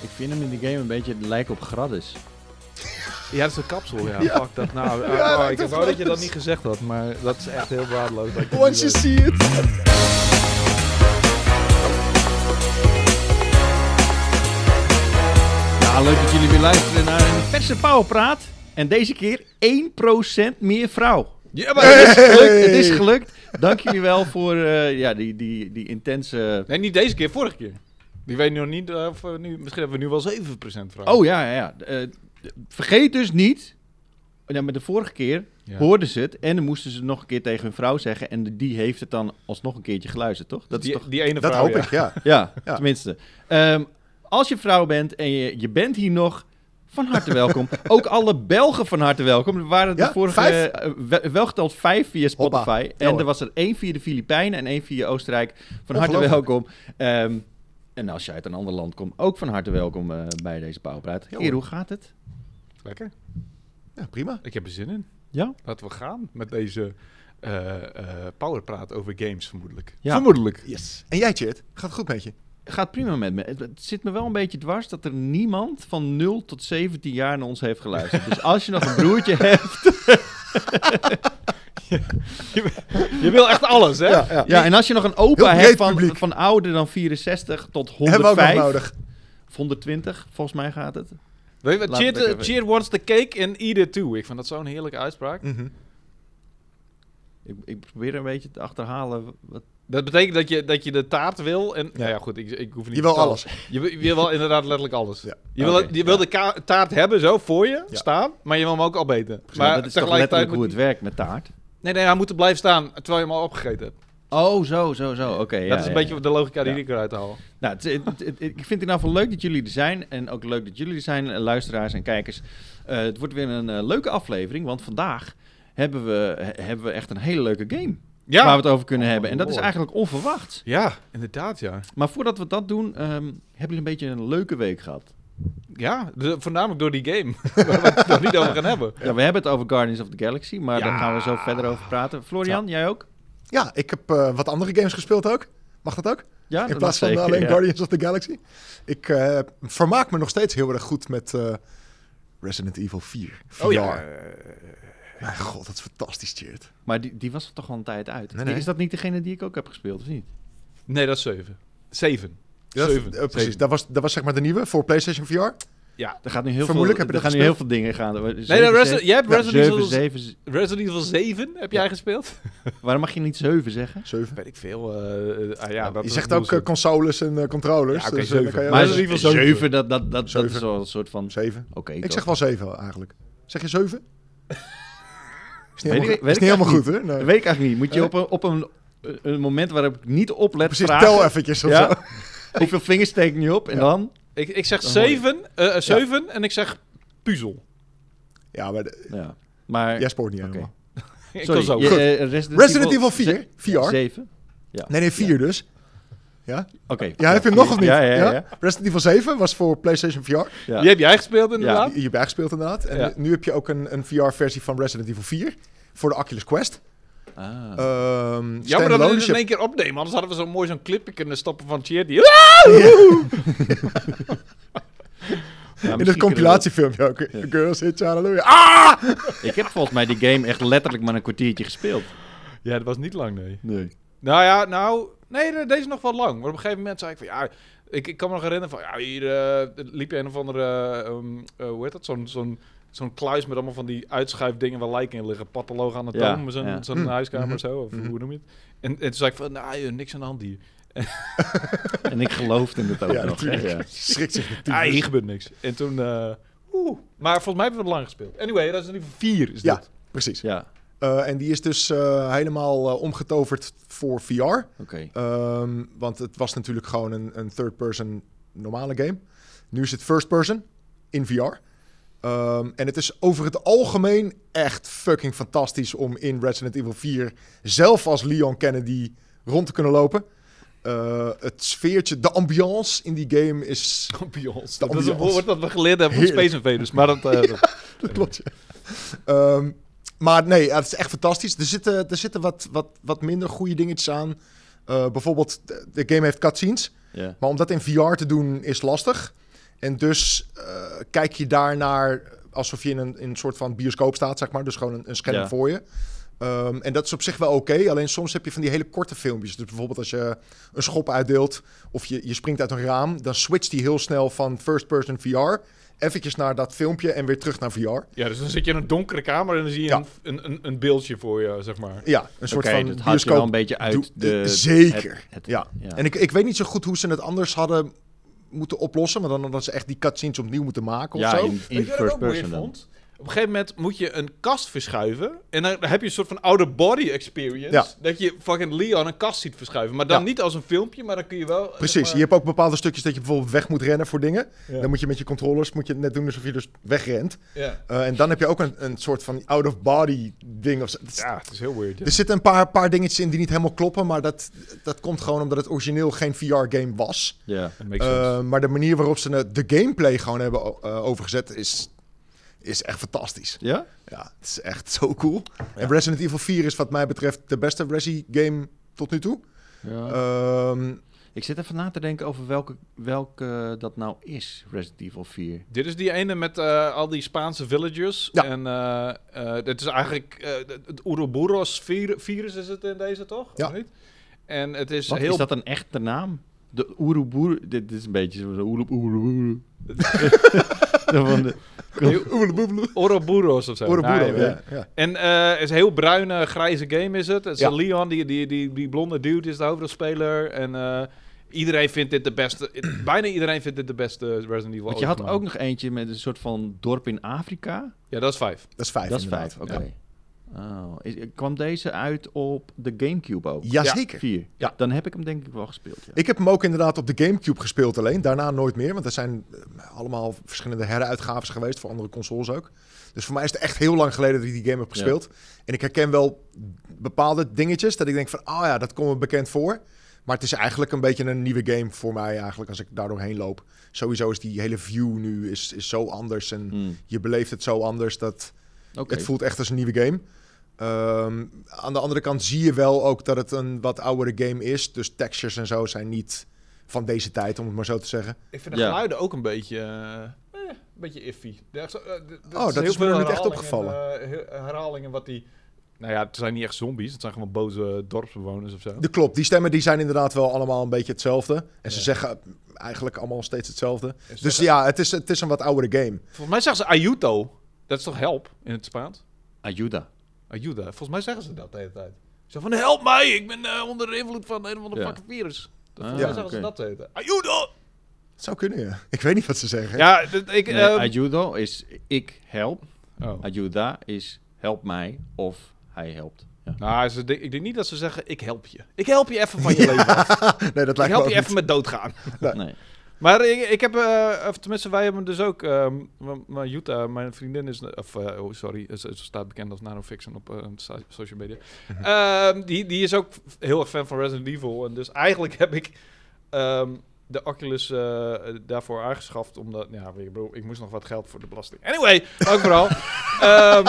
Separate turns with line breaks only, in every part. Ik vind hem in de game een beetje lijken op Graddis.
Ja, dat is een kapsel, ja.
Ja.
Fuck dat nou.
Ja,
Oh,
dat
ik
is
wou dat je dat
leuk.
niet gezegd had, maar dat is echt heel waardeloos. dat ik het niet
Once you
weet.
see it.
Nou, leuk dat jullie weer luisteren naar een verse powerpraat. En deze keer 1% meer vrouw. Ja, maar het is gelukt. Het is gelukt. Dank jullie wel voor eh, ja, die, die, die intense...
Nee, niet deze keer, vorige keer. Die weet nog niet eh, of we nu... Misschien hebben we nu wel 7% vragen.
Oh ja, ja, ja. Eh, vergeet dus niet... Ja, maar de vorige keer
Ja.
hoorden ze het en dan moesten ze het nog een keer tegen hun vrouw zeggen. En die heeft het dan alsnog een keertje geluisterd, toch? Dat is
die,
toch...
die ene
Dat
vrouw,
hoop
ja.
ik, ja.
Ja,
Ja.
tenminste. Ehm, als je vrouw bent en je, je bent hier nog, van harte welkom. Ook alle Belgen van harte welkom. Er waren de
Ja,
vorige,
vijf.
eh, wel- wel geteld vijf via Spotify.
Hoppa. Ja,
en
hoor.
er was er één via de Filipijnen en één via Oostenrijk. Van harte
Ongelooflijk.
welkom. Ehm, en als je uit een ander land komt, ook van harte welkom eh, bij deze Pauwpraat.
Ja,
Keer,
hoor.
hoe gaat het?
Lekker.
Ja, prima.
Ik heb er zin in.
Ja?
Laten we gaan met deze eh, eh, powerpraat over games, vermoedelijk.
Ja.
Vermoedelijk.
Yes. En jij, Chert? Gaat het goed met je?
Gaat prima met me. Het, het zit me wel een beetje dwars dat er niemand van 0 tot 17 jaar naar ons heeft geluisterd. Dus als je nog een broertje hebt...
Je wil echt alles, hè?
Ja, ja.
Ja, en als je nog een
Heel
opa
breed
hebt van,
publiek.
van ouder dan 64 tot
Hebben we ook
105...
nog nodig.
Of 120, volgens mij gaat het.
Weet je wat?
Laat het
Cheer,
even-
cheer wants the cake and eat it too. Ik vond dat zo'n heerlijke uitspraak.
Mhm.
Ik, ik probeer een beetje te achterhalen. Wat...
Dat betekent dat je, dat je de taart wil en...
Ja.
Nou ja, goed, ik, ik hoef niet
Je
te
wil
vertellen.
alles.
Je, wil- je wil wel inderdaad letterlijk alles.
Ja.
Je wil,
Oké,
je wil de ka- taart hebben, zo, voor je,
Ja.
staan. Maar je wil hem ook al beter.
Maar dat is toch letterlijk hoe
moet-
het werkt met taart?
Nee, nee, hij moet er blijven staan terwijl je hem al opgegeten hebt.
Oh, zo, zo, zo. Oké. ja,
dat is een
ja,
beetje
ja.
de logica die
Ja.
ik eruit haal.
Nou, het, het- het- ik vind het in ieder geval leuk dat jullie er zijn. En ook leuk dat jullie er zijn, eh, luisteraars en kijkers. Eh, het wordt weer een eh, leuke aflevering, want vandaag hebben we, he- hebben we echt een hele leuke game.
Ja,
Waar we het over kunnen
Oh,
hebben. En dat is
lord.
eigenlijk onverwacht.
ja inderdaad, ja.
Maar voordat we dat doen, ehm, hebben jullie een beetje een leuke week gehad.
Ja, de- voornamelijk door die game. waar we het nog niet over gaan hebben.
Ja, we hebben het over Guardians of the Galaxy, maar
Ja.
daar gaan we zo verder over praten. Florian, jij ook?
Ja, ik heb eh, wat andere games gespeeld ook. Mag dat ook?
Ja, dat
In plaats van eh,
zeker,
alleen
ja.
Guardians of the Galaxy. Ik eh, vermaak me nog steeds heel erg goed met eh, Resident Evil 4. VR.
Oh,
Mijn god, dat is fantastisch, Chert.
Maar die, die was er toch al een tijd uit?
Nee, nee.
Is dat niet degene die ik ook heb gespeeld, of niet?
Nee, dat is 7. 7.
Ja, dat-
Zeven.
eh, precies,
Zeven.
dat was, dat was zeg maar de nieuwe voor PlayStation VR.
Ja.
Er gaat nu heel veel,
Vermoedelijk heb
er
je
gaan
dat
nu heel veel dingen gaan. Nee,
Nee, nee, Resi- jij hebt Resident Evil 7,
7,
Resident Evil 7 heb jij gespeeld?
Waarom mag je niet 7 zeggen?
Zeven.
Weet ik veel. eh, eh, ah, ja, dat
je
is
zegt
een
ook eh, consoles en eh, controllers.
Ja, oké,
dus, eh, dan
zeven.
kan je-
Maar
Maar
Resident Evil
7,
zeven.
dat, dat, dat, dat is
Zeven.
wel een soort van... Oké,
Zeven. Ik
toch?
zeg wel zeven eigenlijk. Zeg je zeven? Is niet
Weet ik-
helemaal,
weet
is
ik
niet helemaal
eigenlijk
goed, hè? Nee.
Dat weet ik eigenlijk niet. Moet je op een, op een, een moment waarop ik niet oplet
Eh, Precies,
vragen...
tel eventjes of
Ja.
zo.
Hoeveel vingers steek ik nu op? En dan?
Ik, ik zeg
Dan hoor je.
7 eh, eh, 7 en ik zeg puzzel.
Ja, maar de-
Ja. Maar...
jij spoort niet
Oké.
helemaal.
Ik
Sorry,
kan zo.
je-
Goed.
eh, Resident,
Resident Evil 4, VR.
7? Ja.
Nee, nee, 4 dus. Ja?
Oké.
ja, heb je hem nog of niet?
Ja, ja, ja. ja.
Resident Evil 7 was voor PlayStation VR.
Ja.
Die heb jij gespeeld inderdaad.
Die heb jij gespeeld inderdaad. En
Ja.
nu heb je ook een, een VR-versie van Resident Evil 4 voor de Oculus Quest.
Ah.
Ehm
Ja, maar dat we
standalone,
het
dus
in
je-
één keer opnemen. Anders hadden we zo mooi zo'n clipje kunnen stoppen van Cheer. Die...
Ja,
in het
misschien
compilatiefilmpje ook. Girls Hit Hallelujah. Ah!
kunnen we- Ik heb volgens mij die game echt letterlijk maar een kwartiertje gespeeld.
Ja, dat was niet lang, nee.
Nee.
Nou ja, nou... Nee, de- deze is nog wel lang. Maar op een gegeven moment zei ik van... Ja, ik, ik kan me nog herinneren van... Ja, hier eh, liep je een of andere... eh, ehm, eh, hoe heet dat? Zo'n... zo'n Zo'n kluis met allemaal van die uitschuifdingen waar lijken in liggen. Patoloog aan de
Ja,
toom, zo'n
ja.
zo'n
Mm,
huiskamer
mhm,
of zo. Of hoe noem je het? En, en toen zei ik van, nou, joh, niks aan de hand hier.
En ik geloofde in het ook
Ja,
nog. hè,
natuurlijk.
ja.
Schrikt zich natuurlijk.
Ah, hier gebeurt niks. En toen... eh, oeh. Maar volgens mij hebben we het lang gespeeld. Anyway, dat is in ieder geval vier, is
Ja.
dit.
Precies.
Ja,
Eh, en die is dus eh, helemaal eh, omgetoverd voor VR.
oké.
Ehm, want het was natuurlijk gewoon een, een third-person normale game. Nu is het first-person in VR. Ehm, en het is over het algemeen echt fucking fantastisch om in Resident Evil 4 zelf als Leon Kennedy rond te kunnen lopen. Eh, het sfeertje, de ambiance in die game is.
Ambiance.
De
Dat is een
ambiance.
woord dat we geleerd hebben van
Heerlijk.
Space Invaders. Maar dat... eh, dat-
Dat klopt. ja. Ehm, maar nee, ja, het is echt fantastisch. Er zitten, er zitten wat, wat, wat minder goede dingetjes aan. Eh, bijvoorbeeld, de de game heeft cutscenes.
Ja.
Maar om dat in VR te doen is lastig. En dus eh, kijk je daarnaar alsof je in een, in een soort van bioscoop staat, zeg maar. Dus gewoon een, een scherm
Ja.
voor je. Ehm, en dat is op zich wel oké, alleen soms heb je van die hele korte filmpjes. Dus bijvoorbeeld als je een schop uitdeelt of je, je springt uit een raam, dan switcht die heel snel van first person VR eventjes naar dat filmpje en weer terug naar VR.
Ja, dus dan zit je in een donkere kamer en dan zie je
Ja.
een, een, een, een beeldje voor je, zeg maar.
Ja, een soort
Oké,
van
dat haalt je wel
bioscoop
een beetje
doe- eh,
uit de...
Zeker,
het- het-
ja. En ik, ik weet niet zo goed hoe ze het anders hadden moeten oplossen. Maar dan hadden ze echt die cutscenes opnieuw moeten maken of
ja,
zo.
in, in
Weet je wat ik
first
ook weird
person dan.
vond? Op een gegeven moment moet je een kast verschuiven. En dan heb je een soort van outer body experience.
Ja.
Dat je fucking Leon een kast ziet verschuiven. Maar dan
Ja.
niet als een filmpje, maar dan kun je wel... zeg
Precies,
maar-
je hebt ook bepaalde stukjes dat je bijvoorbeeld weg moet rennen voor dingen.
Ja.
Dan moet je met je controllers moet je net doen alsof je dus wegrent.
Ja.
Eh, en dan heb je ook een, een soort van out-of-body ding. Of zo. Het is-
ja, het is heel weird. ja.
Er zitten een paar, paar dingetjes in die niet helemaal kloppen. Maar dat, dat komt gewoon omdat het origineel geen VR-game was.
Ja.
That makes sense.
Eh, maar de manier waarop ze de- de gameplay gewoon hebben o- eh, overgezet is, is echt fantastisch.
Ja?
Ja, het is echt zo cool. En Resident Evil 4 is wat mij betreft de beste Resi game tot nu toe. Ehm,
Ik zit even na te denken over welke, welke dat nou is, Resident Evil 4.
Dit is die ene met eh, al die Spaanse villagers.
Ja.
En eh, eh, dit is eigenlijk eh, het- het Ouroboros-virus is het in deze, toch?
Ja.
Of niet? En het is
Wat,
heel...
Is dat een echte naam? De Oeroboer... Dit is een beetje zo'n Oerob... Oeroboer. Van de-
Ouroboros of zo. Nou,
Ouroboros,
Nee,
ja, ja.
En eh, het is een heel bruine, grijze game is het. Het is
Ja.
een Leon, die, die, die, die blonde dude is de hoofdrolspeler. En eh, iedereen vindt dit de beste... bijna iedereen vindt dit de beste Resident Evil.
Want je had
ooit gemaakt.
ook nog eentje met een soort van dorp in Afrika.
Ja, dat is vijf.
Dat is vijf.
Dat is
inderdaad.
vijf, oké. Oh, is- kwam deze uit op de Gamecube ook?
Ja. Jazeker.
Vier.
Ja.
Dan heb ik hem denk ik wel gespeeld. Ja.
Ik heb hem ook inderdaad op de Gamecube gespeeld alleen. Daarna nooit meer, want er zijn eh, allemaal verschillende heruitgaves geweest voor andere consoles ook. Dus voor mij is het echt heel lang geleden dat ik die game heb gespeeld. En ik herken wel bepaalde dingetjes dat ik denk van, ah ja, dat komt me bekend voor. Maar het is eigenlijk een beetje een nieuwe game voor mij eigenlijk als ik daar doorheen loop. Sowieso is die hele view nu is, is zo anders en
Hmm,
je beleeft het zo anders dat...
Oké.
Mm. Het voelt echt als een nieuwe game. Ehm, aan de andere kant zie je wel ook dat het een wat oudere game is. Dus textures en zo zijn niet van deze tijd, om het maar zo te zeggen.
Ik vind de
Ja.
geluiden ook een beetje... eh, eh, een beetje iffy. Er is, eh, d- d-
Oh, dat
heel
is me
veel
nog niet echt
herhalingen,
opgevallen.
eh, he- herhalingen wat die... Nou ja, het zijn niet echt zombies. Het zijn gewoon boze dorpsbewoners of zo.
De klopt, die stemmen die zijn inderdaad wel allemaal een beetje hetzelfde. En ze
Ja.
zeggen eigenlijk allemaal steeds hetzelfde.
Dus
Dus
zeggen-
ja, het is, het is een wat oudere game.
Volgens mij zeggen ze Ayuto. Dat is toch help in het Spaans?
Ayuda.
Ayuda. Volgens mij zeggen ze dat de hele tijd. Zo van, help mij, ik ben eh, onder de invloed van een of ander
Ja.
fucking virus. Dat,
Ah,
volgens mij
ja,
zeggen ze
oké.
dat de hele tijd. Ayuda!
Het zou kunnen, ja. Ik weet niet wat ze zeggen.
Ja, dat, ik...
Eh,
Nee,
ehm,
Ayudo is ik help.
oh.
Ayuda is help mij of hij helpt. Ja.
Nou, ze, denk- ik denk niet dat ze zeggen, ik help je. Ik help je even van je leven af.
Nee, dat
Ik
lijkt me
help
ook
je
niet.
even met doodgaan.
Eh,
Nee.
Maar ik, ik heb, eh, of tenminste, wij hebben dus ook, ehm, m- maar Jutta, mijn vriendin is, of eh, oh, sorry, ze, ze staat bekend als nanofiction op eh, so- social media. Ehm, die, die is ook f- heel erg fan van Resident Evil. En dus eigenlijk heb ik ehm, de Oculus eh, daarvoor aangeschaft, omdat, ja, ik bedoel, ik moest nog wat geld voor de belasting. Anyway, ook vooral. Ehm,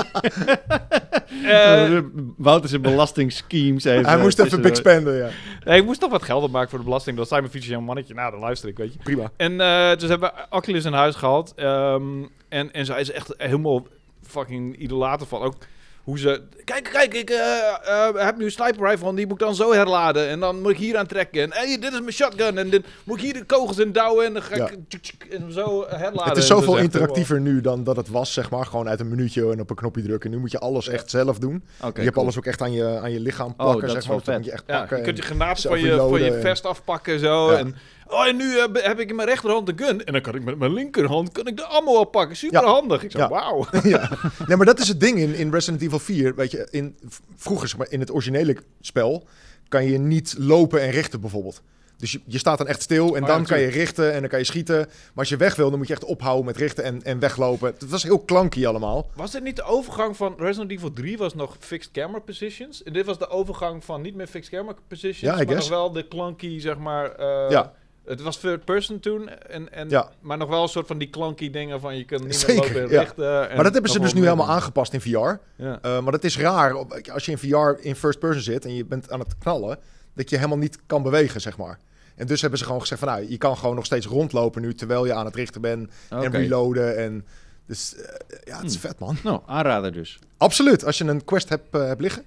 eh,
Wouter zijn belastingschemes even...
Hij moest even
tussen-
big spenden, ja.
nee, ik moest nog wat geld opmaken voor de belasting. Dat zei mijn fietsje, jong mannetje, nou, dan luister ik, weet je.
Prima.
En eh, dus hebben we Oculus in huis gehad. ehm, en, en zij is echt helemaal fucking idolater van. Ook hoe ze... Kijk, kijk, ik eh, eh, heb nu een sniper rifle en die moet ik dan zo herladen. En dan moet ik hier aan trekken. En hey, dit is mijn shotgun. En dit moet ik hier de kogels in douwen. En dan ga ik
Ja.
tjuk, tjuk, en zo eh, herladen.
Het is
En
zoveel
Dus echt
interactiever nu dan dat het was, zeg maar. Gewoon uit een minuutje en op een knopje drukken. Nu moet je alles echt zelf doen.
Oké,
je hebt
cool.
heel alles ook echt aan je, aan je lichaam plakken,
dat
zeg
is
maar.
wel
Dus dat
vet.
moet je echt
heel- Ja,
pakken.
je kunt je
en-
granaten
zelf
van je, van je
reloaden en-
vest afpakken zo.
Ja.
En, oh, en nu heb, heb ik in mijn rechterhand de gun. En dan kan ik met mijn linkerhand kan ik de ammo oppakken. Super handig. Ik zei,
Ja.
wauw.
ja. Nee, maar dat is het ding in, in Resident Evil 4. Weet je, in, v- vroeger, zeg maar, in het originele spel, kan je niet lopen en richten bijvoorbeeld. Dus je, je staat dan echt stil en
ja,
dan kan je richten en dan kan je schieten. Maar als je weg wil, dan moet je echt ophouden met richten en, en weglopen. Het was heel klanky allemaal.
Was dit niet de overgang van Resident Evil 3 was nog fixed camera positions? En dit was de overgang van niet meer fixed camera positions,
Ja, I
maar
guess.
nog wel de clunky, zeg maar. eh,
Ja.
Het was third person toen, en, en,
Ja.
maar nog wel een soort van die clunky dingen van je kunt niet
Zeker,
meer lopen en
ja.
richten. en
maar dat hebben ze
nog
dus nu
wel
helemaal
meer
aangepast in VR.
doen. Ja.
Eh, maar dat is raar op- als je in VR in first person zit en je bent aan het knallen, dat je helemaal niet kan bewegen, zeg maar. En dus hebben ze gewoon gezegd van, nou, je kan gewoon nog steeds rondlopen nu, terwijl je aan het richten bent
Oké.
en reloaden. En dus, eh, ja, het is
Hmm.
vet, man.
Nou, aanrader dus.
Absoluut. Als je een quest hebt, eh, hebt liggen,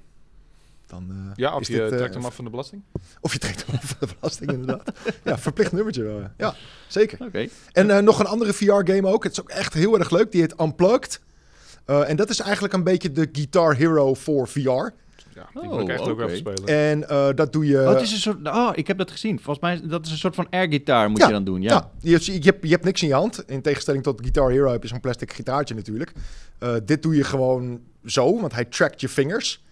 dan eh,
Ja, of
is
je
dit, eh,
trekt hem af van de belasting.
Of je trekt hem af van de belasting, inderdaad. ja, verplicht nummertje wel. ja. Ja, zeker.
Oké.
En eh, nog een andere VR-game ook. Het is ook echt heel erg leuk. Die heet Unplugged. Eh, en dat is eigenlijk een beetje de Guitar Hero voor VR.
Ja, die
Oh,
wil ik echt ook
oké.
even spelen.
En eh, dat doe je...
oh, het is een soort, oh, ik heb dat gezien. Volgens mij is dat is een soort van airgitaar moet
Ja,
je dan doen. Ja.
Ja, je, hebt- je, hebt, je hebt niks in je hand. In tegenstelling tot Guitar Hero heb je zo'n plastic gitaartje natuurlijk. Eh, dit doe je gewoon zo, want hij trackt je vingers.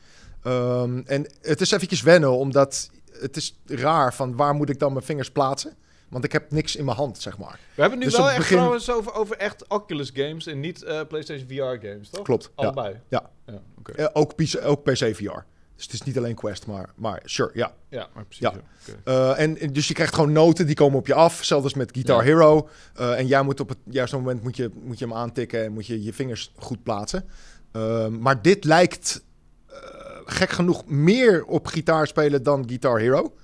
Ehm, en het is eventjes wennen, omdat het is raar van waar moet ik dan mijn vingers plaatsen? Want ik heb niks in mijn hand, zeg maar.
We hebben nu
dus
wel
op
echt
begin-
trouwens over, over echt Oculus games en niet eh, PlayStation VR games, toch?
Klopt. Ja.
Oh, Allebei.
Ja.
Ja, oké.
Eh, ook, PC, ook PC VR. Dus het is niet alleen Quest, maar, maar sure, ja.
ja maar precies.
Ja.
ja. Oké.
Eh, en, en dus je krijgt gewoon noten, die komen op je af. Zelfs als met Guitar
Ja.
Hero. Eh, en jij moet op het juiste moment moet je, moet je hem aantikken en moet je je vingers goed plaatsen. Ehm, maar dit lijkt eh, gek genoeg meer op gitaar spelen dan Guitar Hero.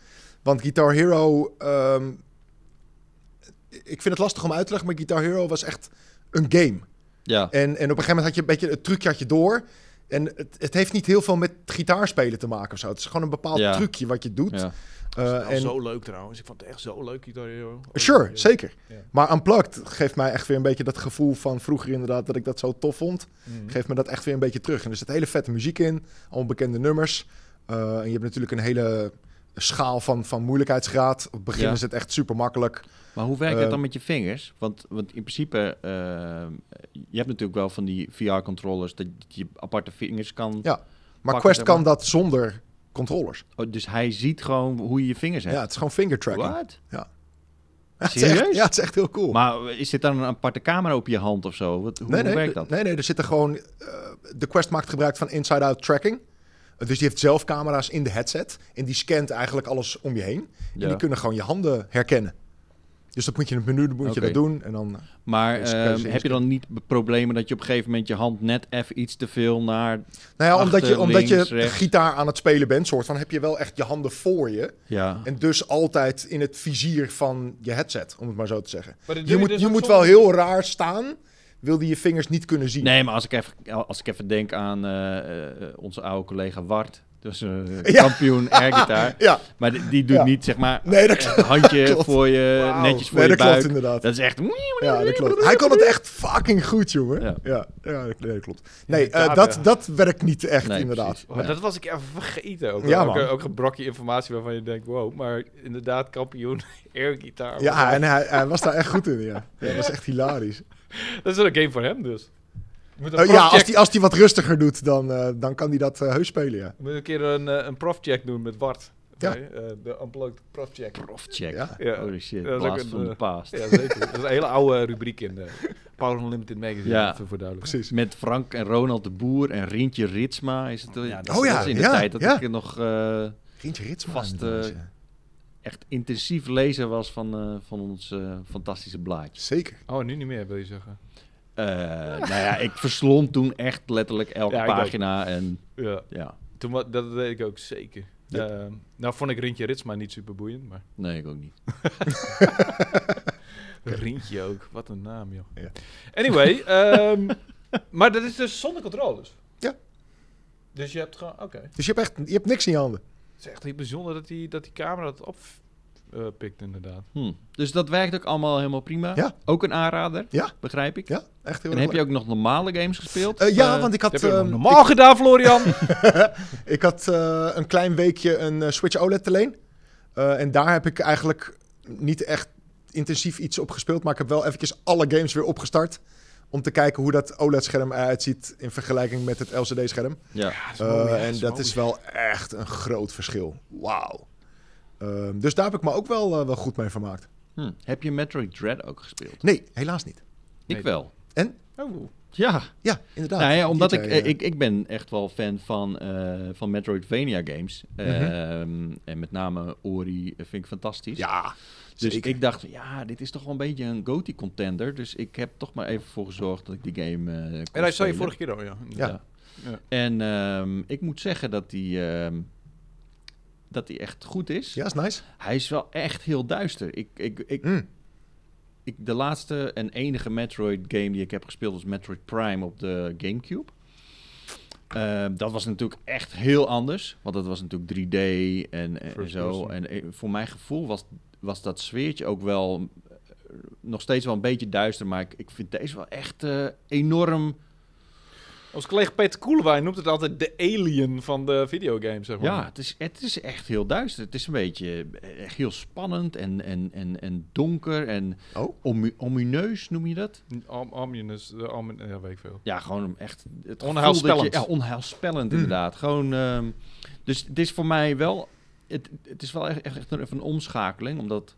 Want Guitar Hero... ehm, ik vind het lastig om uit te leggen, maar Guitar Hero was echt een game.
Ja.
En, en op een gegeven moment had je een beetje het trucje had je door. En het, het heeft niet heel veel met gitaarspelen te maken of zo. Het is gewoon een bepaald
Ja.
trucje wat je doet.
ja.
Eh,
Dat is wel
en-
zo leuk trouwens. Ik vond het echt zo leuk, Guitar Hero.
Sure,
Ja.
zeker.
Ja.
Maar Unplugged geeft mij echt weer een beetje dat gevoel van vroeger inderdaad dat ik dat zo tof vond.
Mhm.
Geeft me dat echt weer een beetje terug. En er zit hele vette muziek in, allemaal bekende nummers. Eh, en je hebt natuurlijk een hele schaal van, van moeilijkheidsgraad. Op het begin
Ja.
is het echt super makkelijk.
Maar hoe werkt
Eh,
dat dan met je vingers? Want, want in principe, ehm, je hebt natuurlijk wel van die VR-controllers dat je aparte vingers kan.
Ja. Maar
Pak
Quest
het maar.
kan dat zonder controllers.
Oh, dus hij ziet gewoon hoe je je vingers hebt.
Ja, het is gewoon finger tracking.
What?
Ja, het is echt-
Serieus?
ja, het is echt heel cool.
Maar is dit dan een aparte camera op je hand of zo? Wat, hoe
nee,
hoe
nee,
werkt
d-
dat?
Nee, nee, er zitten gewoon. eh, de Quest maakt gebruik van inside-out tracking. Eh, Dus die heeft zelf camera's in de headset. En die scant eigenlijk alles om je heen. En
Ja.
die kunnen gewoon je handen herkennen. Dus dat moet je in het menu dan moet je
Oké.
dat doen. En dan,
Maar
Dus
ehm,
keuze is
heb je dan niet be- problemen dat je op een gegeven moment je hand net even iets te veel naar...
nou ja, omdat je,
Achter,
omdat
links,
je
rechts.
gitaar aan het spelen bent, soort van, heb je wel echt je handen voor je.
Ja,
En dus altijd in het vizier van je headset, om het maar zo te zeggen.
Maar dit doe
Je moet,
dus
je
ook
moet wel
zonder-
heel raar staan, wil die je vingers niet kunnen zien.
Nee, maar als ik even, als ik even denk aan eh, eh, onze oude collega Wart. Dus eh,
Ja.
kampioen airgitaar.
Ja,
Maar die, die doet
Ja.
niet, zeg maar,
nee, dat
een handje
Klopt.
voor je,
Wauw.
netjes voor
nee,
je
dat klopt
buik.
inderdaad.
dat is echt...
Ja, dat klopt. Hij kon het echt fucking goed, jongen. Ja,
Ja.
ja, dat, nee, dat klopt. Nee, eh,
daar,
dat,
ja.
dat werkt niet echt,
Nee,
inderdaad.
precies. Oh,
Maar
Ja.
Oh, dat was ik even vergeten. Ook,
Ja,
ook,
man.
ook een brokje informatie waarvan je denkt, wow, maar inderdaad kampioen airgitaar.
Oh,
Ja, en hij, hij was daar echt goed in, ja. ja dat was echt hilarisch.
Dat is wel een game voor hem dus. Je Moet een
Eh, ja, als
profcheck-
hij als die wat rustiger doet, dan, eh, dan kan hij dat eh, heus spelen, ja.
je moet een keer een, eh, een profcheck doen met Bart.
Ja.
Nee, eh, de unplugged profcheck. Oh,
Profcheck.
Ja.
Ja.
Holy shit,
Dat is ook
blast
een,
van de
eh,
past.
ja, zeker. Dat is een hele oude rubriek in de Power Unlimited magazine,
Ja.
even voor duidelijk.
Precies.
Met Frank en Ronald de Boer en Rientje Ritsma is het... eh,
Ja,
dat,
oh ja,
dat is in de
ja,
tijd dat
ja.
ik nog eh,
Rientje Ritsma.
Vast,
inderdaad,
eh,
ja.
echt intensief lezer was van, eh, van ons eh, fantastische blaadje.
Zeker.
Oh, nu niet meer, wil je zeggen.
Eh, nou ja, ik verslond toen echt letterlijk elke
Ja, ik ook.
pagina. En
Ja,
ja,
toen, wa- dat deed ik ook zeker.
Ja.
Ehm, nou vond ik Rintje Ritsma niet super boeiend, maar...
nee, ik ook niet.
Rintje ook, wat een naam joh.
Ja.
Anyway, ehm, maar dat is dus zonder controles.
Ja.
Dus je hebt gewoon, oké.
Dus je hebt, echt, je hebt niks in je handen.
Het is echt heel bijzonder dat die, dat die camera dat oppikt inderdaad.
Hm. Dus dat werkt ook allemaal helemaal prima.
Ja.
Ook een aanrader,
Ja.
begrijp ik.
Ja, echt heel
En
erg
heb je
leuk.
ook nog normale games gespeeld?
Eh, ja,
Eh,
want ik
Dat
had,
heb je nog
ehm,
normaal gedaan, Florian.
ik, ik had eh, een klein weekje een eh, Switch OLED te leen. Eh, en daar heb ik eigenlijk niet echt intensief iets op gespeeld. Maar ik heb wel eventjes alle games weer opgestart. Om te kijken hoe dat OLED-scherm eruit ziet in vergelijking met het LCD-scherm.
Ja.
Eh, en dat is wel echt een groot verschil. Wauw. Ehm, dus daar heb ik me ook wel, eh, wel goed mee vermaakt.
Hm. Heb je Metroid Dread ook gespeeld?
Nee, helaas niet.
Nee.
Ik wel.
Oh,
Ja.
Ja, inderdaad.
Nou ja, omdat
Die
ik,
twee,
eh,
eh,
ik, ik ben echt wel fan van, eh, van Metroidvania games. Ehm, en met name Ori eh, vind ik fantastisch.
Ja,
dus
zeker.
ik dacht, ja, dit is toch wel een beetje een GOTY contender. Dus ik heb toch maar even voor gezorgd dat ik die game eh kon
En dat zei je
spelen.
vorige keer al, ja.
Ja.
En ehm, ik moet zeggen dat die... ehm, dat hij echt goed is.
Ja, is nice.
Hij is wel echt heel duister. Ik, ik, ik,
Mm.
ik, de laatste en enige Metroid game die ik heb gespeeld was Metroid Prime op de GameCube. Ehm, dat was natuurlijk echt heel anders. Want dat was natuurlijk 3D en, en
First
zo.
person.
En eh, voor mijn gevoel was, was dat sfeertje ook wel eh, nog steeds wel een beetje duister. Maar ik, ik vind deze wel echt eh, enorm.
Ons collega Peter Koelewijn noemt het altijd de alien van de videogame, zeg maar.
Ja, het is, het is echt heel duister. Het is een beetje eh, echt heel spannend en, en, en, en donker en
Oh.
omu- omineus noem je dat.
Om, ominous, eh, omin- ja, weet ik veel.
Ja, gewoon echt. Het gevoel dat je-
Onheilspellend.
ja, onheilspellend
Mm.
inderdaad. Gewoon. ehm, dus het is voor mij wel. Het, het is wel echt, echt een, even een omschakeling, omdat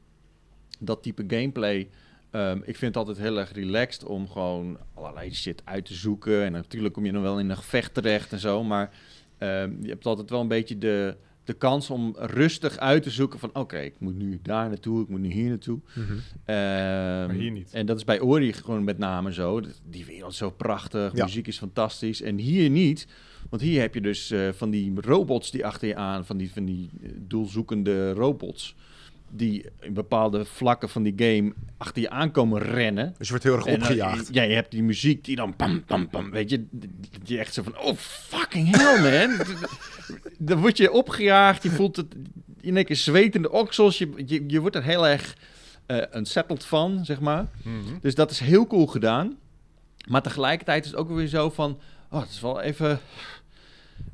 dat type gameplay. ehm, ik vind het altijd heel erg relaxed om gewoon allerlei shit uit te zoeken. En natuurlijk kom je dan wel in een gevecht terecht en zo. Maar ehm, je hebt altijd wel een beetje de, de kans om rustig uit te zoeken van... oké, ik moet nu daar naartoe, ik moet nu hier naartoe.
Mhm.
Ehm,
Maar hier niet.
En dat is bij Ori gewoon met name zo. Dat- Die wereld is zo prachtig,
Ja.
muziek is fantastisch. En hier niet, want hier heb je dus eh, van die robots die achter je aan, van die, van die eh, doelzoekende robots, die in bepaalde vlakken van die game achter je aankomen rennen.
Dus je wordt heel erg
En eh, dan-
opgejaagd.
ja, je hebt die muziek die dan pam, pam, pam, weet je, dat je echt zo van, oh fucking hell man. dan word je opgejaagd, je voelt het in een keer zwetende oksels, je, je, je wordt er heel erg eh unsettled van, zeg maar.
Mhm.
Dus dat is heel cool gedaan. Maar tegelijkertijd is het ook weer zo van... Oh, het is wel even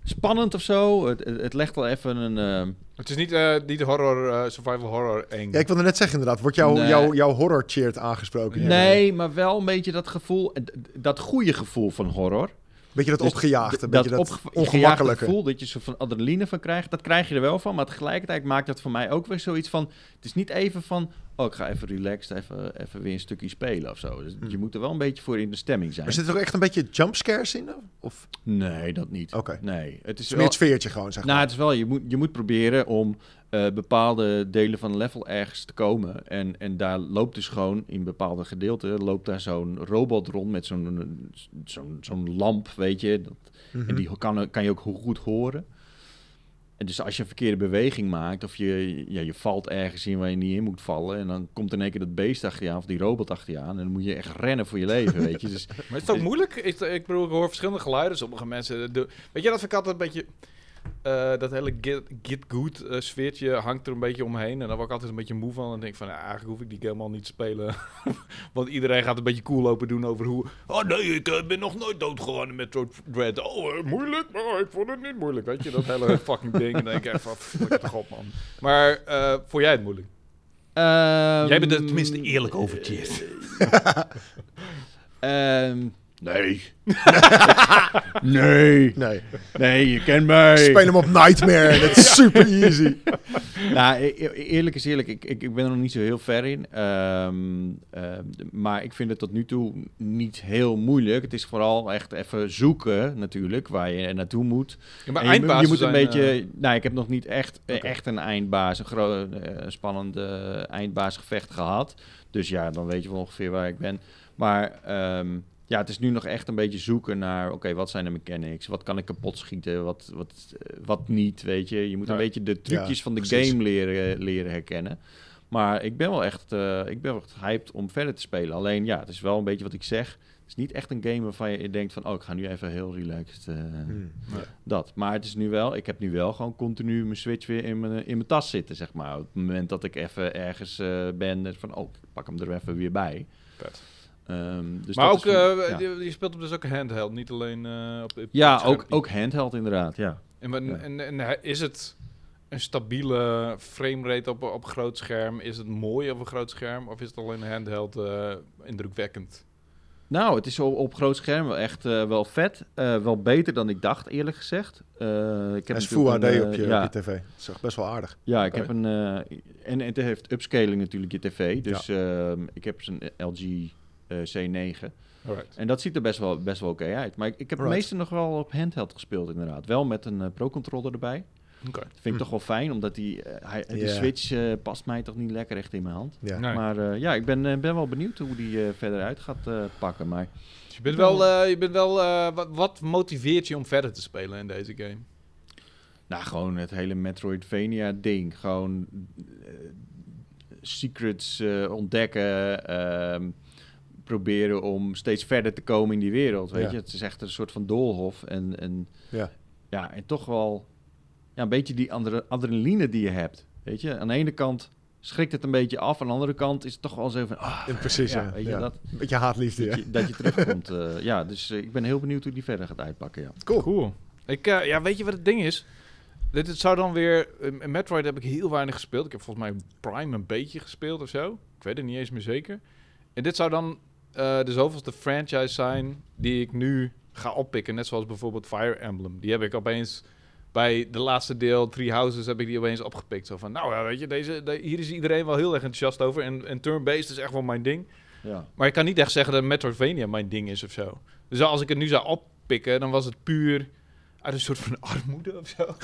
spannend of zo. Het, het, het legt wel even een... ehm,
Het is niet, eh, niet horror, eh, survival horror eng.
Ja, ik wilde net zeggen inderdaad, wordt jouw
Nee.
jouw jouw horror cheered aangesproken?
Ja.
nee, maar wel een beetje dat gevoel... eh, d- d- Dat goede gevoel van horror.
Beetje dat
Dus
opgejaagde,
d-
beetje dat,
opge- gejaagde
ongemakkelijke.
gevoel dat je zo van adrenaline van krijgt. Dat krijg je er wel van. Maar tegelijkertijd maakt dat voor mij ook weer zoiets van... Het is niet even van... Oh, ik ga even relaxed, even, even weer een stukje spelen of zo. Dus
Hm.
je moet er wel een beetje voor in de stemming zijn.
Maar zit er ook echt een beetje jumpscares in? Of?
Nee, dat niet.
Oké. Het
Nee, het is
is meer
wel...
het sfeertje gewoon, zeg maar.
Nou, het is wel, je moet, je moet proberen om eh, bepaalde delen van een level ergens te komen. En, en daar loopt dus gewoon in bepaalde gedeelten, loopt daar zo'n robot rond met zo'n zo'n zo'n lamp, weet je. Dat,
Mhm.
En die kan, kan je ook goed horen. En dus als je een verkeerde beweging maakt, of je, ja, je valt ergens in waar je niet in moet vallen, en dan komt in één keer dat beest achter je aan, of die robot achter je aan, en dan moet je echt rennen voor je leven, weet je. Dus
Maar is het ook moeilijk? Ik, ik bedoel, ik hoor verschillende geluiden. Sommige mensen... doen- weet je, dat vind ik altijd een beetje... eh, dat hele get, get good eh, sfeertje hangt er een beetje omheen. En daar word ik altijd een beetje moe van. En denk van, nou, eigenlijk hoef ik die game helemaal niet te spelen. Want iedereen gaat een beetje cool lopen doen over hoe... Oh nee, ik eh, ben nog nooit doodgegaan in Metroid Dread. Oh, eh, moeilijk? Maar ik vond het niet moeilijk. Weet je, dat hele fucking ding. En dan denk ik echt van, flikker toch op man. Maar eh vond jij het moeilijk? Jij bent er tenminste eerlijk over, Tjeerd.
Ehm, nee. nee.
Nee,
Nee, je kent mij.
speel hem op Nightmare. dat is super easy.
Nou, e- e- eerlijk is eerlijk. Ik, ik, ik ben er nog niet zo heel ver in. Ehm, ehm, d- maar ik vind het tot nu toe niet heel moeilijk. Het is vooral echt even zoeken natuurlijk waar je naartoe moet.
Ja, maar
En je,
eindbazen
je moet een
zijn,
beetje.
eh,
nou, ik heb nog niet echt, eh,
Oké.
echt een eindbaas, een groot, spannend eh, eindbaasgevecht gehad. Dus ja, dan weet je wel ongeveer waar ik ben. Maar ehm, ja, het is nu nog echt een beetje zoeken naar. Oké, wat zijn de mechanics? Wat kan ik kapot schieten? Wat, wat, eh, wat niet? Weet je, je moet een
Nee.
beetje de trucjes
Ja,
van de
precies.
game leren, leren herkennen. Maar ik ben wel echt, eh, ik ben wel echt hyped om verder te spelen. Alleen ja, het is wel een beetje wat ik zeg. Het is niet echt een game waarvan je denkt van, oh, ik ga nu even heel relaxed. eh,
Hmm.
Mhm.
dat. Maar het is nu wel, ik heb nu wel gewoon continu mijn Switch weer in mijn, in mijn tas zitten, zeg maar. Op het moment dat ik even ergens eh, ben, eh, van oh, ik pak hem er even weer bij.
Vet.
Ehm, dus
maar
dat
ook,
is voor-
eh,
ja.
je, je speelt hem dus ook handheld, niet alleen eh, op, op
ja,
het schermpje.
ook, ook handheld inderdaad, ja.
En, wan-
ja.
en, en he- is het een stabiele framerate op, op groot scherm? Is het mooi op een groot scherm? Of is het alleen handheld eh, indrukwekkend?
Nou, het is op, op groot scherm wel echt eh, wel vet. Eh, wel beter dan ik dacht, eerlijk gezegd. Eh, ik heb
Dat is Full
natuurlijk een,
HD
eh,
op je,
ja,
op je tv. Dat is echt best wel aardig.
Ja, ik
Oh,
heb een. eh, en, en het heeft upscaling natuurlijk je tv. Dus ehm, ik heb zo'n LG eh, C9.
Alright.
En dat ziet er best wel, best wel oké uit. Maar ik, ik heb
Right.
het meeste nog wel op handheld gespeeld, inderdaad. Wel met een eh, pro-controller erbij.
Oké.
Dat vind ik
Hm.
toch wel fijn, omdat die, eh, hij, die
Ja.
Switch eh, past mij toch niet lekker echt in mijn hand.
Ja.
Nee.
Maar eh, ja, ik ben, eh, ben wel benieuwd hoe die eh, verder uit gaat eh, pakken. Maar
Dus je bent wel, eh, je bent wel eh, wat, wat motiveert je om verder te spelen in deze game?
Nou, gewoon het hele Metroidvania-ding. Gewoon eh, secrets eh, ontdekken. ehm, proberen om steeds verder te komen in die wereld. Weet
Ja.
je, het is echt een soort van doolhof. En, en,
Ja.
ja, en toch wel ja, een beetje die andere, adrenaline die je hebt. Weet je, aan de ene kant schrikt het een beetje af. Aan de andere kant is het toch wel zo van... ah,
Precies,
ja,
ja.
weet je,
Ja.
Dat,
Een beetje haatliefde,
dat,
ja.
je, dat je terugkomt. eh, ja, dus eh, ik ben heel benieuwd hoe die verder gaat uitpakken. Ja.
Cool.
Cool. Ik, eh, ja, weet je wat het ding is? Dit, het zou dan weer... eh, Metroid heb ik heel weinig gespeeld. Ik heb volgens mij Prime een beetje gespeeld of zo. Ik weet het niet eens meer zeker. En dit zou dan eh de zoveelste franchise zijn die ik nu ga oppikken. Net zoals bijvoorbeeld Fire Emblem. Die heb ik opeens... Bij de laatste deel, Three Houses, heb ik die opeens opgepikt. Zo van, nou ja, weet je, deze, de- hier is iedereen wel heel erg enthousiast over. En, en turn-based is echt wel mijn ding.
Ja.
Maar ik kan niet echt zeggen dat Metroidvania mijn ding is of zo. Dus als ik het nu zou oppikken, dan was het puur uit een soort van armoede of zo.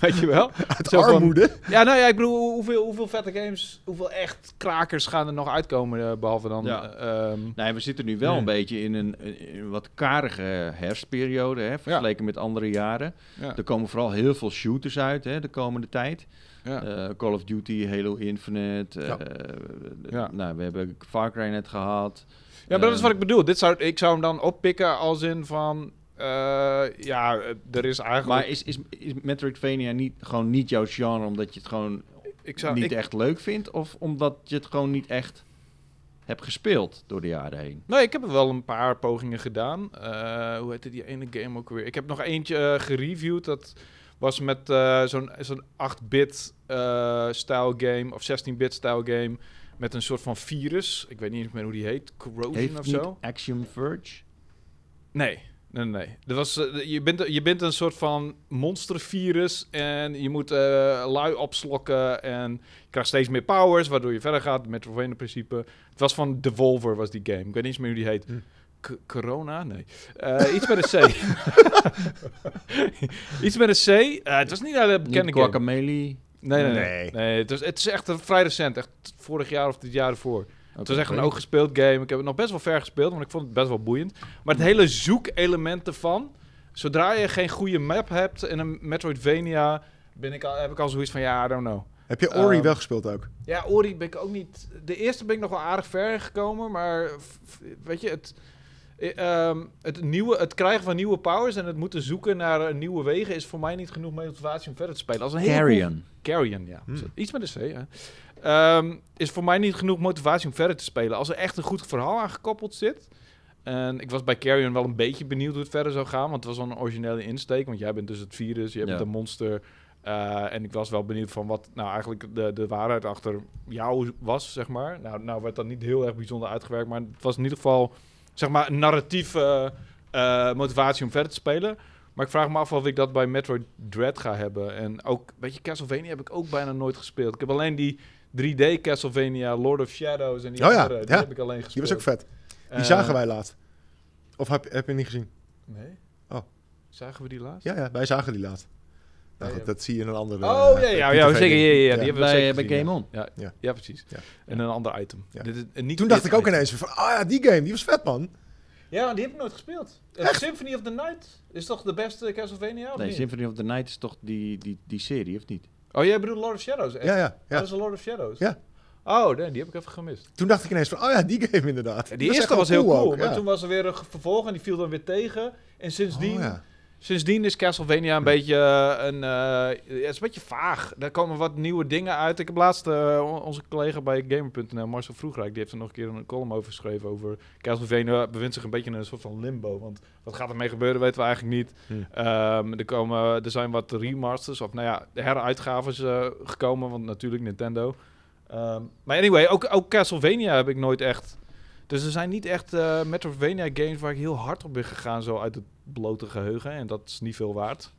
Weet je wel?
Uit
Zo van-
armoede.
Ja, nou ja, ik bedoel, hoe- hoeveel, hoeveel vette games, hoeveel echt krakers gaan er nog uitkomen, eh, behalve dan...
Ja.
eh, ehm,
Nee, we zitten nu wel
Nee.
een beetje in een, in een wat karige herfstperiode, hè, vergeleken met andere jaren.
ja,
Er komen vooral heel veel shooters uit hè, de komende tijd.
ja.
Eh, Call of Duty, Halo Infinite. eh,
Ja.
eh,
Ja.
Nou, we hebben Far Cry net gehad.
Ja, maar dat is wat ik bedoel. Dit zou, ik zou hem dan oppikken als in van... eh, ja, eh, er is eigenlijk...
Maar is, is, is Metroidvania niet, gewoon niet jouw genre omdat je het gewoon
ik zou,
niet
ik-
echt leuk vindt? Of omdat je het gewoon niet echt hebt gespeeld door de jaren heen?
Nee, ik heb er wel een paar pogingen gedaan. Eh, hoe heette die ene game ook weer? Ik heb nog eentje eh, gereviewd. Dat was met eh, zo'n zo'n 8-bit eh style game of 16-bit style game met een soort van virus. Ik weet niet eens meer hoe die heet. Corrosion
Heeft
of
niet
zo?
Action Verge?
Nee. Nee, nee, nee. Er was, eh, je, bent, je bent een soort van monstervirus en je moet eh, lui opslokken en je krijgt steeds meer powers, waardoor je verder gaat met het principe. Het was van Devolver, was die game. Ik weet niet eens meer hoe die heet.
Hm.
K- corona? Nee. Eh, iets met een C. iets met een C. Eh, het was niet een hele bekende
Niet
game.
Guacamelee?
Nee, nee, nee.
Nee.
nee. het, was, het is echt eh, vrij recent. Echt vorig jaar of dit jaar ervoor. Het was echt een
Oké.
ooggespeeld game. Ik heb het nog best wel ver gespeeld, want ik vond het best wel boeiend. Maar het hele zoekelement ervan... Zodra je geen goede map hebt in een Metroidvania... Ben ik al, heb ik al zoiets van, ja, I don't know.
Heb je Ori
Ehm,
wel gespeeld ook?
Ja, Ori ben ik ook niet... De eerste ben ik nog wel aardig ver gekomen, maar... f- f- Weet je, het... eh, ehm, het, nieuwe, het krijgen van nieuwe powers en het moeten zoeken naar eh, nieuwe wegen is voor mij niet genoeg motivatie om verder te spelen. Als een hele cool
Carrion.
Carrion, ja.
Hmm.
Iets met een C, hè. Ehm, is voor mij niet genoeg motivatie om verder te spelen. Als er echt een goed verhaal aan gekoppeld zit. En ik was bij Carrion wel een beetje benieuwd hoe het verder zou gaan. Want het was wel een originele insteek. Want jij bent dus het virus, je bent
Ja.
een monster. Eh, en ik was wel benieuwd van wat nou eigenlijk de, de waarheid achter jou was, zeg maar. Nou, nou werd dat niet heel erg bijzonder uitgewerkt. Maar het was in ieder geval, zeg maar, een narratieve eh, motivatie om verder te spelen. Maar ik vraag me af of ik dat bij Metroid Dread ga hebben. En ook, weet je, Castlevania heb ik ook bijna nooit gespeeld. Ik heb alleen die 3D Castlevania, Lord of Shadows en die
Oh ja,
andere, die
ja.
heb ik alleen
Die
gespeeld.
was ook vet. Die
Eh,
zagen wij laatst. Of heb, heb je niet gezien?
Nee?
Oh.
Zagen we die laatst?
Ja, ja, wij zagen die laatst. Nou
Ja,
goed,
ja.
dat zie je in een andere...
Oh,
eh,
ja, ja,
eh,
ja,
TV
zeker. Ja, ja, ja,
Ja.
die hebben we
Bij,
zeker
bij
gezien,
Game On.
ja. Ja,
Ja.
ja. precies.
Ja.
En een ander item.
Ja.
Dit is- en niet
Toen
dit
dacht ik ook
item.
ineens van, ah ja, die game, die was vet, man.
Ja, want die heb ik nooit gespeeld. Eh, Symphony of the Night is toch de beste Castlevania?
Oh,
Of
Nee,
niet?
Symphony of the Night is toch die, die, die serie, of niet?
Oh, jij bedoelt Lord of Shadows? echt?
Ja, ja, ja.
Dat is een Lord of Shadows?
Ja.
Oh, nee, die heb ik even gemist.
Toen dacht ik ineens van, oh ja, die game
Ja,
inderdaad. Die
die
echt
eerste
wel
was heel cool,
ook,
maar
ja.
toen was er weer een ge- vervolg en die viel dan weer tegen. En sindsdien,
Oh, ja.
sindsdien is Castlevania een beetje eh, een, eh, ja, het is een beetje vaag. Daar komen wat nieuwe dingen uit. Ik heb laatst eh, on- onze collega bij Gamer.nl, Marcel Vroegrijk, die heeft er nog een keer een column over geschreven over Castlevania eh, bevindt zich een beetje in een soort van limbo. Want wat gaat ermee gebeuren, weten we eigenlijk niet.
Hmm.
Ehm, er, komen, er zijn wat remasters of nou ja, heruitgaves eh, gekomen, want natuurlijk Nintendo. Ehm, maar anyway, ook, ook Castlevania heb ik nooit echt. Dus er zijn niet echt eh Metroidvania games waar ik heel hard op ben gegaan, zo uit het blote geheugen. En dat is niet veel waard.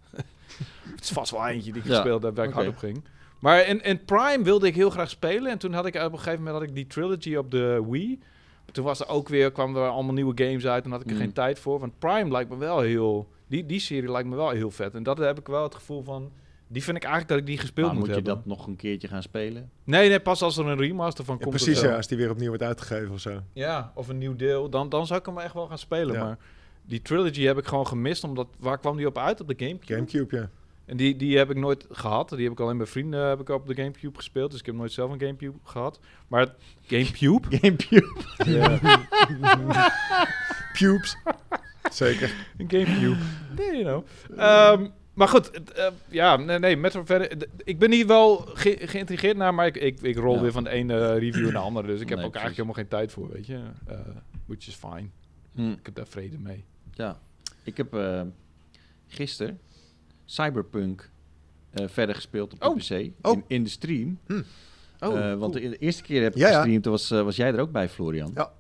het is vast wel eentje die ik
Ja,
gespeeld heb waar ik hard
oké.
op ging. Maar in, in Prime wilde ik heel graag spelen. En toen had ik op een gegeven moment had ik die trilogy op de Wii. Toen was er ook weer, kwamen er allemaal nieuwe games uit. En had ik er
Mm.
geen tijd voor. Want Prime lijkt me wel heel. Die, die serie lijkt me wel heel vet. En dat heb ik wel het gevoel van. Die vind ik eigenlijk dat ik die gespeeld
Maar
moet,
moet je
hebben.
dat nog een keertje gaan spelen?
Nee, nee, pas als er een remaster van
Ja,
komt. of
precies,
zo.
ja, als die weer opnieuw wordt uitgegeven of zo.
Ja, of een nieuw deel. Dan, dan zou ik hem echt wel gaan spelen.
Ja.
Maar die trilogy heb ik gewoon gemist. Omdat, waar kwam die op uit? Op de Gamecube?
Gamecube, ja.
En die, die heb ik nooit gehad. Die heb ik alleen bij vrienden heb ik op de Gamecube gespeeld. Dus ik heb nooit zelf een Gamecube gehad. Maar het- Gamecube?
Gamecube.
Pubes. Zeker.
Een Gamecube. Nee, you know. Ehm, maar goed, het, eh, ja, nee, nee, Metro verder. d- Ik ben hier wel ge- geïntrigeerd naar, maar ik, ik, ik rol
Ja.
weer van de ene eh, review naar de andere. Dus ik heb
Nee,
ook eigenlijk helemaal geen tijd voor, weet je. Eh which is fine. Ik heb daar vrede mee.
Ja, Hmm, ik heb eh gisteren Cyberpunk eh, verder gespeeld op de
Oh.
PC.
Oh.
In, in de stream.
Hm.
Eh, Want de, de eerste keer heb ik
Ja, ja.
gestreamd, toen was, eh, was jij er ook bij, Florian.
Ja.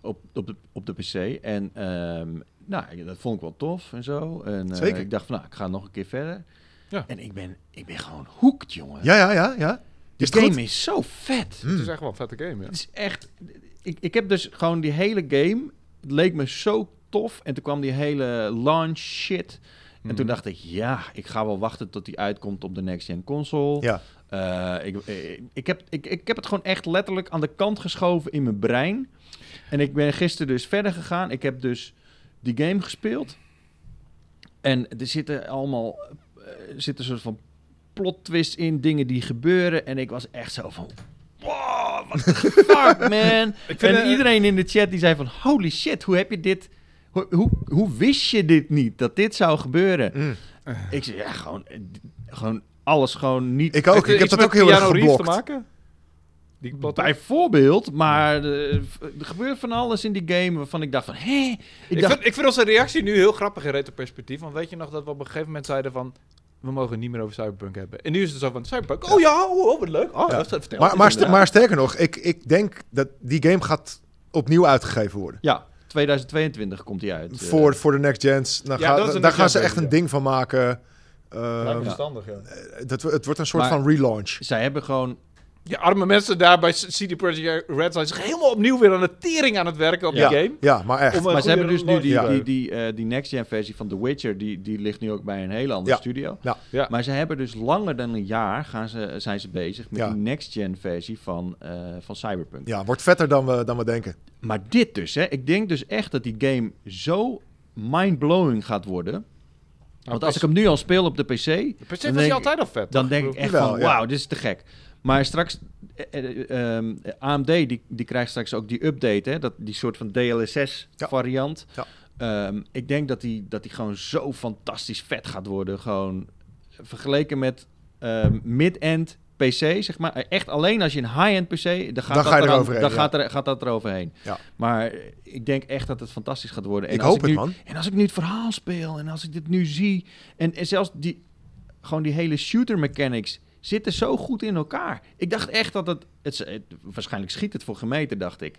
Op, op, de, op de PC. En ehm, nou, ik- dat vond ik wel tof en zo. En, eh,
Zeker.
Ik dacht van, nou, ik ga nog een keer verder.
Ja.
En ik ben, ik ben gewoon hoekt, jongen.
Ja, ja, ja. ja.
De
Is het
game
goed?
is zo vet.
Het is
Hmm.
echt wel een vette game, ja.
Het is echt. Ik, ik heb dus gewoon die hele game. Het leek me zo tof. En toen kwam die hele launch shit. En
Mm. Mhm.
oh,
toen dacht ik, ja, ik ga wel wachten tot die uitkomt op de next-gen console.
Ja.
Eh, ik, eh, ik, heb, ik, ik heb het gewoon echt letterlijk aan de kant geschoven in mijn brein. En ik ben gisteren dus verder gegaan. Ik heb dus die game gespeeld. En er zitten allemaal eh, er zitten een soort van plot twist in, dingen die gebeuren. En ik was echt zo van, wow, what the fuck, man.
Ik vind,
en
eh,
iedereen in de chat die zei van, holy shit, hoe heb je dit... Hoe, hoe, hoe wist je dit niet, dat dit zou gebeuren?
Mm.
Ik zei, ja, gewoon, eh, d- gewoon alles gewoon niet...
Ik ook.
Heeft
Ik heb
iets
dat
met
ook heel erg
Keanu Reeves te
geblokt.
maken? Die plot
Bijvoorbeeld, maar eh, v- er gebeurt van alles in die game waarvan ik dacht van, hé?
Ik,
Ik dacht,
vind, ik vind onze reactie nu heel grappig in retroperspectief. Want weet je nog dat we op een gegeven moment zeiden van... We mogen het niet meer over Cyberpunk hebben. En nu is het zo van Cyberpunk. Oh ja, oh, oh, wat leuk. Oh,
Ja.
dat is dat verteld.
Maar, maar, st-
Inderdaad.
maar sterker nog, ik, ik denk dat die game gaat opnieuw uitgegeven worden.
ja, 2022 komt die uit. eh.
Voor, voor de next gens. Dan
Ja,
ga-
dat is een
daar
next
gaan ze
gen
echt een
versie,
ding van maken.
Lijkt
Ehm,
me verstandig, ja.
dat, wo- het wordt een soort
Maar-
van relaunch.
Zij hebben gewoon
Die arme mensen daar bij CD Projekt Red zijn zich helemaal opnieuw weer aan de tering aan het werken op
Ja.
die game.
Ja, maar echt.
Om een
maar ze
goede
hebben dus nu die,
launch
die,
te
die, eh, die next-gen versie van The Witcher, die, die ligt nu ook bij een hele andere
Ja.
studio.
Ja.
Ja.
Maar ze hebben dus langer dan een jaar gaan ze, zijn ze bezig met
Ja.
die next-gen versie van, eh, van Cyberpunk.
Ja, wordt vetter dan we, dan we denken.
Maar dit dus, hè, ik denk dus echt dat die game zo mind-blowing gaat worden. Want als ik hem nu al speel op de PC,
Per se
dan
was
denk
hij
ik-
altijd al vet.
dan
toch?
denk
Ik
ik echt
Jawel,
van,
ja.
wauw, dit is te gek. Maar straks, eh, eh, ehm, AMD die, die krijgt straks ook die update, hè, dat, die soort van
Ja.
DLSS-variant.
Ja.
Ehm, ik denk dat die, dat die gewoon zo fantastisch vet gaat worden. Gewoon vergeleken met ehm, mid-end PC, zeg maar. Eh, Echt alleen als je een high-end PC, dan gaat,
Dan
dat
ga je
eraan-
eroverheen,
dan
ja.
gaat, er, gaat dat eroverheen.
Ja.
Maar eh, ik denk echt dat het fantastisch gaat worden. En
ik
als
hoop het,
nu,
man.
en als ik nu het verhaal speel en als ik dit nu zie. En, en zelfs die, gewoon die hele shooter mechanics zitten zo goed in elkaar. Ik dacht echt dat het. het, het- waarschijnlijk schiet het voor gemeten, dacht ik.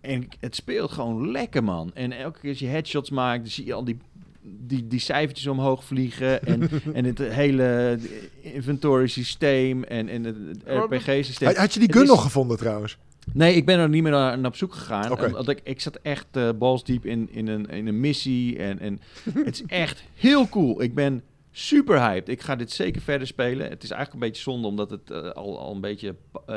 En ik- het speelt gewoon lekker, man. En elke keer als je headshots maakt, dan zie je al die, die, die cijfertjes omhoog vliegen. En, en het hele inventory systeem en, en het
maar-
RPG systeem.
Had, had je die
Het
gun
is-
nog gevonden trouwens?
Nee, ik ben er niet meer naar, naar op zoek gegaan.
Oké.
Omdat ik, ik zat echt eh balsdiep in, in, een, in een missie. En, en het is echt heel cool. Ik ben super hyped. Ik ga dit zeker verder spelen. Het is eigenlijk een beetje zonde, omdat het eh, al, al een, beetje, eh,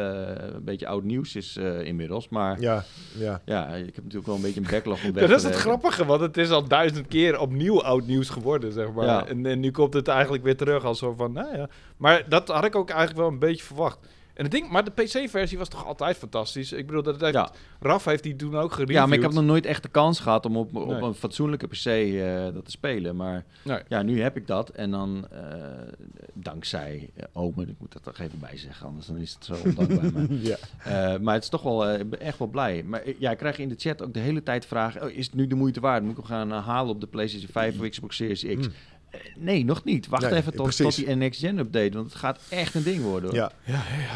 een beetje oud nieuws is eh, inmiddels. Maar ja.
Ja, ja.
ik heb natuurlijk wel een beetje een backlog om weg
Dat
te
is het
werken.
grappige, want het is al duizend keer opnieuw oud nieuws geworden, zeg maar.
Ja.
En, en nu komt het eigenlijk weer terug als zo van, nou ja. Maar dat had ik ook eigenlijk wel een beetje verwacht. En het ding, maar de PC-versie was toch altijd fantastisch? Ik bedoel, dat heeft,
Ja.
Raf heeft die toen ook gereviewd.
Ja, maar ik heb nog nooit echt de kans gehad om op, op
Nee.
een fatsoenlijke PC eh, dat te spelen. Maar
Nee.
ja, nu heb ik dat. En dan eh, dankzij eh, Omen, ik moet dat toch even bij zeggen, anders dan is het zo ondankbaar. maar,
Ja.
eh, maar het is toch wel, eh, ik ben echt wel blij. Maar eh, ja, ik krijg in de chat ook de hele tijd vragen, oh, is het nu de moeite waard? Moet ik hem gaan eh, halen op de PlayStation 5 of Xbox Series X?
Mm.
Eh, nee, nog niet. Wacht
Nee,
even tot, tot
precies.
die next-gen update, want het gaat echt een ding worden. hoor.
ja.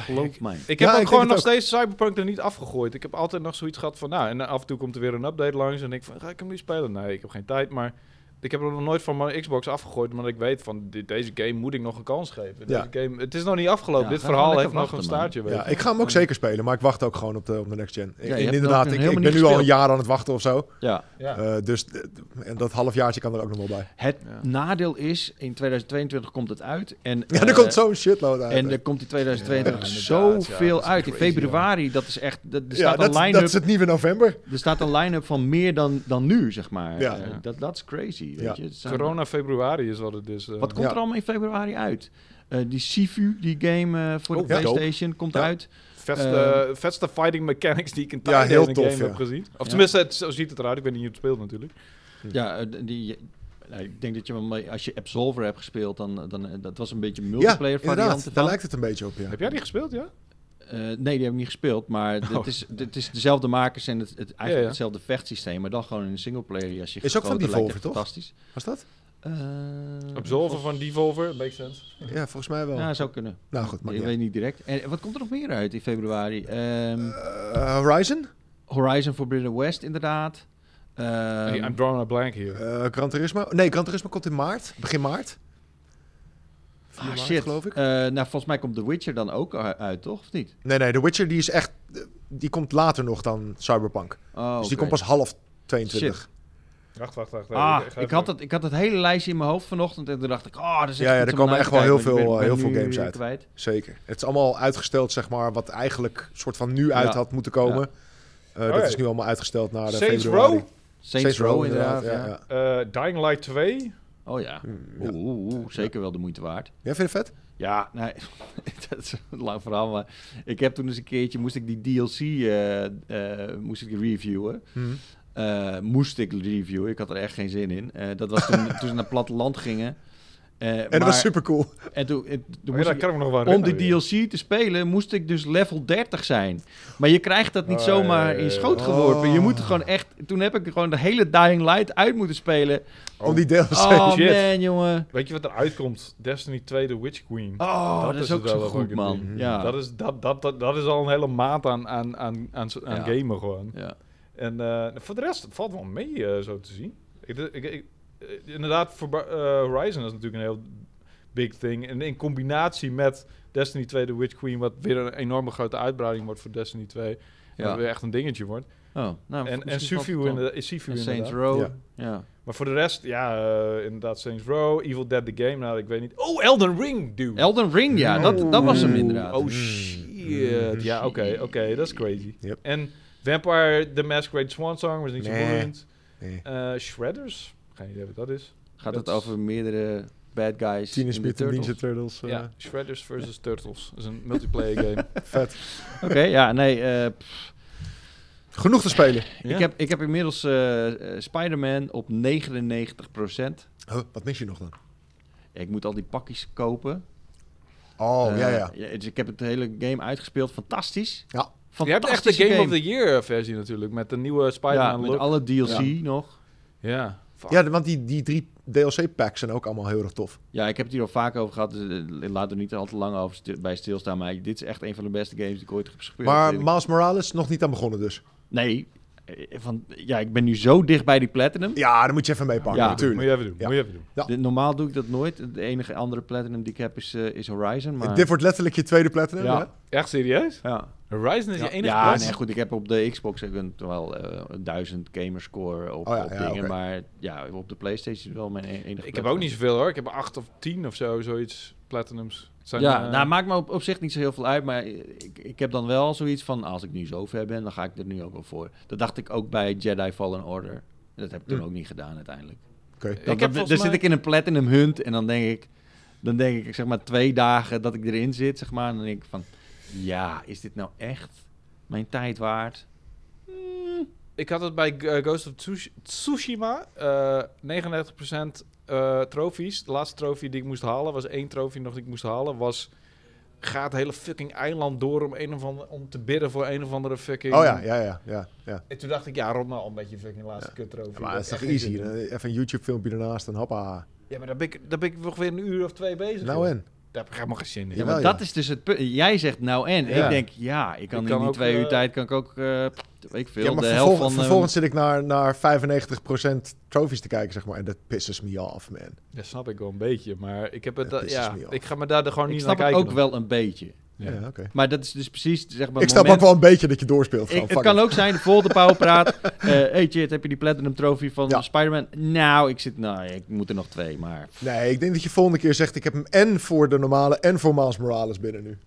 Geloof mij.
Ik heb
Ja, ik
ook
denk
gewoon
het
nog
ook.
steeds Cyberpunk er niet afgegooid. Ik heb altijd nog zoiets gehad van, nou, en af en toe komt er weer een update langs en ik van, ga ik hem nu spelen? Nee, ik heb geen tijd, maar ik heb er nog nooit van mijn Xbox afgegooid, omdat ik weet van, dit, deze game moet ik nog een kans geven.
Ja.
Deze game, het is nog niet afgelopen,
Ja,
dit
ga
verhaal
gewoon
heeft
lekker
nog een
wachten, man.
staartje, weet
Ja,
je.
ik ga hem ook zeker spelen, maar ik wacht ook gewoon op de, op de next gen.
je
En
hebt
inderdaad,
nog
ik,
helemaal
ik ben
niet
nu al een
gespeeld.
jaar aan het wachten of zo.
Ja.
Ja.
Eh, dus eh, en dat halfjaartje kan er ook nog wel bij.
Het
Ja.
nadeel is, in 2022 komt het uit. En,
Ja,
eh,
er komt zo'n shitload uit.
En
hè.
er komt in 2022
Ja, inderdaad, ja,
zoveel
dat is
uit. In
crazy, ja.
februari, dat is echt. dat- Er
ja,
staat,
dat,
een
dat
line-up,
is het nieuwe november.
er staat een line-up van meer dan, dan nu, zeg maar.
Ja.
Eh,
Ja.
dat, dat is crazy. Weet
Ja.
je? Het zijn-
Corona februari is wat het is. eh.
Wat komt
Ja.
er allemaal in februari uit? Eh, die Sifu, die game eh, voor
Oh,
de
ja.
PlayStation, komt
Ja.
uit.
Vetste, vetste fighting mechanics die ik in tijden
Ja, heel
in een
tof,
game
ja.
heb gezien. Eh, Of
Ja.
tenminste, het, zo ziet het eruit. Ik weet niet hoe het speelt natuurlijk.
Ja, eh, d- die, nou, ik denk dat je wel mee- als je Absolver hebt gespeeld, dan, dan eh, dat was een beetje een multiplayer variant.
daar
ervan.
lijkt het een beetje op, ja.
Heb jij die gespeeld, ja?
Eh, nee, die heb ik niet gespeeld, maar het
Oh.
is, dit is dezelfde makers en het, het, eigenlijk
ja.
hetzelfde vechtsysteem, maar dan gewoon in een singleplayer jasje.
Is ook van
gegoten, lijkt
Devolver,
echt
toch?
Fantastisch.
Was dat?
Eh,
Absolver van Devolver, makes sense.
Ja, volgens mij wel.
Ja, zou kunnen.
nou goed, maar
je weet niet direct. En wat komt er nog meer uit in februari? Ehm,
Eh, Horizon?
Horizon Forbidden West, inderdaad. Ehm,
I'm drawing a blank here.
Eh Gran Turismo? Nee, Gran Turismo komt in maart. Begin maart. 4
ah,
maart,
shit.
geloof ik.
Eh, nou, volgens mij komt The Witcher dan ook u- uit, toch? Of niet?
Nee, nee, The Witcher die is echt... eh, Die komt later nog dan Cyberpunk.
Oh,
Dus die
oké.
komt pas half 22.
Wacht, wacht, wacht.
Ah,
ga
ik
even-
had, dat, ik had dat hele lijstje in mijn hoofd vanochtend en toen dacht ik, oh, er is
Ja,
echt
ja,
iets
er
om
komen
naar
echt
te
wel
kijken,
heel
maar ik ben-
veel, eh,
ben
heel veel
nu
games uit.
Kwijt.
Zeker. Het is allemaal uitgesteld, zeg maar, wat eigenlijk soort van nu uit
Ja.
had moeten komen. Eh,
Oké.
dat is nu allemaal uitgesteld naar de
Saints
februari.
Row?
Saints, Row inderdaad, ja.
ja.
Eh, Dying Light 2.
Oh ja,
Hm, ja.
Oeh, oeh, oeh, zeker wel de moeite waard.
Ja, vind je het vet?
Ja, nee, dat is een lang verhaal, maar ik heb toen eens een keertje, moest ik die DLC eh, eh, moest ik reviewen. Eh, moest ik reviewen, ik had er echt geen zin in. Eh, dat was toen, toen ze naar het platteland gingen. Eh,
En dat was super cool.
En toen, en toen
Oh, ja,
moest
dat
ik-
kan ik me nog wel
om die
herinneren.
DLC te spelen moest ik dus level 30 zijn. Maar je krijgt dat niet
Oh,
zomaar
ja, ja,
in
ja.
schoot geworpen. Je moet er
Oh.
gewoon echt... Toen heb ik gewoon de hele Dying Light uit moeten spelen.
Om die DLC.
Oh
shit.
man, jongen.
Weet je wat er uitkomt? Destiny 2, The Witch Queen.
Oh, dat,
Dat
is
is
ook
het wel
zo
een
goed,
goeie
man.
ding.
Ja.
Dat, is, dat, dat, dat, dat is al een hele maat aan, aan, aan, aan, zo- aan
Ja.
gamen gewoon.
ja.
En eh, voor de rest valt wel mee eh, zo te zien. Ik, ik, ik- eh, inderdaad, voor Ba- eh, Horizon is natuurlijk een heel big thing. En in combinatie met Destiny 2, The Witch Queen, wat weer een enorme grote uitbreiding wordt voor Destiny 2.
Ja.
Wat weer echt een dingetje wordt.
Oh, nou,
en en
misschien
Sufu
valt het wel.
inderdaad. Sifu
En Saints
inderdaad.
Row. Ja.
Ja.
Maar voor de rest, ja, eh, inderdaad Saints Row, Evil Dead The Game, nou, ik weet niet. Oh, Elden Ring, dude!
Elden Ring, ja. Dat, dat was hem
Oeh.
inderdaad.
Oh shit. Ja, oké, oké, dat is crazy.
Yep.
En Vampire The Masquerade Swansong was niet zo
Nee.
boeiend.
Nee.
Eh, Shredders? Geen idee wat dat is.
Gaat
dat
het over meerdere bad guys in
Teenage
de
Mutant Ninja
Turtles?
Turtles. eh,
ja, Shredders versus Turtles. Dat is een multiplayer game.
Vet.
Oké, ja, nee. eh,
Genoeg te spelen.
Ja.
ik, heb, ik heb inmiddels eh, eh, Spider-Man op 99%.
Huh, Oh, wat mis je nog dan?
Ja, ik moet al die pakjes kopen.
Oh,
Eh,
ja, ja.
Dus ik heb het hele game uitgespeeld. Fantastisch.
Ja.
Je hebt echt de
Fantastische
Game, of the Year versie natuurlijk, met de nieuwe
Ja,
Spider-Man
met
look.
alle DLC nog.
Ja. Fuck.
Ja, want die, die drie DLC-packs zijn ook allemaal heel erg tof.
Ja, ik heb het hier al vaak over gehad. Dus eh, laat er niet al te lang over stil- bij stilstaan. Maar dit is echt een van de beste games die ik ooit heb gespeeld.
Maar
weet ik.
Miles Morales nog niet aan begonnen dus.
Nee, eh, van, ja, ik ben nu zo dicht bij die Platinum.
Ja, dan moet je even meepakken,
Ja.
Moet
natuurlijk.
je even doen,
Ja.
moet je even doen.
Ja.
De- normaal doe ik dat nooit. De enige andere Platinum die ik heb is, eh, is Horizon. Maar...
Dit wordt letterlijk je tweede platinum,
Ja.
hè?
Echt serieus?
Ja,
Horizon is
ja,
je enige
ja
plaats?
nee, goed. Ik heb op de Xbox ik ben wel eh, een 1000 gamerscore op,
Oh ja,
op
ja,
dingen.
oké.
Maar ja, op de PlayStation is wel mijn e- enige.
Ik heb
Platinum.
ook niet zoveel hoor. Ik heb acht of tien of zo, zoiets. Platinums. Het Zijn,
ja,
eh,
nou maakt me op, op zich niet zo heel veel uit, maar ik, ik heb dan wel zoiets van, als ik nu zover ben, dan ga ik er nu ook wel voor. Dat dacht ik ook bij Jedi Fallen Order. Dat heb ik toen
Hm.
ook niet gedaan uiteindelijk.
Oké.
Dan,
heb
dan,
volgens
dan
mij-
zit ik in een platinum hunt en dan denk ik, dan denk ik zeg maar twee dagen dat ik erin zit, zeg maar, en dan denk ik van, ja, is dit nou echt mijn tijd waard?
Ik had het bij eh, Ghost of Tsush- Tsushima. eh 39% eh trofies. De laatste trofee die ik moest halen, was één trofee nog die ik moest halen, was... Ga het hele fucking eiland door om, een of andere, om te bidden voor een of andere fucking...
Oh ja, ja, ja, ja. ja.
En toen dacht ik, ja, rond nou al een beetje fucking laatste kut trofee.
Maar
Dat
dat is toch
echt geen
easy? eh,
zin in.
Even een YouTube-filmpje ernaast en hoppa.
Ja, maar daar ben, ik, daar ben ik nog weer een uur of twee bezig. joh.
Nou en?
Daar heb ik helemaal geen zin in.
Ja,
Jawel,
maar
ja.
dat is dus het punt. Jij zegt nou en.
Ja.
Ik denk, ja, ik kan
Ik
in
kan
die
ook,
twee
eh,
uur tijd kan ik ook, eh, weet ik veel,
Ja, maar
de helft
vervolg-
van... eh,
vervolgens zit ik naar, naar 95% trofies te kijken, zeg maar. En dat pisses me af, man.
Dat snap ik wel een beetje, maar ik heb het...
Dat
da-
is
ja,
dus niet
ik ga me daar gewoon
ik
niet
snap
naar
het
kijken.
ook wel een beetje.
Ja,
Ja.
oké.
Maar dat is dus precies, zeg maar...
Ik snap ook
moment-
wel een beetje dat je doorspeelt. gewoon.
Ik- het
Fuck
kan
it.
ook zijn, de volgende pauw praat. eh hey Jit, heb je die Platinum Trophy van
Ja.
Spider-Man? Nou, ik zit, nou, ik moet er nog twee, maar...
Nee, ik denk dat je volgende keer zegt... ik heb hem en voor de normale en voor Miles Morales binnen nu.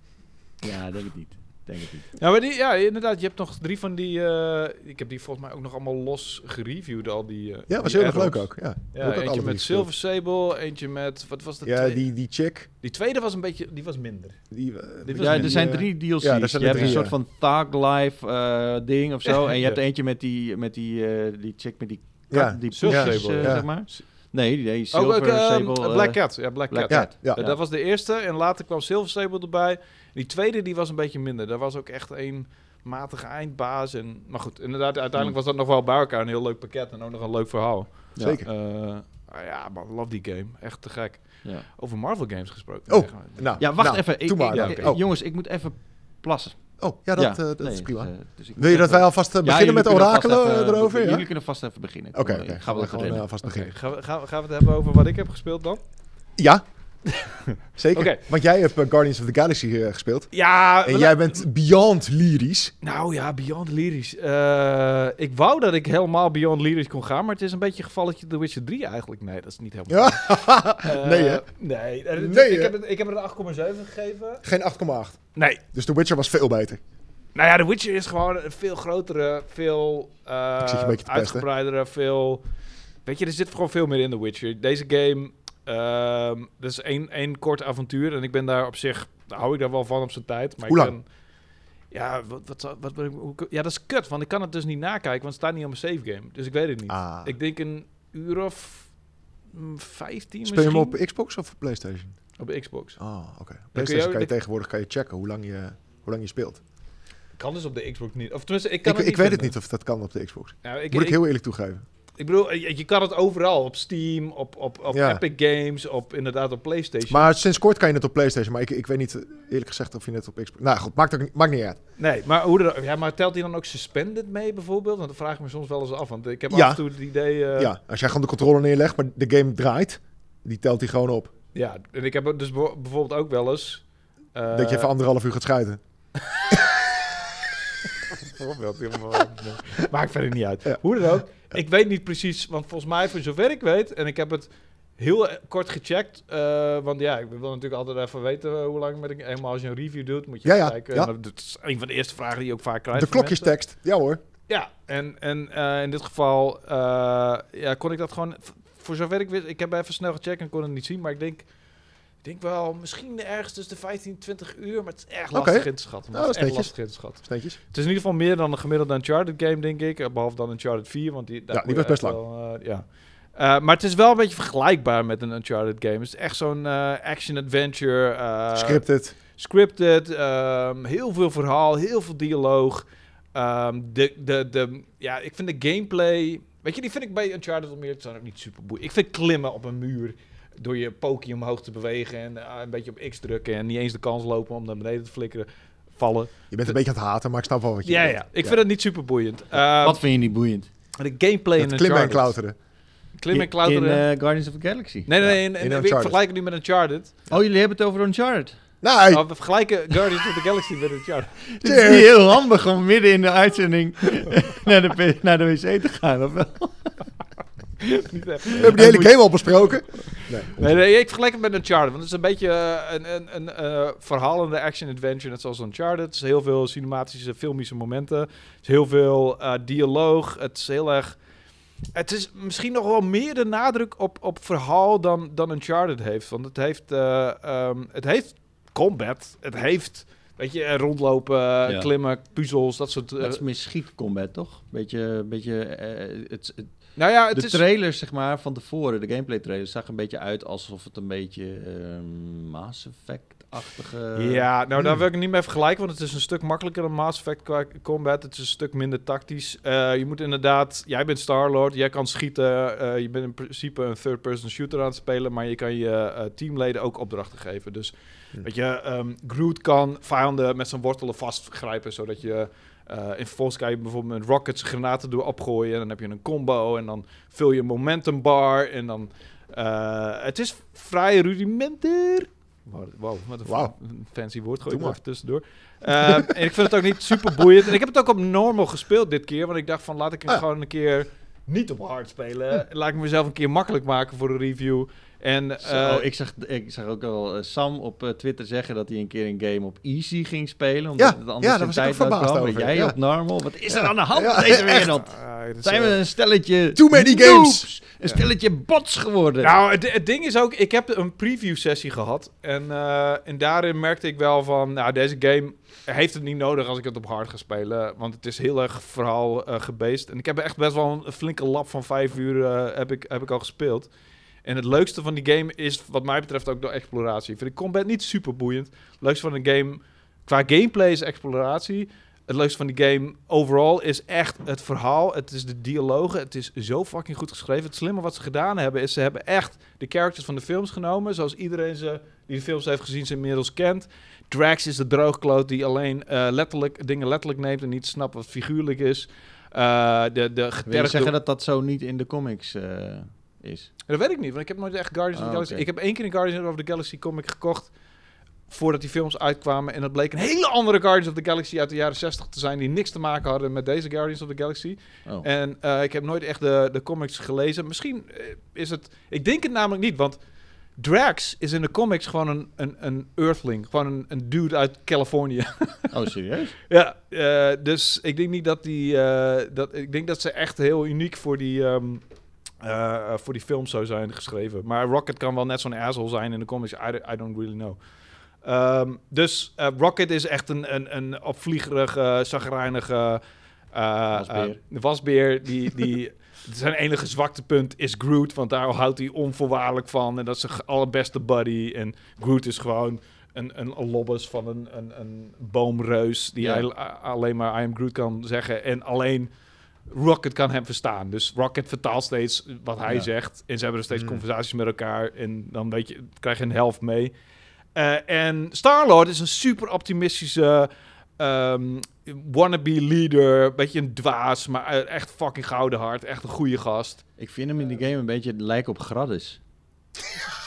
Ja, denk ik niet. Denk denk het niet.
Ja, maar die, ja, inderdaad. Je hebt nog drie van die... eh, ik heb die volgens mij ook nog allemaal los gereviewd, al die eh,
Ja, was
die
heel erg leuk
add-ons.
ook. Ja,
Ja,
Heb ik ook alle
eentje
drie
met Silver
gespeeld.
Sable, eentje met... Wat was dat?
Ja, die, die chick.
die tweede was een beetje... Die was minder.
Die, eh,
Dit was
Ja,
met
er
die,
zijn
eh,
drie DLC's.
ja, er zijn
je hebt
er
een
drie,
soort
ja.
van Thug Life eh, ding of zo. En je hebt
Ja.
eentje met die, met die, eh, die chick met die,
Ja.
kat- die
Silver
poesjes,
Sable,
eh,
ja.
zeg maar. Nee, die die
Ook,
Silver
ook eh,
Sable. eh,
Black Cat. Ja, Black,
Black
Cat.
Cat.
Ja, ja.
Ja, Dat was de eerste en later kwam Silver Sable erbij. Die tweede die was een beetje minder. Daar was ook echt een matige eindbaas. En, maar goed, inderdaad, uiteindelijk
Hmm.
was dat nog wel bij elkaar een heel leuk pakket en ook nog een leuk verhaal.
Ja.
Zeker.
Eh, ah ja, man, love die game. Echt te gek.
Ja.
Over Marvel games gesproken.
Oh.
zeg maar.
Nou,
Ja, wacht
nou,
even. Ik,
doe maar.
ik-
Ja,
ik-
oké.
Jongens, ik moet even plassen.
Oh, ja, dat,
Ja,
eh, dat
nee,
is prima.
eh, dus ik moet
Wil je dat
even-
wij alvast eh,
Ja,
beginnen
jullie
met
kunnen vast
orakelen
even-
eh, erover? Ja?
Jullie kunnen vast even beginnen. Kom,
Oké,
eh,
oké.
Ik ga wel even
gewoon
rennen.
eh, vast
Oké,
beginnen.
gaan, we, gaan, we- gaan we het hebben over wat ik heb gespeeld dan?
Ja, zeker.
Oké.
Want jij hebt eh, Guardians of the Galaxy eh, gespeeld.
Ja,
En jij bent beyond lyrisch.
Nou ja, Beyond Lyrisch. Eh, ik wou dat ik helemaal Beyond Lyrisch kon gaan, maar het is een beetje een gevalletje The Witcher 3 eigenlijk. Nee, dat is niet helemaal.
Ja,
Eh,
nee, hè?
Nee, eh,
Nee,
ik,
hè?
heb het, ik heb het een 8,7 gegeven.
Geen 8,8.
Nee.
Dus The Witcher was veel beter.
Nou ja, The Witcher is gewoon een veel grotere, veel eh,
Ik zit je een beetje te pesten.
uitgebreidere, veel... Weet je, er zit gewoon veel meer in The Witcher. Deze game, ehm dat is één, één kort avontuur. En ik ben daar op zich, daar hou ik daar wel van op zijn tijd. Maar
Hoe
ik
lang?
ben- ja, wat, wat, zou- wat, wat- hoe- ja, dat is kut, want ik kan het dus niet nakijken, want het staat niet op mijn save game. Dus ik weet het niet.
Ah.
Ik denk een uur of mm, 15
Speel je hem op
misschien?
Xbox of op PlayStation?
op Xbox.
Ah, oké.
Dan kun
PlayStation
je
kan
ook-
je
dan-
tegenwoordig kan je checken hoe lang je, hoe lang je speelt.
Kan dus op de Xbox niet. Of tenminste, ik kan
Ik,
het
ik
niet
weet het
vinden.
niet of dat kan op de Xbox.
Nou, ik,
Moet ik
ik-
heel eerlijk toegeven.
Ik bedoel, je, je kan het overal. Op Steam, op, op, op
Ja.
Epic Games, op inderdaad op PlayStation.
Maar sinds kort kan je het op PlayStation, maar ik, ik weet niet eh, eerlijk gezegd of je het op Xbox... Nou goed, maakt, ook, niet- maakt niet uit.
nee, maar, hoe dan- ja, maar telt hij dan ook Suspended mee bijvoorbeeld? Want dat vraag ik me soms wel eens af. Want ik heb
Ja.
af en toe het idee... eh, ja.
ja, als jij gewoon de controle neerlegt, maar de game draait, die telt die gewoon op.
en ik heb het dus beho- bijvoorbeeld ook wel eens... eh,
dat je even anderhalf uur gaat scheiden.
Bijvoorbeeld, helemaal- nee. Maakt verder niet uit.
Ja.
Hoe dan ook. Ik weet niet precies, want volgens mij, voor zover ik weet, en ik heb het heel eh, kort gecheckt, eh, want ja, ik wil natuurlijk altijd even weten eh, hoe lang met een, eenmaal als je een review doet, moet je
Ja,
even
ja,
kijken.
ja.
En Dat is een van de eerste vragen die je ook vaak krijgt.
De
van mensen.
klokjestekst. Ja hoor.
Ja, en, en eh, in dit geval eh, ja, kon ik dat gewoon... v- Voor zover ik wist, ik heb even snel gecheckt en kon het niet zien. Maar ik denk, ik denk wel, misschien ergens tussen de 15 en 20 uur. Maar het is echt
Oké.
lastig in te schatten.
Nou,
Het is
dat
echt
is
lastig
netjes.
in te schatten.
Sneetjes.
Het is in ieder geval meer dan een gemiddelde Uncharted game, denk ik. eh, Behalve dan Uncharted 4, want die... daar
Ja, die
kon je
was best
echt wel, eh, ja. Eh, maar het is wel een beetje vergelijkbaar met een Uncharted game. Het is echt zo'n eh, action-adventure. eh,
Scripted.
scripted, ehm, heel veel verhaal, heel veel dialoog. Ehm, de, de, de, ja, ik vind de gameplay... Weet je, die vind ik bij Uncharted wel meer... Het zijn ook niet super boeiend. Ik vind klimmen op een muur... door je pokie omhoog te bewegen... en ah, een beetje op X drukken... en niet eens de kans lopen om naar beneden te flikkeren... vallen.
Je bent een beetje aan het haten, maar ik snap wel wat je
Ja,
bedoelt.
ja. Ik vind het niet super boeiend. Ehm,
Wat vind je niet boeiend?
de gameplay
Het
in
klimmen en
Uncharted.
klauteren.
Klimmen en
In-
klauteren.
In eh, Guardians of the Galaxy.
nee, nee, nee. en- en
in
we
Uncharted.
vergelijken nu met Uncharted.
Oh, jullie hebben het over Uncharted.
Nee,
Oh, we vergelijken Guardians of the Galaxy met Uncharted.
Het is niet heel handig om midden in de uitzending naar, de, p- naar de wc te gaan, of wel?
Niet echt.
we hebben die hele game al besproken.
Nee, nee, ik vergelijk het met Uncharted. Want het is een beetje eh, een, een, een eh, verhalende action-adventure, net zoals Uncharted. Het is heel veel cinematische, filmische momenten. Het is heel veel eh, dialoog. Het is heel erg... Het is misschien nog wel meer de nadruk op, op verhaal dan, dan Uncharted heeft. Want het heeft, eh, ehm, het heeft combat. Het heeft, weet je, eh, rondlopen, eh, klimmen, puzzels, dat soort... eh,
Dat is meer schietcombat, toch? Beetje, beetje, eh, het, het-
nou ja, het
de
is...
trailers zeg maar, van tevoren, de gameplay trailers, zag een beetje uit alsof het een beetje ehm Mass Effect-achtige...
Ja, nou daar
hmm.
wil ik het niet mee vergelijken, want het is een stuk makkelijker dan Mass Effect qua combat. Het is een stuk minder tactisch. Eh, je moet inderdaad, jij bent Star-Lord, jij kan schieten. eh, je bent in principe een third-person shooter aan het spelen, maar je kan je eh, teamleden ook opdrachten geven. Dus
Hmm.
weet je, ehm, Groot kan vijanden met zijn wortelen vastgrijpen, zodat je... eh in vervolgens kan je bijvoorbeeld met rockets granaten door opgooien. En dan heb je een combo. En dan vul je een momentum bar. En dan. eh, het is vrij rudimentair. Wow, wow, wat een
Wauw.
een fancy woord. Gooi
Doe
ik er even
maar.
tussendoor. Eh, en ik vind het ook niet super boeiend. En ik heb het ook op normal gespeeld dit keer. Want ik dacht van laat ik hem
Ah.
gewoon een keer niet op hard spelen. Laat ik mezelf een keer makkelijk maken voor een review. En eh,
Zo, ik, zag, ik zag ook al eh, Sam op eh, Twitter zeggen dat hij een keer een game op easy ging spelen. Omdat
Ja,
het
ja,
anders
daar
de
was ik
tijd
ook verbaasd
uitkwam. En
over,
Jij
ja.
op normal. Wat is er
Ja.
aan de hand
Ja,
in deze
echt.
wereld?
ah, dit is,
Zijn we
eh,
een stelletje
Too many
noobs,
games.
Een stelletje bots geworden.
Nou, het, het ding is ook, ik heb een preview sessie gehad. En, eh, en daarin merkte ik wel van, nou, deze game heeft het niet nodig als ik het op hard ga spelen. Want het is heel erg verhaal eh gebased. En ik heb echt best wel een flinke lap van vijf uur eh, heb, ik, heb ik al gespeeld. En het leukste van die game is, wat mij betreft, ook de exploratie. Ik vind de combat niet super boeiend. Het leukste van de game, qua gameplay is exploratie. Het leukste van die game overall is echt het verhaal. Het is de dialogen. Het is zo fucking goed geschreven. Het slimme wat ze gedaan hebben is ze hebben echt de characters van de films genomen. Zoals iedereen ze, die de films heeft gezien ze inmiddels kent. Drax is de droogkloot die alleen eh, letterlijk, dingen letterlijk neemt en niet snapt wat figuurlijk is. Eh, de, de
Wil je
getergde
zeggen dat dat zo niet in de comics eh, is?
dat weet ik niet, want ik heb nooit echt Guardians of
Ah,
the Galaxy.
oké.
Ik heb één keer een Guardians of the Galaxy comic gekocht voordat die films uitkwamen. En dat bleek een hele andere Guardians of the Galaxy uit de jaren 60 te zijn, die niks te maken hadden met deze Guardians of the Galaxy.
Oh.
En eh, ik heb nooit echt de, de comics gelezen. Misschien eh, is het. Ik denk het namelijk niet, want Drax is in de comics gewoon een, een, een Earthling. Gewoon een, een dude uit Californië.
oh, serieus?
Ja, eh, dus ik denk niet dat die. eh, dat, ik denk dat ze echt heel uniek voor die. ehm, eh, eh, voor die film zou zijn geschreven. Maar Rocket kan wel net zo'n asshole zijn in de comics. I, don't- I don't really know. Ehm, dus eh, Rocket is echt een, een, een opvliegerige, zagrijnige. eh,
Wasbeer.
eh, wasbeer die. die zijn enige zwakte punt is Groot. Want daar houdt hij onvoorwaardelijk van. En dat is zijn allerbeste buddy. En Groot is gewoon een, een, een lobbes van een, een, een boomreus die
Ja.
hij a- alleen maar I am Groot kan zeggen en alleen Rocket kan hem verstaan. Dus Rocket vertaalt steeds wat hij
Ja.
zegt en ze hebben er steeds
Mm.
conversaties met elkaar en dan weet je, krijg je een helft mee. Eh, en Star-Lord is een super optimistische ehm, wannabe leader, beetje een dwaas, maar eh, echt fucking gouden hart, echt een goede gast.
Ik vind hem in die game een beetje lijken op Graddis.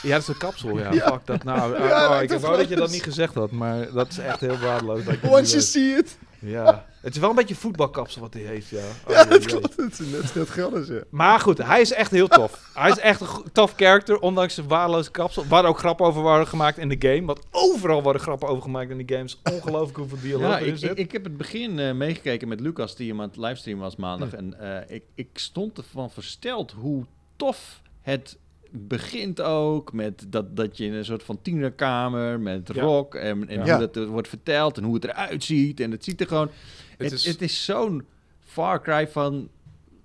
Ja, dat is een kapsel, ja. Fuck dat nou.
Ja,
Oh,
dat
ik
is
wou dat je dat
alles.
niet gezegd had, maar dat is echt heel waardeloos. dat ik dat niet
Once you
weet.
see it.
Ja, het is wel een beetje voetbalkapsel wat hij heeft, ja. Oh,
Ja,
jee,
dat
jee.
klopt. Het is net, net Gelderse.
Maar goed, hij is echt heel tof. hij is echt een go- tof character, ondanks zijn waardeloze kapsel. Waar ook grappen over worden gemaakt in de game. Want overal worden grappen over gemaakt in de games. Ongelooflijk hoeveel dialoog
Ja,
erin
ik,
zit.
ik, ik heb het begin eh, meegekeken met Lucas, die hem aan het livestreamen was maandag. En eh, ik, ik stond ervan versteld hoe tof het begint ook. Met dat, dat je in een soort van tienerkamer met
Ja.
rock en, en
Ja.
hoe dat er wordt verteld en hoe het eruit ziet. En het ziet er gewoon... Het, het is,
is-
zo'n far cry van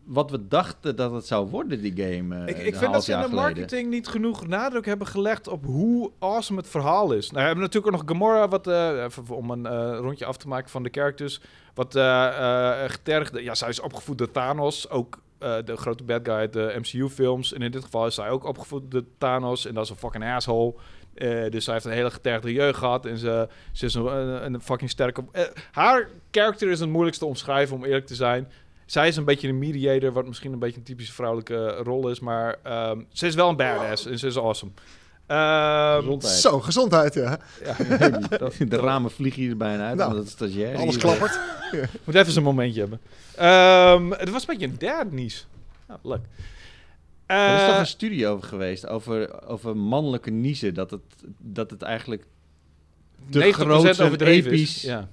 wat we dachten dat het zou worden, die game. eh,
Ik,
een
ik vind
half
dat ze in
jaar
de
geleden.
marketing niet genoeg nadruk hebben gelegd op hoe awesome het verhaal is. Nou, we hebben natuurlijk ook nog Gamora, wat, eh, even om een eh, rondje af te maken van de characters, wat eh, eh, getergde. Ja, zij is opgevoed door Thanos, ook eh, de grote bad guy uit de MCU-films. En in dit geval is zij ook opgevoed door Thanos en dat is een fucking asshole. Eh, dus zij heeft een hele getergde jeugd gehad en ze, ze is een, een, een fucking sterke... eh, haar character is het moeilijkste te omschrijven, om eerlijk te zijn. Zij is een beetje een mediator, wat misschien een beetje een typische vrouwelijke eh, rol is. Maar ehm, ze is wel een badass en ze is awesome. Ehm
Gezondheid.
Zo, gezondheid, ja.
ja,
de ramen vliegen hier bijna uit,
Nou,
omdat het stagiair
Alles
hier-
klappert.
moet even zo'n momentje hebben. Ehm, het was een beetje een dad niche. Nou, leuk.
Er is toch
Eh,
een studie over geweest, over, over mannelijke niezen. Dat het, dat het eigenlijk... te
90%
groot en
overdreven is.
episch.
Ja.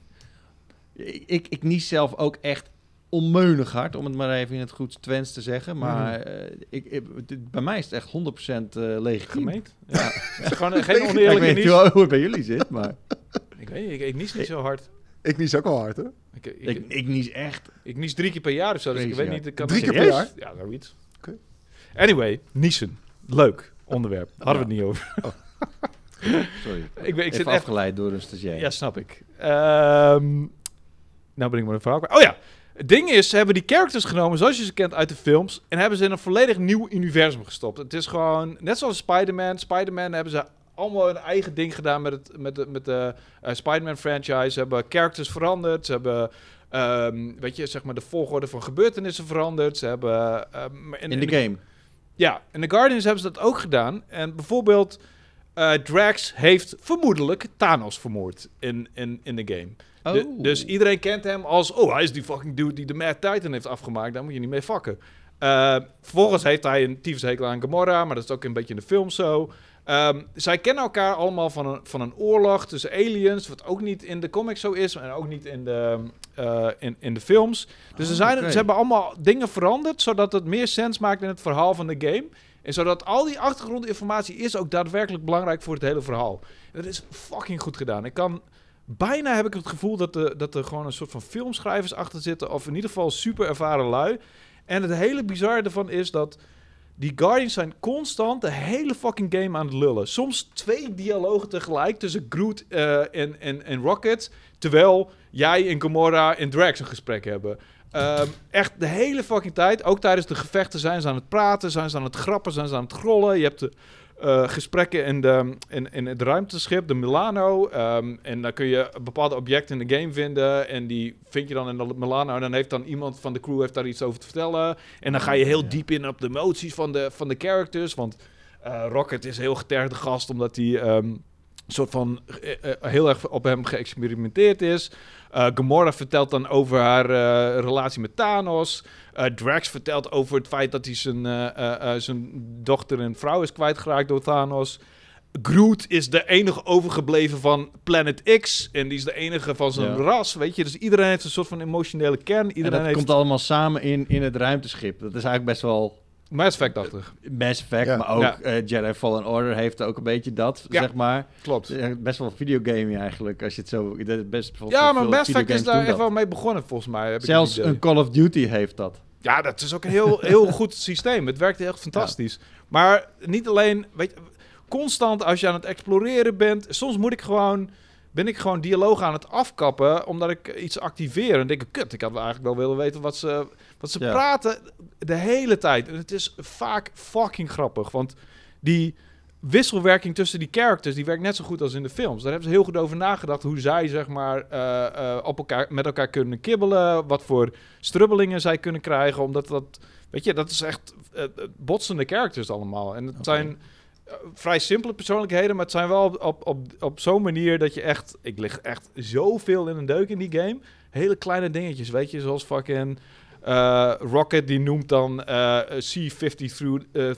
Ik, ik nies zelf ook echt onmeunig hard, om het maar even in het goed Twents te zeggen. Maar
Mhm.
eh, ik, ik- het- bij mij is het echt 100% eh legitiem.
Gemeend. Ja. Het is Gewoon een- geen
Ik
Ja, ik
oneerlijke
weet
niche.
niet hoe, hoe het bij jullie zit, maar
Ik weet niet, ik, ik niche niet zo hard.
Ik nies ook al hard, hè?
Ik, ik,
ik,
ik,
ik nies echt.
niche drie keer per jaar of zo, dus ik
Crazy,
weet
ja.
niet. ik kan
Drie
het-
keer per jaar?
Ja, zoiets.
Oké.
Anyway, niezen. Leuk onderwerp. Hadden we het niet over.
Sorry. Ik,
Ik, ben, ik
zit
zit echt...
afgeleid door een stagiair.
Ja, snap ik. Ehm, nou ben ik maar een verhaal kwijt. Oh ja, het ding is, ze hebben die characters genomen zoals je ze kent uit de films... en hebben ze in een volledig nieuw universum gestopt. Het is gewoon, net zoals Spider-Man. Spider-Man hebben ze allemaal hun eigen ding gedaan met, het, met de, met de eh, Spider-Man franchise. Ze hebben characters veranderd, ze hebben... ehm, weet je, zeg maar de volgorde van gebeurtenissen veranderd. Ze hebben... ehm,
in de game.
ja, en de Guardians hebben ze dat ook gedaan. En bijvoorbeeld, eh, Drax heeft vermoedelijk Thanos vermoord in, in, in de game. De-
Oh.
oh, dus iedereen kent hem als, oh, hij is die fucking dude die de Mad Titan heeft afgemaakt. Daar moet je niet mee fucken. Eh, vervolgens heeft hij een tyfushekel aan Gamora, maar dat is ook een beetje in de film zo. Ehm, zij kennen elkaar allemaal van een, van een oorlog tussen aliens, wat ook niet in de comics zo is en ook niet in de, eh, in, in de films. Dus er
Oh,
zijn,
oké.
ze hebben allemaal dingen veranderd, zodat het meer sens maakt in het verhaal van de game. En zodat al die achtergrondinformatie is ook daadwerkelijk belangrijk voor het hele verhaal. En dat is fucking goed gedaan. Ik kan, bijna heb ik het gevoel dat, de, dat er gewoon een soort van filmschrijvers achter zitten. Of in ieder geval super ervaren lui. En het hele bizarre ervan is dat die Guardians zijn constant de hele fucking game aan het lullen. Soms twee dialogen tegelijk tussen Groot eh, en, en, en Rocket. Terwijl jij en Gamora en Drax een gesprek hebben. Ehm, echt de hele fucking tijd. Ook tijdens de gevechten zijn ze aan het praten, zijn ze aan het grappen, zijn ze aan het grollen. Je hebt de eh, gesprekken in, de, in, in het ruimteschip, de Milano. Ehm, en dan kun je bepaalde objecten in de game vinden. En die vind je dan in de Milano. En dan heeft dan iemand van de crew heeft daar iets over te vertellen. En dan ga je heel
Ja.
diep in op de emoties van de, van de characters. Want eh, Rocket is een heel geterde gast, omdat hij ehm soort van eh, eh, heel erg op hem geëxperimenteerd is. Eh, Gamora vertelt dan over haar eh, relatie met Thanos. Eh, Drax vertelt over het feit dat hij zijn, eh, eh, eh, zijn dochter en vrouw is kwijtgeraakt door Thanos. Groot is de enige overgebleven van Planet X. En die is de enige van zijn
Ja.
ras, weet je. Dus iedereen heeft een soort van emotionele kern.
En
Iedereen
dat
heeft
komt allemaal samen in, in het ruimteschip. Dat is eigenlijk best wel
Mass Effect-achtig.
Mass Effect,
Ja.
maar ook
Ja.
eh, Jedi Fallen Order heeft ook een beetje dat,
Ja.
zeg maar.
Klopt.
Het is echt Best wel videogame eigenlijk, als je het zo... dat is Best,
Ja, maar
veel
Mass Effect is
videogames
daar
doen
echt
dat.
wel mee begonnen, volgens mij. Heb ik
Zelfs
het idee.
een Call of Duty heeft dat.
Ja, dat is ook een heel, heel goed systeem. Het werkt echt fantastisch. Maar niet alleen, weet je, constant als je aan het exploreren bent. Soms moet ik gewoon, ben ik gewoon dialoog aan het afkappen, omdat ik iets activeer. En denk ik, kut, ik had wel eigenlijk wel willen weten wat ze, wat ze
Ja.
praten de hele tijd. En het is vaak fucking grappig, want die wisselwerking tussen die characters, die werkt net zo goed als in de films. Daar hebben ze heel goed over nagedacht hoe zij, zeg maar, eh, eh, op elkaar, met elkaar kunnen kibbelen. Wat voor strubbelingen zij kunnen krijgen. Omdat dat, weet je, dat is echt eh, eh, botsende characters allemaal. En het
Oké.
zijn eh, vrij simpele persoonlijkheden, maar het zijn wel op, op, op, op zo'n manier dat je echt, ik lig echt zoveel in een deuk in die game. Hele kleine dingetjes, weet je, zoals fucking eh, Rocket, die noemt dan eh, C53, eh,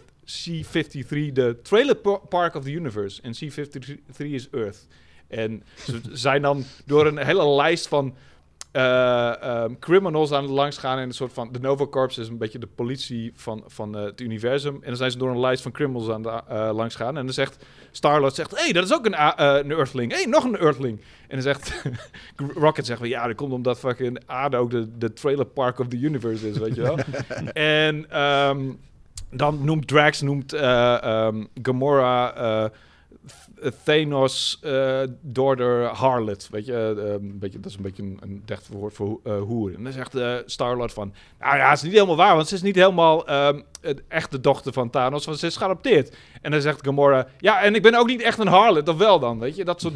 C53 de Trailer pa- Park of the Universe. En C53 is Earth. En ze zijn dan door een hele lijst van eh, ehm, criminals aan het langs gaan. En een soort van. De Nova Corps is een beetje de politie van, van eh, het universum. En dan zijn ze door een lijst van criminals aan de, eh, langs gaan. En dan zegt Starlord: zegt, Hé, hey, dat is ook een, a- eh, een Earthling. Hé, hey, nog een Earthling. En dan zegt Rocket: zegt, Ja, dat komt omdat fucking Aarde ook de, de trailer park of the universe is, weet je wel. en ehm, dan noemt Drax, noemt eh, ehm, Gamora. eh, Th- Thanos eh daughter Harlot. Weet je, eh, een beetje, dat is een beetje een, een decht woord voor ho- eh, hoer. En dan zegt eh Star-Lord van... Nou ja, het is niet helemaal waar, want ze is niet helemaal ehm, het- echt de dochter van Thanos, want ze is geadopteerd. En dan zegt Gamora... Ja, en ik ben ook niet echt een Harlot, of wel dan? Weet je, dat soort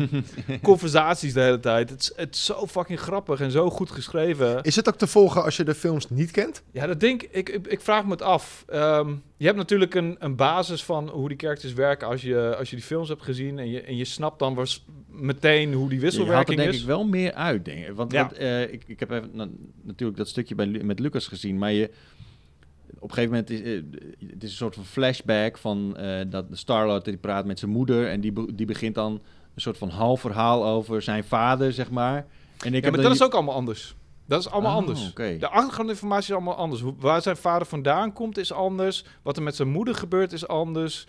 conversaties de hele tijd. Het is, het is zo fucking grappig en zo goed geschreven.
Is het ook te volgen als je de films niet kent?
Ja, dat denk ik. Ik, ik vraag me het af. Ehm, je hebt natuurlijk een, een basis van hoe die characters werken als je, als je die films hebt gezien. En je, en je snapt dan was meteen
Je
hoe die
haalt er
wisselwerking
denk
is.
ik wel meer uit, denk ik. Want,
Ja.
want, eh, ik, ik heb even, nou, natuurlijk dat stukje bij, Lu- met Lucas gezien, maar je, op een gegeven moment is eh, het is een soort van flashback van eh dat Starlord die praat met zijn moeder en die, be- die begint dan een soort van half verhaal over zijn vader, zeg maar. En ik
ja,
heb
maar
dan
dat is
die-
ook allemaal anders. Dat is allemaal
Oh,
anders.
oké.
De achtergrondinformatie is allemaal anders. Hoe, waar zijn vader vandaan komt is anders. Wat er met zijn moeder gebeurt is anders.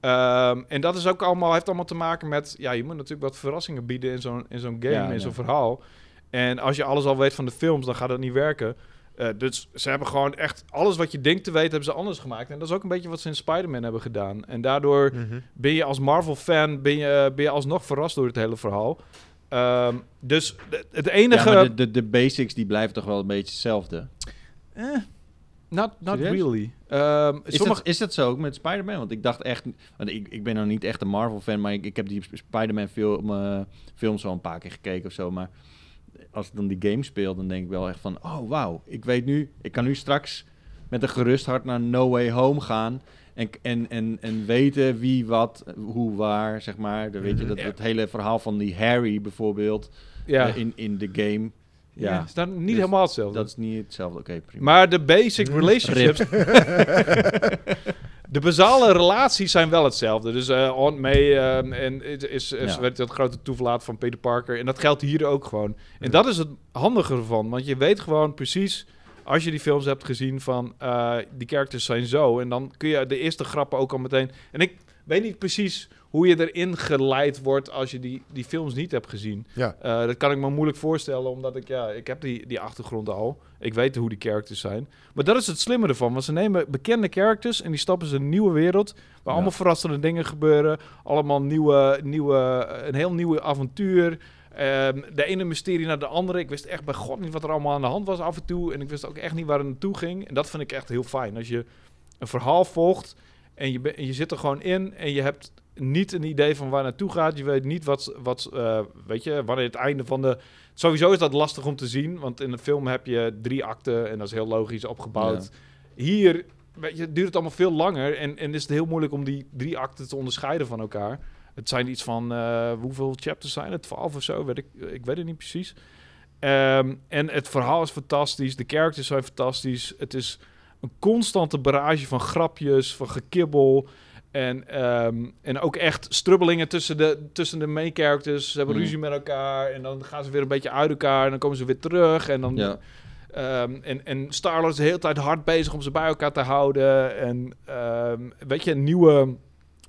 Ehm, en dat is ook allemaal, heeft allemaal te maken met... Ja, je moet natuurlijk wat verrassingen bieden in zo'n, in zo'n game,
Ja,
in
ja.
zo'n verhaal. En als je alles al weet van de films, dan gaat dat niet werken. Eh, dus ze hebben gewoon echt alles wat je denkt te weten, hebben ze anders gemaakt. En dat is ook een beetje wat ze in Spider-Man hebben gedaan. En daardoor ben je als Marvel-fan, ben je, eh, ben je alsnog verrast door het hele verhaal. Ehm, dus de- het enige...
Ja, maar de, de, de basics die blijven toch wel een beetje hetzelfde.
Eh, not not
Serieus?
really. Ehm
Is,
sommige...
dat, is dat zo ook met Spider-Man? Want ik dacht echt... Want ik, ik ben nog niet echt een Marvel-fan, maar ik, ik heb die Spider-Man film, eh, films al een paar keer gekeken of zo. Maar als ik dan die game speel, dan denk ik wel echt van... Oh, wauw. Ik weet nu... Ik kan nu straks met een gerust hart naar No Way Home gaan... En, en, en, en weten wie, wat, hoe, waar, zeg maar. Dan weet je dat
Mhm.
het hele verhaal van die Harry bijvoorbeeld
ja.
eh, in, in de game...
Ja.
Ja.
is daar niet
Dus
helemaal hetzelfde.
Dat is niet hetzelfde. Oké, prima.
Maar de basic relationships... de basale relaties zijn wel hetzelfde. Dus eh Aunt May ehm, en is, is, is-
Ja.
werd dat grote toeverlaat van Peter Parker. En dat geldt hier ook gewoon. En dat is het handige ervan. Want je weet gewoon precies... Als je die films hebt gezien van eh, die characters zijn zo. En dan kun je de eerste grappen ook al meteen... En ik weet niet precies hoe je erin geleid wordt als je die, die films niet hebt gezien.
Ja.
Eh, dat kan ik me moeilijk voorstellen, omdat ik, ja, ik heb die, die achtergrond al. Ik weet hoe die characters zijn. Maar dat is het slimme ervan, want ze nemen bekende characters en die stappen ze in een nieuwe wereld, waar
Ja.
allemaal verrassende dingen gebeuren, allemaal nieuwe, nieuwe, een heel nieuwe avontuur. Ehm, de ene mysterie naar de andere. Ik wist echt bij God niet wat er allemaal aan de hand was af en toe. En ik wist ook echt niet waar het naartoe ging. En dat vind ik echt heel fijn. Als je een verhaal volgt en je, be- en je zit er gewoon in en je hebt niet een idee van waar naartoe gaat. Je weet niet wat, wat eh, weet je, wanneer het einde van de... Sowieso is dat lastig om te zien, want in een film heb je drie akten en dat is heel logisch opgebouwd. Hier weet je, duurt het allemaal veel langer en, en is het heel moeilijk om die drie akten te onderscheiden van elkaar. Het zijn iets van, eh, hoeveel chapters zijn het? 12 of zo, weet ik, ik weet het niet precies. Ehm, en het verhaal is fantastisch, de characters zijn fantastisch. Het is een constante barrage van grapjes, van gekibbel. En, ehm, en ook echt strubbelingen tussen de, tussen de main characters. Ze hebben
Mm.
ruzie met elkaar en dan gaan ze weer een beetje uit elkaar. En dan komen ze weer terug en dan
ja.
Ehm, en, en Star-Lord is de hele tijd hard bezig om ze bij elkaar te houden. En ehm, weet je, nieuwe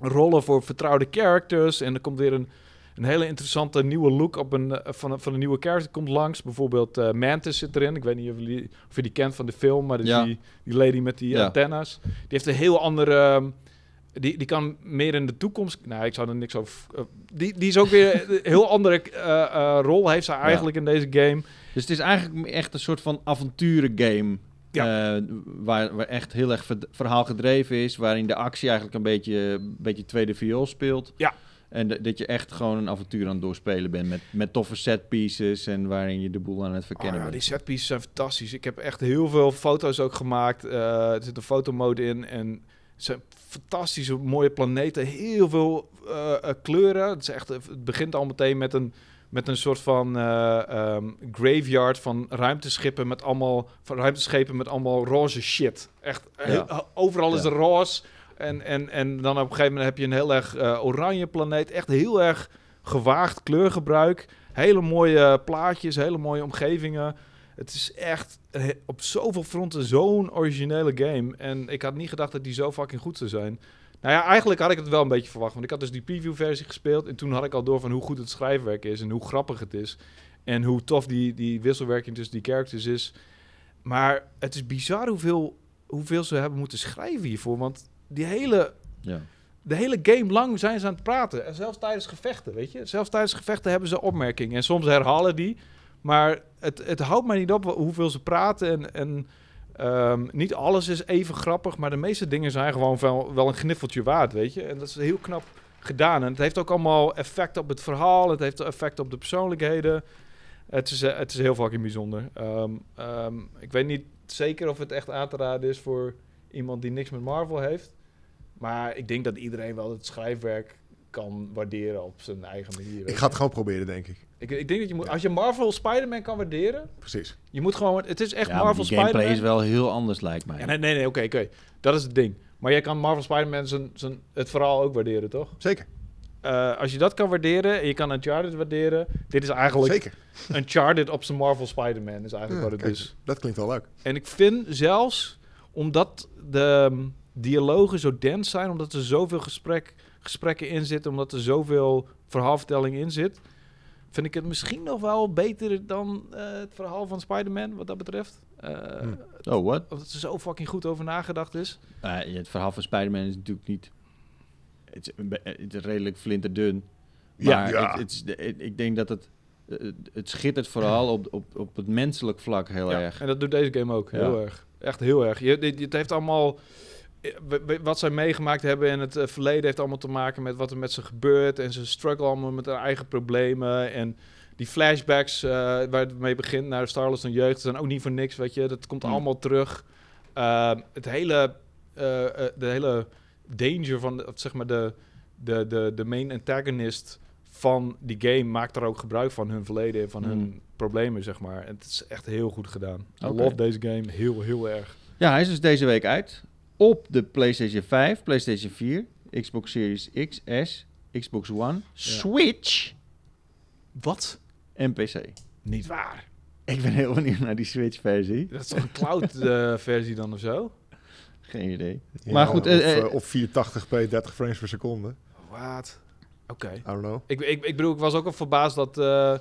rollen voor vertrouwde characters. En er komt weer een, een hele interessante nieuwe look op een, eh, van, een- van een nieuwe character komt langs. Bijvoorbeeld eh, Mantis zit erin. Ik weet niet of, jullie, of je die kent van de film, maar dat is
Ja.
die, die lady met die eh,
Ja.
antennes. Die heeft een heel andere... ehm, die, die kan meer in de toekomst. Nou, ik zou er niks over. eh, die, die is ook weer een heel andere eh, eh, rol, heeft ze eigenlijk in deze game.
Dus het is eigenlijk echt een soort van avonturengame.
Ja.
eh, waar, waar echt heel erg verd- verhaal gedreven is. Waarin de actie eigenlijk een beetje, een beetje tweede viool speelt.
Ja.
En d- dat je echt gewoon een avontuur aan het doorspelen bent. Met, met toffe set pieces. En waarin je de boel aan het verkennen
Oh ja, die
bent.
setpieces zijn fantastisch. Ik heb echt heel veel foto's ook gemaakt. Eh, er zit een fotomode in en het zijn fantastische mooie planeten. Heel veel eh, eh, kleuren. Het, is echt, het begint al meteen met een, met een soort van eh, ehm, graveyard van ruimteschippen met allemaal van ruimteschepen met allemaal roze shit. Echt eh,
Ja.
eh, overal is
Ja.
er roze. En, en, en dan op een gegeven moment heb je een heel erg eh, oranje planeet. Echt heel erg gewaagd kleurgebruik. Hele mooie plaatjes, hele mooie omgevingen. Het is echt eh, op zoveel fronten zo'n originele game. En ik had niet gedacht dat die zo fucking goed zou zijn. Nou ja, eigenlijk had ik het wel een beetje verwacht. Want ik had dus die preview-versie gespeeld. En toen had ik al door van hoe goed het schrijfwerk is. En hoe grappig het is. En hoe tof die, die wisselwerking tussen die characters is. Maar het is bizar hoeveel, hoeveel ze hebben moeten schrijven hiervoor. Want die hele
Ja.
de hele game lang zijn ze aan het praten. En zelfs tijdens gevechten, weet je. Zelfs tijdens gevechten hebben ze opmerkingen. En soms herhalen die. Maar het, het houdt mij niet op hoeveel ze praten. En, en ehm, niet alles is even grappig. Maar de meeste dingen zijn gewoon wel, wel een gniffeltje waard, weet je. En dat is heel knap gedaan. En het heeft ook allemaal effect op het verhaal. Het heeft effect op de persoonlijkheden. Het is, eh, het is heel fucking bijzonder. Ehm, ehm, ik weet niet zeker of het echt aan te raden is voor iemand die niks met Marvel heeft. Maar ik denk dat iedereen wel het schrijfwerk kan waarderen op zijn eigen manier. weet
Ik ga het
je.
gewoon proberen, denk ik.
ik, ik denk dat je moet,
Ja.
als je Marvel Spider-Man kan waarderen,
Precies.
je moet gewoon, het is echt
Ja, maar
Marvel
die gameplay
Spider-Man.
is wel heel anders lijkt mij.
Ja, nee, nee, nee, oké, oké. Dat is het ding. Maar jij kan Marvel Spider-Man zijn, zijn, het verhaal ook waarderen, toch?
Zeker.
Eh, als je dat kan waarderen en je kan Uncharted waarderen, dit is eigenlijk
Zeker.
Uncharted op zijn Marvel Spider-Man, is eigenlijk
Ja,
wat het
kijk,
is.
Dat klinkt wel leuk.
En ik vind zelfs, omdat de mm, dialogen zo dens zijn, omdat er zoveel gesprek, gesprekken in zitten, omdat er zoveel verhaalvertelling in zit, vind ik het misschien nog wel beter dan eh, het verhaal van Spider-Man, wat dat betreft. Eh,
Hm.
Oh, wat?
Omdat er zo fucking goed over nagedacht is.
Eh, het verhaal van Spider-Man is natuurlijk niet... Het is, een be- het is redelijk flinterdun. Maar het- het is de- het- ik denk dat het... het- Het schittert vooral op, op, op het menselijk vlak heel
Ja,
erg.
En dat doet deze game ook,
Ja.
heel erg. Echt heel erg. Je, dit, dit heeft allemaal... eh, we- we- Wat zij meegemaakt hebben in het eh, verleden heeft allemaal te maken met wat er met ze gebeurt. En ze struggelen allemaal met hun eigen problemen. En die flashbacks eh, waar het mee begint naar Starless en jeugd zijn ook niet voor niks, weet je. Dat komt
Hmm.
allemaal terug. Ehm, het hele, eh, eh, de hele danger van, de, of zeg maar, de, de, de, de main antagonist van die game maakt er ook gebruik van hun verleden, van hun
Mm.
problemen, zeg maar. En het is echt heel goed gedaan. I
Oké.
love deze game heel, heel erg.
Ja, hij is dus deze week uit. Op de PlayStation 5, PlayStation 4, Xbox Series X, S, Xbox One, Switch
Wat?
en PC.
Niet waar.
Ik ben heel benieuwd naar die Switch-versie.
Dat is toch een cloud-versie dan of zo?
Geen idee.
Ja,
maar goed,
of,
eh, eh,
eh, of 480p, 30 frames per seconde. I
Wat? Oké.
don't know.
Ik, ik, ik bedoel, ik was ook al verbaasd dat, eh, eh,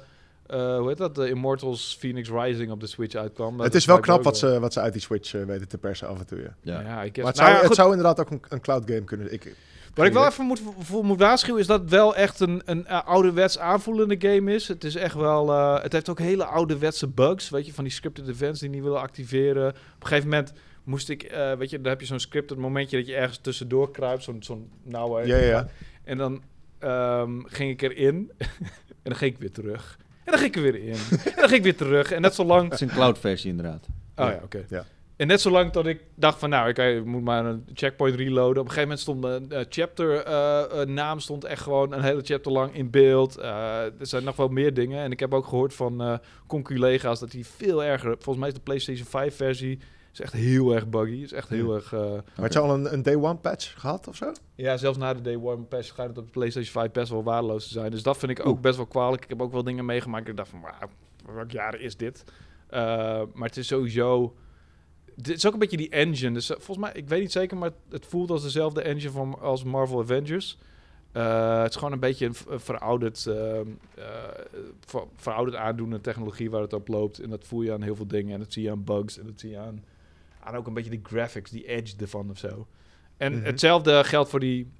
hoe heet dat, de Immortals Phoenix Rising op de Switch uitkwam. Maar
het
dat
is wel
lijkt me
knap
ook
wat ze, wat ze uit die Switch eh, weten te persen af en toe. Ja.
ja.
Ja, ja ik
Maar
maar
het zou,
nou ja,
het
goed,
zou inderdaad ook een, een cloud game kunnen. Ik,
Wat ik wel even moet, voor moet waarschuwen is dat het wel echt een, een eh, ouderwets aanvoelende game is. Het is echt wel, eh, het heeft ook hele ouderwetse bugs, weet je, van die scripted events die niet willen activeren. Op een gegeven moment moest ik, eh, weet je, dan heb je zo'n scripted momentje dat je ergens tussendoor kruipt, zo'n zo'n nauwe...
ja, ja.
En dan ehm, ging ik erin en dan ging ik weer terug. En dan ging ik er weer in. en dan ging ik weer terug. En net zolang...
Het is een cloud-versie inderdaad.
Oh ja,
Ja,
oké.
ja.
En net zolang dat ik dacht van, nou, ik eh, moet maar een checkpoint reloaden. Op een gegeven moment stond een chapter eh, eh, naam stond echt gewoon een hele chapter lang in beeld. Eh, er zijn nog wel meer dingen. En ik heb ook gehoord van eh conculega's dat die veel erger... Volgens mij is de PlayStation 5 versie is echt heel erg buggy. Is echt heel
Hmm.
erg... eh,
Had je al een, een day one patch gehad of zo?
ja, zelfs na de Day One Pass schijnt het op de PlayStation 5 best wel waardeloos te zijn. Dus dat vind ik ook best wel kwalijk. Ik heb ook wel dingen meegemaakt. Ik dacht van, wauw, welk jaar is dit? Eh, maar het is sowieso... Het is ook een beetje die engine. Dus eh, volgens mij, ik weet niet zeker, maar het voelt als dezelfde engine van, als Marvel Avengers. Eh, het is gewoon een beetje een v- een verouderd, ehm, eh, ver- verouderd aandoende technologie waar het op loopt. En dat voel je aan heel veel dingen. En dat zie je aan bugs. En dat zie je aan, aan ook een beetje die graphics, die edge ervan of zo. En
Mhm.
hetzelfde geldt voor die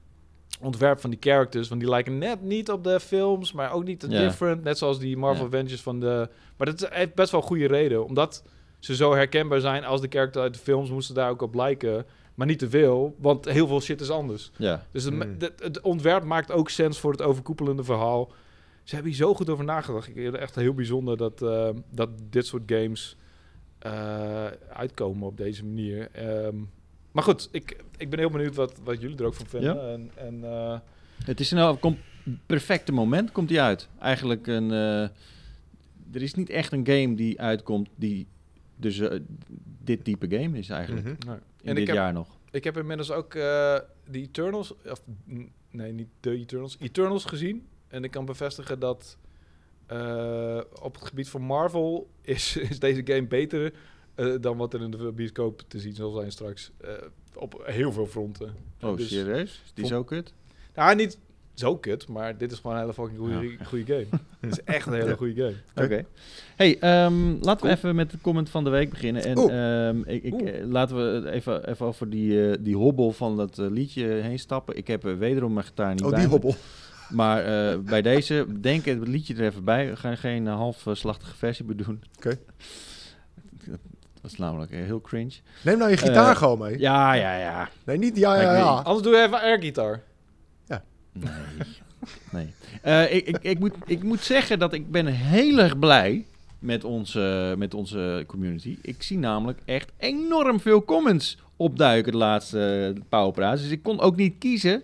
ontwerp van die characters. Want die lijken net niet op de films, maar ook niet te
Ja.
different. Net zoals die Marvel
Ja.
Avengers van de... Maar dat heeft best wel goede reden. Omdat ze zo herkenbaar zijn als de character uit de films, moesten daar ook op lijken. Maar niet te veel, want heel veel shit is anders.
Ja.
Dus het,
Hmm.
het, het ontwerp maakt ook sens voor het overkoepelende verhaal. Ze hebben hier zo goed over nagedacht. Ik vind het echt heel bijzonder dat, eh, dat dit soort games eh, uitkomen op deze manier. Ehm, maar goed, ik, ik ben heel benieuwd wat, wat jullie er ook van vinden. En, en, eh,
Het is nou, komt perfecte moment komt die uit. Eigenlijk een, eh, er is niet echt een game die uitkomt die dus eh, dit type game is eigenlijk.
Mhm.
nou,
In
en
dit
ik, heb,
jaar nog.
ik heb inmiddels ook eh de Eternals, of n- nee, niet de Eternals, Eternals gezien. En ik kan bevestigen dat eh, op het gebied van Marvel is, is deze game beter eh, dan wat er in de bioscoop te zien zal zijn straks. eh, op heel veel fronten.
Oh,
Dus-
serieus? Is die
Vol-
zo kut?
Nou, niet zo kut, maar dit is gewoon een hele fucking goede game. Het is echt een hele
Ja.
goede game.
Oké. Hey, ehm, laten we even met de comment van de week beginnen. En
Oeh.
ehm, ik, ik,
Oeh.
eh, laten we het even, even over die, eh, die hobbel van dat eh, liedje heen stappen. Ik heb eh, wederom mijn gitaar niet
Oh,
bij
die
me.
hobbel.
Maar eh, bij deze, denk het liedje er even bij. We gaan geen eh, half eh, slachtige versie bedoelen.
Oké.
Dat was namelijk eh, heel cringe.
Neem nou je gitaar
Eh,
gewoon mee.
Ja, ja, ja.
Nee, niet ja,
Ik
ja,
weet-
ja.
Anders doe je even airgitaar.
Nee. nee. Eh, ik, ik, ik, moet, ik moet zeggen dat ik ben heel erg blij met onze, met onze community. Ik zie namelijk echt enorm veel comments opduiken de laatste eh, powerpraat. Dus ik kon ook niet kiezen,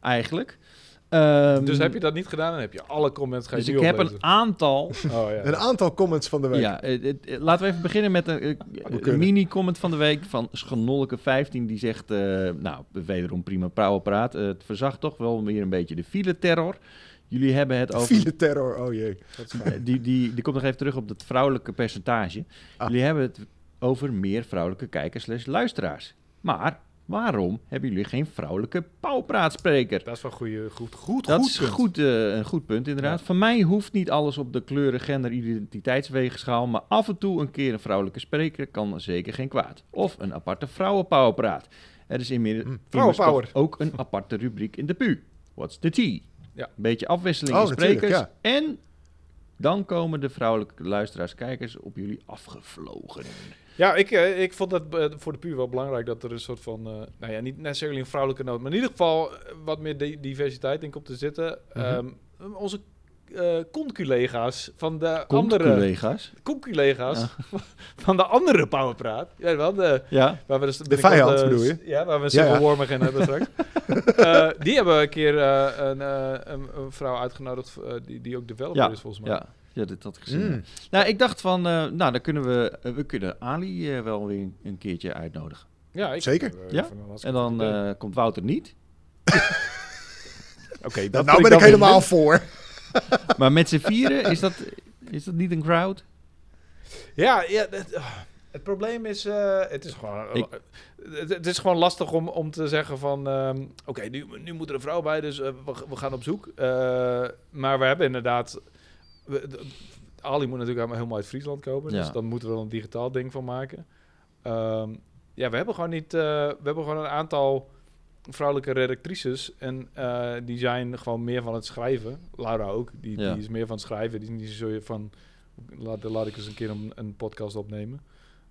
eigenlijk. Ehm,
dus heb je dat niet gedaan, dan heb je alle comments ga je
dus
nu
ik heb
oplezen.
een aantal
Oh, ja.
Een aantal comments van de week.
Ja, eh, eh, eh, laten we even beginnen met een, eh, een
kunnen.
mini-comment van de week van Schanolleke15. Die zegt, eh, nou, wederom prima praat. het verzacht toch wel weer een beetje de file-terror. Jullie hebben het over...
File terror, oh jee.
Dat is fijn.
Eh, die, die, die komt nog even terug op dat vrouwelijke percentage.
Ah.
Jullie hebben het over meer vrouwelijke kijkers slash luisteraars. Maar waarom hebben jullie geen vrouwelijke pauwpraatspreker?
Dat is wel goede, goed, goed,
Dat
goed
is
punt.
goed, eh, een goed punt, inderdaad. Van mij hoeft niet alles op de kleuren, gender, identiteitsweegschaal. Maar af en toe een keer een vrouwelijke spreker kan zeker geen kwaad. Of een aparte vrouwenpowerpraat. Er is inmiddels
Hm.
immers toch
Vrouwenpower.
ook een aparte rubriek in de PU. What's the tea?
Ja.
Beetje afwisseling
Oh,
in sprekers.
natuurlijk,
En dan komen de vrouwelijke luisteraars, kijkers op jullie afgevlogen.
Ja, ik, eh, ik vond het eh, voor de puur wel belangrijk dat er een soort van, eh, nou ja, niet necessarily een vrouwelijke noot, maar in ieder geval eh, wat meer di- diversiteit in komt te zitten.
Mhm.
Ehm, onze eh con-collega's van de andere...
Komt-collega's.
Con-collega's
Ja.
van de andere Powerpraat. Je weet wel, de,
Ja.
Waar we dus binnenkort,
vijand,
eh,
bedoel je?
s- Ja, waar we een
Ja, ja.
Civil War mee gaan hebben straks. Eh, die hebben een keer eh, een, eh, een, een vrouw uitgenodigd eh, die, die ook developer
Ja,
is volgens mij.
Ja, ja, dit had ik gezien.
Mm.
Nou, ik dacht van, eh, nou, dan kunnen we, eh, we kunnen Ali eh, wel weer een- een keertje uitnodigen.
Ja, ik-
Zeker.
eh, ik
Ja?
vind het een
En dan
hartstikke
eh, komt Wouter niet.
goed idee. Oké,
Nou,
dat vind
nou ben ik
dan weer
helemaal voor.
Maar met z'n vieren, is dat, is dat niet een crowd?
minder. Ja, ja dat- ah. het probleem is, eh, het, is gewoon, eh,
Ik-
het, het is gewoon lastig om, om te zeggen van... ehm, Oké, nu, nu moet er een vrouw bij, dus eh, we, we gaan op zoek. Eh, maar we hebben inderdaad... we- d- Ali moet natuurlijk helemaal uit Friesland komen.
Ja.
Dus dan moeten we er een digitaal ding van maken. Ehm, ja, we hebben gewoon niet. eh, we hebben gewoon een aantal vrouwelijke redactrices. En eh, die zijn gewoon meer van het schrijven. Laura ook. Die,
Ja.
die is meer van het schrijven. Die is niet zo van. Laat, laat ik eens een keer een, een podcast opnemen.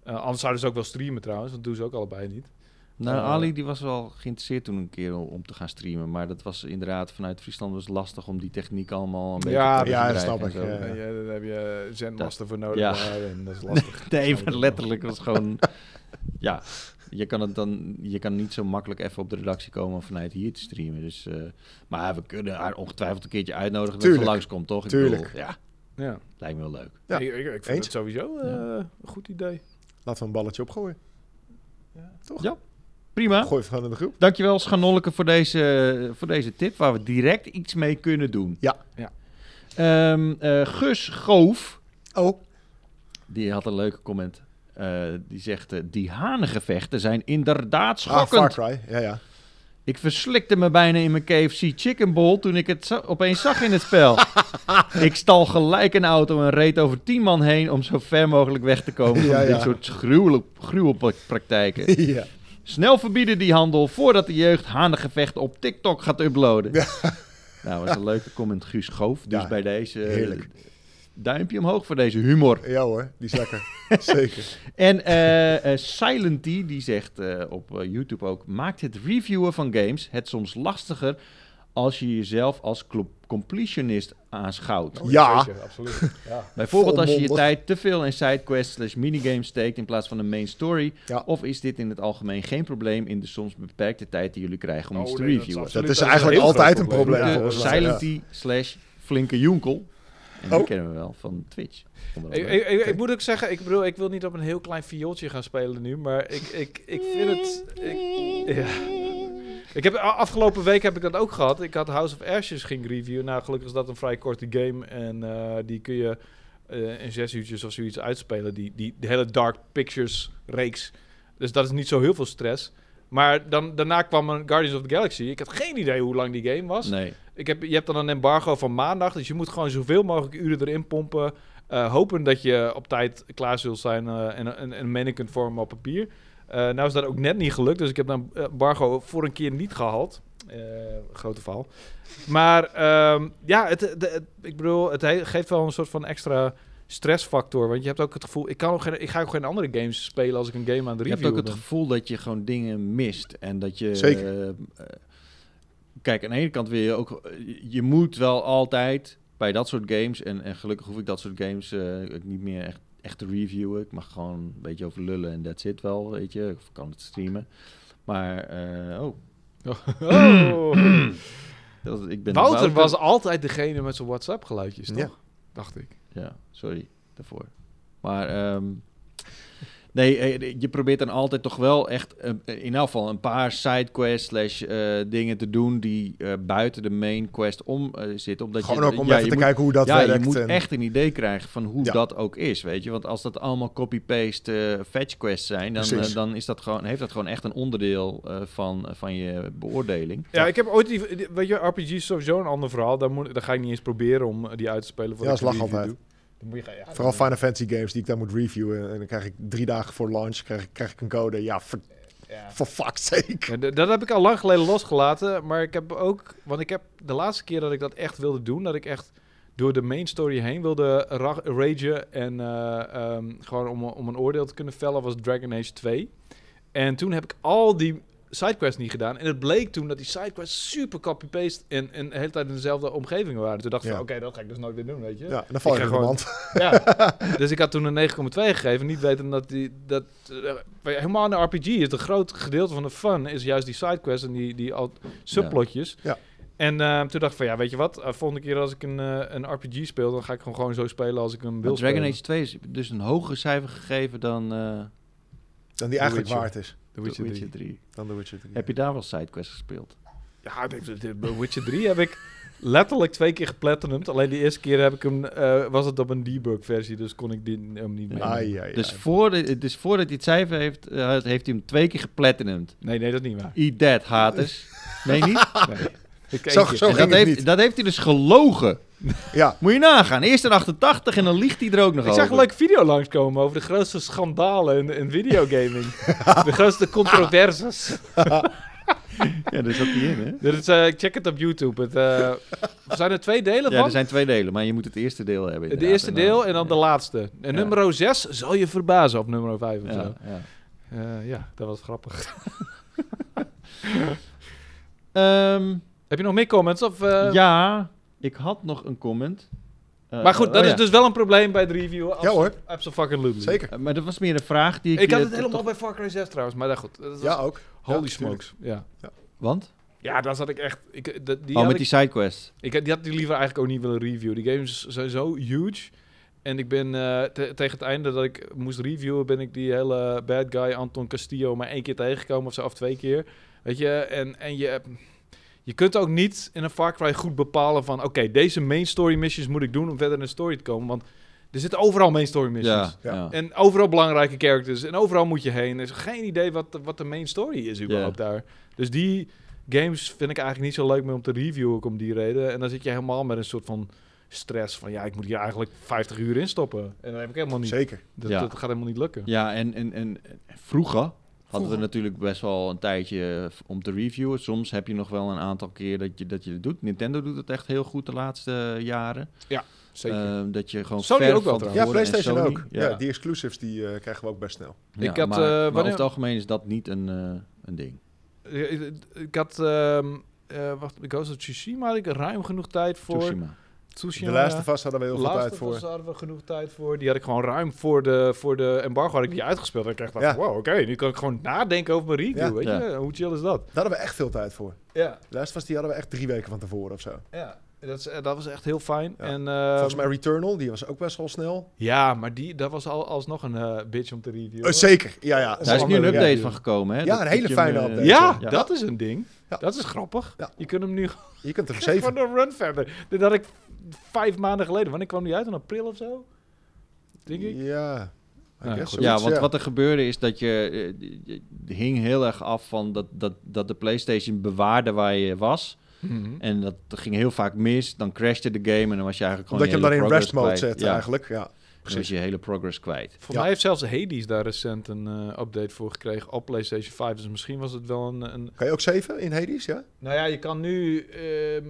Eh, anders zouden ze ook wel streamen trouwens. Dat doen ze ook allebei niet.
Nou,
Eh,
Ali die was wel geïnteresseerd toen een keer om, om te gaan streamen. Maar dat was inderdaad vanuit Friesland was lastig om die techniek allemaal een beetje
Ja,
te
ja, dat
krijgen
snap
en
ik,
zo.
ja.
Nee, eh, daar heb je zendmaster voor nodig.
Ja.
daar, en dat is lastig.
Nee, maar letterlijk was gewoon. ja, je kan het dan. Je kan niet zo makkelijk even op de redactie komen om vanuit hier te streamen. Dus, eh, maar we kunnen haar ongetwijfeld een keertje uitnodigen dat ze
Tuurlijk.
langskomt, toch? Ik
Tuurlijk.
bedoel, ja,
Ja.
lijkt me wel leuk.
Ja.
Ik, ik, ik vind
Eens.
het sowieso eh,
Ja.
een goed idee.
Laten we een balletje opgooien.
Prima.
Gooi van in de groep.
Dankjewel, Schanolleke, voor deze, voor deze tip waar we direct iets mee kunnen doen.
Ja.
Ja.
Ehm, eh, Gus Goof,
Oh,
die had een leuke comment. Eh, die zegt: eh, Die hanengevechten zijn inderdaad
ah, Far
schokkend.
Cry. Ja, ja.
Ik verslikte me bijna in mijn KFC Chicken Bowl toen ik het za- opeens zag in het spel. ik stal gelijk een auto en reed over tien man heen om zo ver mogelijk weg te komen van
Ja, ja.
dit soort gruwel- gruwelpraktijken.
ja.
Snel verbieden die handel voordat de jeugd hanengevechten op TikTok gaat uploaden. Nou, was een leuke comment, Guus Goof. Dus
Ja,
bij deze eh,
heerlijk.
duimpje omhoog voor deze humor.
Ja hoor, die is lekker. Zeker.
En eh eh Silenty, die zegt eh, op eh, YouTube ook... maakt het reviewen van games het soms lastiger... als je jezelf als clo- completionist aanschouwt.
Oh, Ja.
Zeker, absoluut. Ja.
Bijvoorbeeld als je je
volmondig.
tijd te veel in sidequests slash minigames steekt... in plaats van een main story.
Ja.
Of is dit in het algemeen geen probleem... in de soms beperkte tijd die jullie krijgen om
Oh,
iets te
nee, dat is
reviewen?
absoluut-
Dat is
een
eigenlijk
heel
altijd een
groot
probleem.
probleem.
De
volgens mij. Ja.
Silenty slash flinke jonkel. En die
Oh.
kennen we wel van Twitch. onder
Ik,
andere.
ik, ik, ik moet ook zeggen, ik bedoel, ik wil niet op een heel klein viooltje gaan spelen nu, maar ik, ik, ik vind het... Ik, ja. ik heb, a- afgelopen week heb ik dat ook gehad. Ik had House of Ashes ging reviewen. Nou, gelukkig is dat een vrij korte game en eh, die kun je eh, in zes uurtjes of zoiets uitspelen. Die, die de hele Dark Pictures reeks. Dus dat is niet zo heel veel stress. Maar dan, daarna kwam een Guardians of the Galaxy. Ik had geen idee hoe lang die game was.
Nee.
Ik heb, je hebt dan een embargo van maandag, dus je moet gewoon zoveel mogelijk uren erin pompen. eh, hopen dat je op tijd klaar zult zijn eh, en en- en een mening kunt vormen op papier. Eh, nou is dat ook net niet gelukt, dus ik heb dan embargo voor een keer niet gehaald. Eh, grote faal. Maar ehm, ja, het, de- het- ik bedoel, het he- geeft wel een soort van extra stressfactor. Want je hebt ook het gevoel, ik, kan ook geen, ik ga ook geen andere games spelen als ik een game aan het
Je hebt
reviewen
ook het
ben.
gevoel dat je gewoon dingen mist. En dat je.
Zeker.
eh, eh, kijk, aan de ene kant wil je ook. Je moet wel altijd bij dat soort games. En, en gelukkig hoef ik dat soort games eh, ook niet meer echt, echt te reviewen. Ik mag gewoon een beetje over lullen en that's it wel. Weet je, of ik kan het streamen. Maar. eh, oh,
Oh.
dat, ik ben.
Wouter was altijd degene met zijn WhatsApp-geluidjes, toch?
Ja.
Dacht ik.
Ja, sorry daarvoor. Maar ehm, nee, eh, je probeert dan altijd toch wel echt eh, in elk geval een paar sidequests slash eh, dingen te doen die eh, buiten de main quest om eh, zitten. Omdat
Gewoon
je,
ook om
ja,
even
je
te
moet-
kijken hoe dat
ja,
werkt.
je moet
en-
echt een idee krijgen van hoe
Ja.
dat ook is, weet je. Want als dat allemaal copy-paste eh, fetch quests zijn, dan,
Precies.
eh, dan is dat gewoon, heeft dat gewoon echt een onderdeel eh, van, van je beoordeling.
Ja, ik heb ooit die, die- weet je, RPG is sowieso een ander verhaal. Daar, moet, daar ga ik niet eens proberen om eh, die uit te spelen. Voor
Ja, dat is lach altijd.
Dan moet je gaan, ja,
Vooral
dan-
Final Fantasy games die ik dan moet reviewen. En dan krijg ik drie dagen voor launch krijg, ik- krijg ik een code. Ja, voor,
ja.
voor fuck's sake.
Ja, d- dat heb ik al lang geleden losgelaten. Maar ik heb ook, want ik heb de laatste keer dat ik dat echt wilde doen, dat ik echt door de main story heen wilde ra- ragen en eh, ehm, gewoon om, om een oordeel te kunnen vellen, was Dragon Age 2. En toen heb ik al die sidequests niet gedaan. En het bleek toen dat die sidequests super copy-paste en, en de hele tijd in dezelfde omgeving waren. Toen dacht ik
Ja.
van, oké, dat ga ik dus nooit weer doen, weet je.
Ja, en dan val
Ik
je
ga
in de
gewoon-
mand.
Ja. dus ik had toen een 9,2 gegeven, niet weten dat die... Dat, eh, helemaal een RPG is, het groot gedeelte van de fun is juist die sidequests en die, die al subplotjes.
Ja.
En eh, toen dacht ik van, ja, weet je wat? eh, volgende keer als ik een, eh, een RPG speel, dan ga ik gewoon, gewoon zo spelen als ik hem wil
Maar Dragon
spelen.
Age 2 is dus een hoger cijfer gegeven dan eh
Dan die eigenlijk
Witcher.
waard is.
The
The
Witcher
Witcher,
3.
3.
Dan de Witcher 3.
Heb je daar wel sidequests gespeeld?
Ja, ik heb- de- de Witcher 3 heb ik letterlijk twee keer geplatinumd. Alleen de eerste keer heb ik hem, eh, was het op een debug versie, dus kon ik die, hem niet meer.
Ai, ai,
Dus,
ai.
voor de, dus voordat hij het cijfer heeft, eh, heeft hij hem twee keer geplatinumd.
Nee, nee, dat is niet waar.
Eat that, haters. Nee, niet?
Nee. Ik
Zo-
eentje.
zo-
En dat,
ging het
heeft,
niet.
dat heeft hij dus gelogen.
Ja,
Moet je nagaan. Eerst een 88 en dan liegt hij er ook nog
Ik
over.
zag een leuke video langskomen over de grootste schandalen in, in videogaming. de grootste controversies.
Ja, daar zat hij in, hè?
Dit is, eh, check het op YouTube. Het, eh, zijn er twee delen
Ja,
van?
er zijn twee delen, maar je moet het eerste deel hebben.
de
inderdaad.
eerste deel en dan de
ja.
laatste. En
Ja.
nummer 6 zal je verbazen op nummer 5 of zo.
Ja, ja.
Eh, ja, dat was grappig.
Ehm,
Heb je nog meer comments? Of, eh,
ja, ik had nog een comment. Eh,
Maar goed,
oh
dat
ja.
is dus wel een probleem bij de review.
ja hoor,
Absolutely.
zeker.
Eh, Maar dat was meer een vraag die ik...
Ik
eh,
had het
to-
helemaal
toch-
bij Far Cry 6 trouwens, maar dat goed. Dat was-
Ja, ook.
holy
Ja,
smokes. Ja.
Want?
ja, daar zat ik echt... Ik, dat- die
oh,
had
met
ik-
die sidequest.
Ik had- die had die liever eigenlijk ook niet willen reviewen. Die games zijn zo huge. En ik ben eh, te- tegen het einde dat ik moest reviewen, ben ik die hele bad guy Anton Castillo maar één keer tegengekomen of zo, of twee keer. Weet je, en, en je, je kunt ook niet in een Far Cry goed bepalen van, oké, deze main story missions moet ik doen om verder in de story te komen. Want er zitten overal main story missions.
Ja, ja.
En overal belangrijke characters. En overal moet je heen. Er is geen idee wat, de- wat de main story is überhaupt daar. Dus die games vind ik eigenlijk niet zo leuk meer om te reviewen ook om die reden. En dan zit je helemaal met een soort van stress van... Ja, ik moet hier eigenlijk 50 uur in stoppen. En dat heb ik helemaal niet.
Zeker.
Dat,
Ja.
dat gaat helemaal niet lukken.
Ja, en, en, en vroeger hadden we natuurlijk best wel een tijdje eh, om te reviewen. Soms heb je nog wel een aantal keer dat je, dat je het doet. Nintendo doet het echt heel goed de laatste jaren.
Zeker.
Ehm, dat je gewoon
Sony
ver
ook
van
wel trouwens.
Ja,
tevoren- en
PlayStation
Sony,
ook. Ja.
Ja.
die exclusives die eh, krijgen we ook best snel.
Ja,
Ik had,
maar,
eh,
maar
wanneer-
over het algemeen is dat niet een, eh, een ding.
Ik- ik- Eh, Ik had... ehm eh wacht, Ghost of Tsushima had ik ruim genoeg tijd voor.
Tsushima.
Tsushima.
De laatste vast hadden we heel veel
Laatste
tijd voor.
was- hadden we genoeg tijd voor. Die had ik gewoon ruim voor de, voor de embargo had ik die uitgespeeld. En ik dacht,
Ja.
wow, oké, nu kan ik gewoon nadenken over mijn review.
Ja.
weet
Ja.
je? Hoe chill is dat?
Daar hadden we echt veel tijd voor.
Ja,
De laatste was die hadden we echt drie weken van tevoren
Ehm.
of zo.
ja. Dat, is, eh, dat was echt heel fijn.
Ja.
En,
Volgens
ehm,
mij Returnal, die was ook best wel snel.
Ja, maar die, dat was al, alsnog een eh, bitch om te reviewen.
Eh, zeker, ja, ja.
Daar is nu een
andere
update
review.
van gekomen, hè?
Ja, een hele
dat je
fijne
hem, eh,
update.
Ja,
Ja.
dat is een ding.
Ja.
Dat is grappig.
Ja.
Je kunt hem nu
Je kunt er
gewoon
zeven.
een run verder. Dit had ik vijf maanden geleden. Wanneer kwam die uit? In april of zo? Denk ik.
Ja, I
Nou,
guess
goed.
zoiets,
Ja, want wat er gebeurde is dat je, eh, je- je hing heel erg af van dat, dat, dat de PlayStation bewaarde waar je was.
Mhm.
En dat ging heel vaak mis. Dan crashte de game en dan was je eigenlijk gewoon
Omdat je hem dan
hele
in rest mode
progress kwijt.
zet
Ja,
eigenlijk. Ja,
dan was
precies.
je hele progress kwijt.
Voor
Ja.
mij heeft zelfs Hades daar recent een eh, update voor gekregen op PlayStation 5. Dus misschien was het wel een, een
Kan je ook zeven in Hades, ja?
Nou ja, je kan nu, ehm,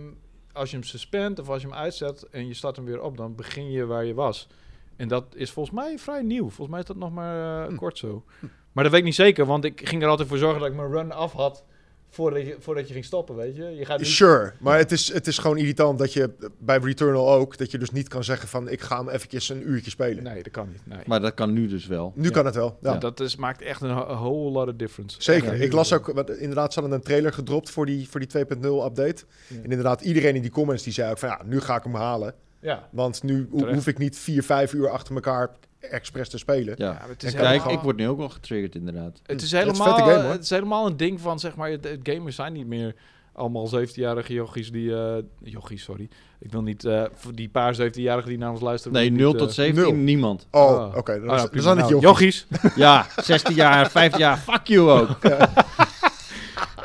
als je hem suspendt of als je hem uitzet en je start hem weer op, dan begin je waar je was. En dat is volgens mij vrij nieuw. Volgens mij is dat nog maar eh,
Hm.
kort zo. Maar dat weet ik niet zeker, want ik ging er altijd voor zorgen dat ik mijn run af had voordat je, voordat je ging stoppen, weet je. Je gaat niet...
Sure, maar het is, het is gewoon irritant dat je eh, bij Returnal ook, dat je dus niet kan zeggen van ik ga hem eventjes een uurtje spelen.
Nee, dat kan niet. Nee.
Maar dat kan nu dus wel.
Nu
Ja.
kan het wel, ja.
Ja, Dat is, maakt echt een, ho- a whole lot of difference.
Zeker.
Ja,
ik las ook, want inderdaad, ze hadden een trailer gedropt voor die, voor die 2.0 update.
Ja.
En inderdaad, iedereen in die comments die zei ook van ja, nu ga ik hem halen.
Ja.
Want nu ho-
Terecht.
hoef ik niet 4, 5 uur achter elkaar expres te spelen.
Ja.
maar het
En
is
kijk,
Kijk,
helemaal...
ik word nu ook wel getriggerd inderdaad.
Het is
Het is een
helemaal,
vette game, hoor.
het is helemaal een ding van, zeg maar, het- het gamers zijn niet meer allemaal 17-jarige jochies die... eh jochies, sorry. Ik wil niet eh, voor die paar 17-jarigen die naar ons luisteren.
Nee,
wil ik
0
niet,
tot
eh,
17,
nul.
niemand.
Oh,
Ah.
oké. dan
ah,
is-
ja,
dan
prima.
zijn het
Nou,
jochies.
jochies.
Ja, 16 jaar, 5 jaar, fuck you ook.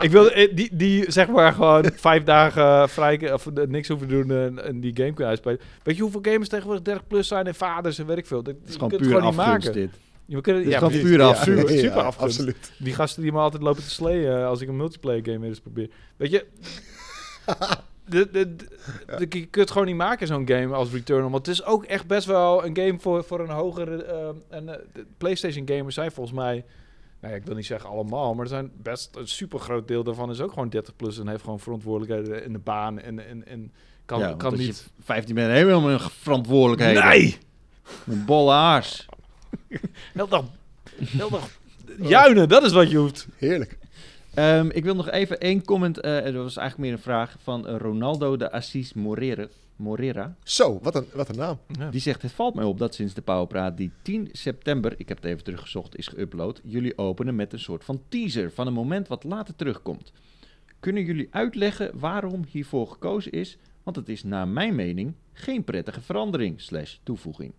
ik wil eh, die, die, zeg maar, gewoon vijf dagen eh, vrij... Of eh, niks hoeven doen en, en die game kunnen uitspelen. Weet je hoeveel gamers tegenwoordig 30 plus zijn en vaders en weet ik veel? Dat,
Het is
je
gewoon
kunt
puur
het gewoon niet
afgunst
maken.
dit.
Je kunt het-
Het is
ja,
gewoon
precies.
puur
Ja,
afgunst.
super,
Ja,
super
ja,
afgunst.
Absoluut.
Die gasten die me altijd lopen te slayen als ik een multiplayer game weer eens probeer. Weet je... De, de, de- de- je kunt het gewoon niet maken, zo'n game als Returnal. Want het is ook echt eh, best wel een game voor, voor een hogere... ehm, en, eh, de PlayStation gamers zijn volgens mij... ja, nou ja, ik wil niet zeggen allemaal, maar er zijn best een super groot deel daarvan is ook gewoon 30 plus en heeft gewoon verantwoordelijkheden in de baan en, en, en kan,
ja, want
kan
als je
niet.
15 bent, helemaal mijn verantwoordelijkheden.
Nee!
Een bolle haars.
Heel dag, heel dag juinen, dat is wat je hoeft.
Heerlijk.
Ehm, ik wil nog even één comment. eh dat was eigenlijk meer een vraag van eh, Ronaldo de Assis Morera. Morera.
Zo, wat een, wat een naam.
Die zegt, het valt mij op dat sinds de Powerpraat die 10 september, ik heb het even teruggezocht, is geüpload, jullie openen met een soort van teaser van een moment wat later terugkomt. Kunnen jullie uitleggen waarom hiervoor gekozen is? Want het is naar mijn mening geen prettige verandering slash toevoeging.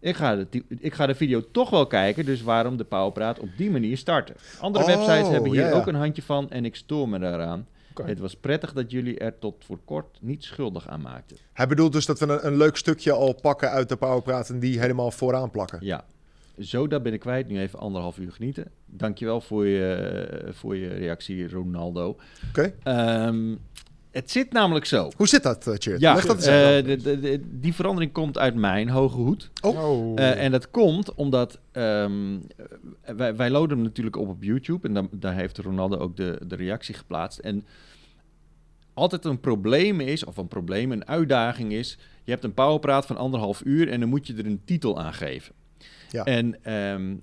Ik ga, de, ti- ik ga de video toch wel kijken, dus waarom de Powerpraat op die manier starten. Andere
Oh,
websites hebben hier
ja, ja.
ook een handje van en ik stoor me daaraan.
Oké.
Het was prettig dat jullie er tot voor kort niet schuldig aan maakten.
Hij bedoelt dus dat we een, een leuk stukje al pakken uit de powerpraat en die helemaal vooraan plakken.
Ja. Zo, dat ben ik kwijt. Nu even anderhalf uur genieten. Dankjewel voor je, eh, voor je reactie, Ronaldo.
Oké.
Ehm, het zit namelijk zo.
Hoe zit dat, eh, Tjeerd?
Ja,
Leg dat eens
eh,
uit.
de- de- de- die verandering komt uit mijn hoge hoed.
Oh.
Eh, en dat komt omdat ehm, wij, wij loaden hem natuurlijk op op YouTube. En dan, daar heeft Ronaldo ook de, de reactie geplaatst. En altijd een probleem is, of een probleem, een uitdaging is... je hebt een powerpraat van anderhalf uur en dan moet je er een titel aan geven.
Ja.
En ehm,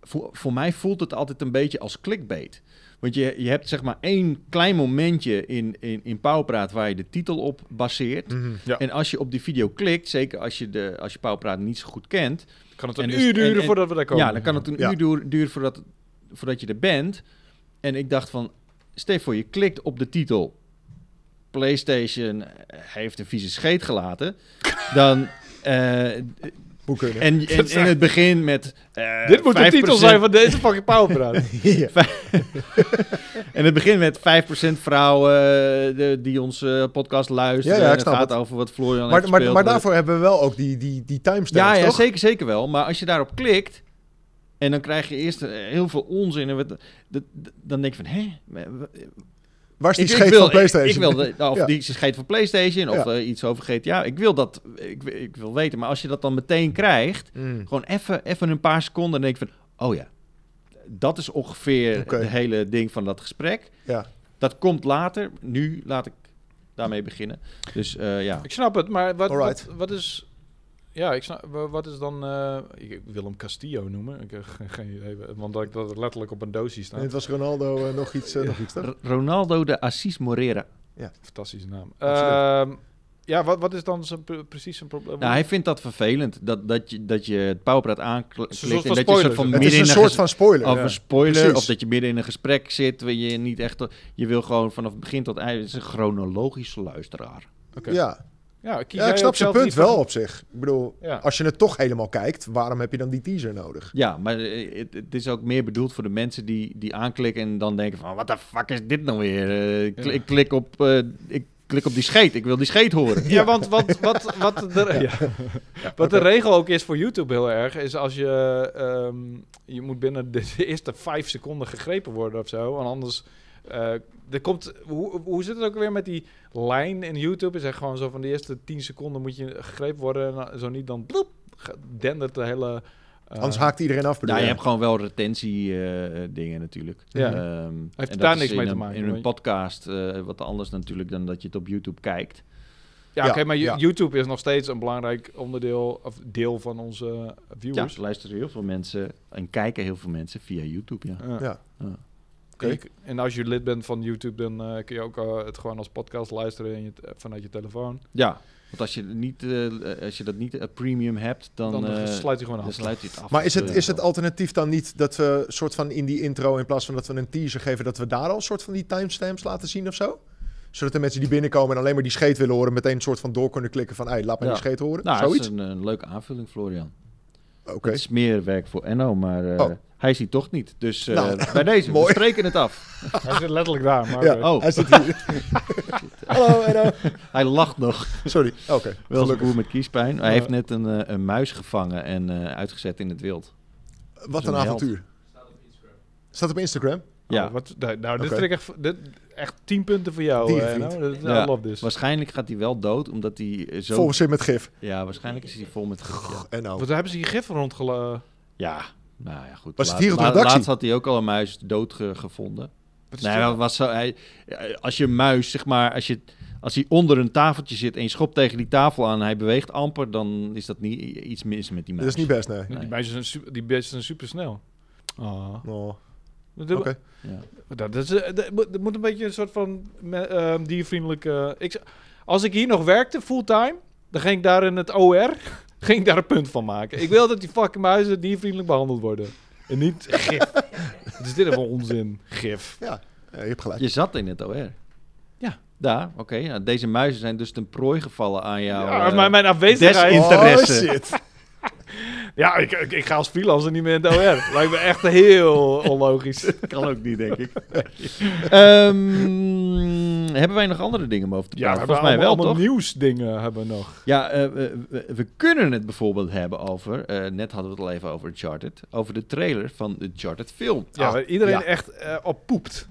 voor, voor mij voelt het altijd een beetje als clickbait. Want je, je hebt zeg maar één klein momentje in, in, in powerpraat waar je de titel op baseert...
Mhm.
Ja.
En als je op die video klikt, zeker als je, de, als je Pauwpraat niet zo goed kent,
Kan het een
en dus-
uur duren
en- en-
voordat we daar komen?
ja, dan kan het een
Ja.
uur duur- duren voordat, voordat je er bent. En ik dacht van, Stef, voor je klikt op de titel. PlayStation eh, heeft een vieze scheet gelaten. Dan, eh, en,
Hoe kunnen?
en in het begin met... eh,
Dit moet de titel
5%
zijn van deze fucking powerpraat.
Ja.
En het begint met 5% vrouwen eh, de- die onze podcast luisteren.
Ja, ja,
En
ik
het
snap
gaat
het.
over wat Florian heeft
Maar, maar,
gespeeld.
maar daarvoor hebben we wel ook die, die, die timestamps,
Ja, ja
toch?
zeker, zeker wel. Maar als je daarop klikt. En dan krijg je eerst eh, heel veel onzin. En wat- dat- dat- dan denk je van, hè?
Waar is die
Ik- ik
scheet
wil-
van PlayStation?
Ik, ik wil, de- of
Ja.
die scheet van PlayStation, of eh, iets over GTA. Ik wil dat, ik, ik wil weten. Maar als je dat dan meteen krijgt,
Mm.
gewoon even, even een paar seconden. Dan denk je van, oh ja, dat is ongeveer het
Oké.
hele ding van dat gesprek.
Ja.
Dat komt later. Nu laat ik daarmee beginnen. Dus eh, ja.
Ik snap het, maar wat,
Alright.
wat, wat is... Ja, ik snap, wa- wat is dan... eh, ik wil hem Castillo noemen. Ik heb ge- geen idee, want dat dat letterlijk op een doosje
En
staat.
het was Ronaldo eh, nog iets, eh, nog iets toch?
R- Ronaldo de Assis Morera.
Fantastische naam.
Absoluut.
Ehm, ja, wat, wat is dan zijn, pro- precies zijn probleem?
Nou, hij vindt dat vervelend. Dat, dat, je, dat je het powerpraat aanklikt
Een soort
en dat
van
je een soort
spoiler.
van
Het
Het
midden
is een
in
soort
ges-
van spoiler.
Of
ja,
een spoiler,
precies.
of dat je midden in een gesprek zit... waar je niet echt... Je wil gewoon vanaf begin tot eind... Het is een chronologische luisteraar.
Oké.
Ja.
ja, kies
ja,
jij
ik
ook
snap zijn
zelf
punt
niet voor-
wel op zich. Ik bedoel,
Ja.
als je het toch helemaal kijkt, waarom heb je dan die teaser nodig?
Ja, maar eh, het, het is ook meer bedoeld voor de mensen die, die aanklikken... en dan denken van... wat de fuck is dit nou weer? Eh, ik, kli-
Ja.
ik klik op, eh, ik klik op die scheet. Ik wil die scheet horen. Nou,
Ja, want wat, wat, wat, de, ja. wat de regel ook is voor YouTube heel erg, is als je, ehm, je moet binnen de, de eerste vijf seconden gegrepen worden of zo. Want anders, eh, er komt, hoe, hoe zit het ook weer met die lijn in YouTube? Is echt gewoon zo van de eerste tien seconden moet je gegrepen worden. En zo niet, dan bloep, ge- dendert de hele... eh,
Anders haakt iedereen af, bedoel
Nou, je
je?
hebt gewoon wel retentiedingen dingen natuurlijk.
Ja.
Ehm,
daar
en dat is
niks
in
mee te
een-
maken,
In een
want-
podcast eh, wat anders natuurlijk dan dat je het op YouTube kijkt.
Ja,
Ja,
oké, maar
ja.
Yo- YouTube is nog steeds een belangrijk onderdeel of deel van onze
Ja,
viewers.
ze luisteren heel veel mensen en kijken heel veel mensen via YouTube, ja.
Ja.
Ja.
Ja.
Oké.
Ik- en als je lid bent van YouTube, dan eh, kun je ook eh, het gewoon als podcast luisteren in je te- vanuit je telefoon.
Ja, want als je, niet, eh, als je dat niet eh, premium hebt, dan,
Dan, eh,
eh,
sluit hij gewoon
dan
af.
sluit hij het af.
Maar is het,
Eh,
is het alternatief dan niet dat we soort van in die intro, in plaats van dat we een teaser geven, dat we daar al soort van die timestamps laten zien of zo? Zodat de mensen die binnenkomen en alleen maar die scheet willen horen, meteen een soort van door kunnen klikken van, hey, laat maar
Ja.
die scheet horen.
Nou, dat
Zoiets?
is een, een leuke aanvulling, Florian.
Oké.
Het is meer werk voor Enno, maar eh,
Oh.
hij ziet toch niet. Dus eh,
Nou,
bij deze, we
mooi.
spreken het af.
Hij zit letterlijk daar, maar
Ja.
eh,
Oh,
Hij zit hier. Hallo, Edo.
hij lacht nog.
Sorry. Oké.
Wel een
gelukkig.
boer met kiespijn. Hij
Ja.
heeft net een, eh, een muis gevangen en eh, uitgezet in het wild.
Oh, Wat
Zo'n
een
held.
avontuur. Staat op Instagram.
Ja,
oh, wat, nou, nou, dit
Oké.
vind ik echt, dit, echt 10 punten voor jou.
Die
eh,
vriend.
nou, dat- I
Ja.
love this.
waarschijnlijk gaat hij wel dood, omdat hij eh, zo...
Volgens zin met gif.
Ja, waarschijnlijk is hij vol met... gif, ja.
En nou.
eh, Wat hebben ze hier gif rondgela...
Ja, Nou ja, goed.
Was het
Laat-
hier op de
laat-
redactie?
Laatst had hij ook al een muis doodgevonden.
Wat is
Nee,
dat?
dat was zo, hij, als je muis, zeg maar, als, je, als hij onder een tafeltje zit en je schopt tegen die tafel aan en hij beweegt amper, dan is dat niet iets mis met die
Dat
muis.
is niet best, nee.
Nee.
Die meisjes zijn super, die beesten zijn super snel. Ah.
Oh,
Dat,
Oké.
Ja.
dat, is, eh, dat moet- dat moet een beetje een soort van me- ehm, diervriendelijke... Ik, z- als ik hier nog werkte, fulltime, dan ging ik daar in het OR ging ik daar een punt van maken. Ik wil dat die fucking muizen diervriendelijk behandeld worden. En niet gif. Wat is dit even onzin? Gif.
Ja, je hebt gelijk.
Je zat in het OR.
Ja.
Daar, oké. nou, deze muizen zijn dus ten prooi gevallen aan jou.
Ja,
eh,
maar mijn afwezigheid...
desin- Interesse.
Oh, shit.
Ja, ik, ik, ik ga als freelancer niet meer in het OR. Lijkt me echt heel onlogisch.
kan ook niet, denk ik. Ehm, hebben wij nog andere dingen om over te praten? Volgens mij wel, toch?
nieuwsdingen hebben we nog.
Ja, eh, we, we- we kunnen het bijvoorbeeld hebben over... eh, net hadden we het al even over Uncharted. Over de trailer van de Uncharted film.
Ja,
Ah,
waar iedereen
ja.
echt eh, op poept.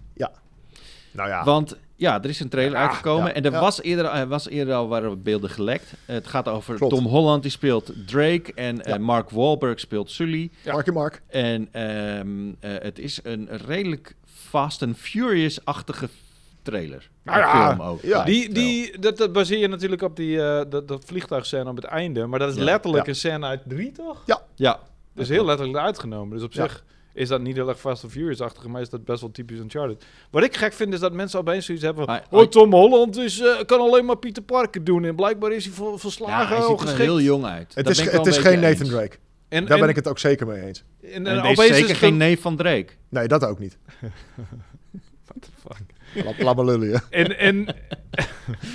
Nou ja.
Want ja, er is een trailer
Ja,
uitgekomen.
ja,
en er
ja.
was, eerder, er was eerder al waren beelden gelekt. Het gaat over
Klopt.
Tom Holland, die speelt Drake. En eh,
Ja.
Mark Wahlberg speelt Sully.
Ja.
Markie Mark.
En ehm, eh, het is een redelijk Fast and Furious-achtige trailer.
Nou
Een
ja,
film ook.
ja.
lijkt
Die,
wel.
die, dat, dat baseer je natuurlijk op die, eh, dat, dat vliegtuigscène op het einde. Maar dat is
Ja.
letterlijk
Ja.
een scène uit drie, toch?
Ja,
Dat is heel letterlijk uitgenomen. Dus op
Ja.
zich is dat niet heel erg Fast and Furious-achtig. Maar is dat best wel typisch Uncharted. Wat ik gek vind, is dat mensen opeens zoiets hebben van...
Maar-
oh, Tom Holland is, eh, kan alleen maar Pieter Parker doen. En blijkbaar is hij vol-
ja
volslagen
hij ziet er
ongeschikt.
heel jong uit.
Het
Daar
is,
ben ik
ge-
wel
het is
een beetje
geen Nathan
eens.
Drake.
En,
Daar
en-
ben ik het ook zeker mee eens.
en- en
En deze
opeens
is zeker
is
geen
dat-
neef van Drake.
Nee, dat ook niet.
What the fuck?
Laat, laat maar lullen, ja.
En, en,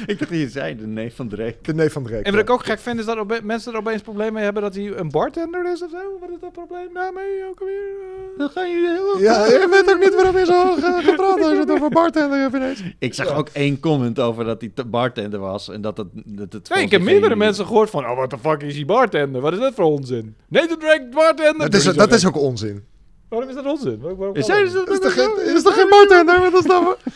ik dacht, je zei de neef van Drake.
De neef van Drake.
En wat
eh,
ik ook gek vind, is dat ope- mensen er opeens problemen mee hebben dat hij een bartender is of zo. Wat is dat probleem daarmee ook alweer? eh?
Dan gaan jullie heel
Ja, je weet ook niet waarom je zo eh, gepraat als je het over eh, bartender hebt ineens.
Ik zag
Ja.
ook één comment over dat hij te- bartender was. En dat het... Dat het
Nee,
volgens
ik heb
diegene
meerdere
die-
mensen gehoord van, oh, wat de fuck is die bartender? Wat is dat voor onzin? Nee, de drank bartender!
Dat is,
Doe je zo
dat
gek.
is ook onzin.
Waarom is dat onzin? Waarom, waarom kan
Zeiden
dat
ze dat
Is er
ook
geen,
zo?
is er geen bartender? Wat is dat voor-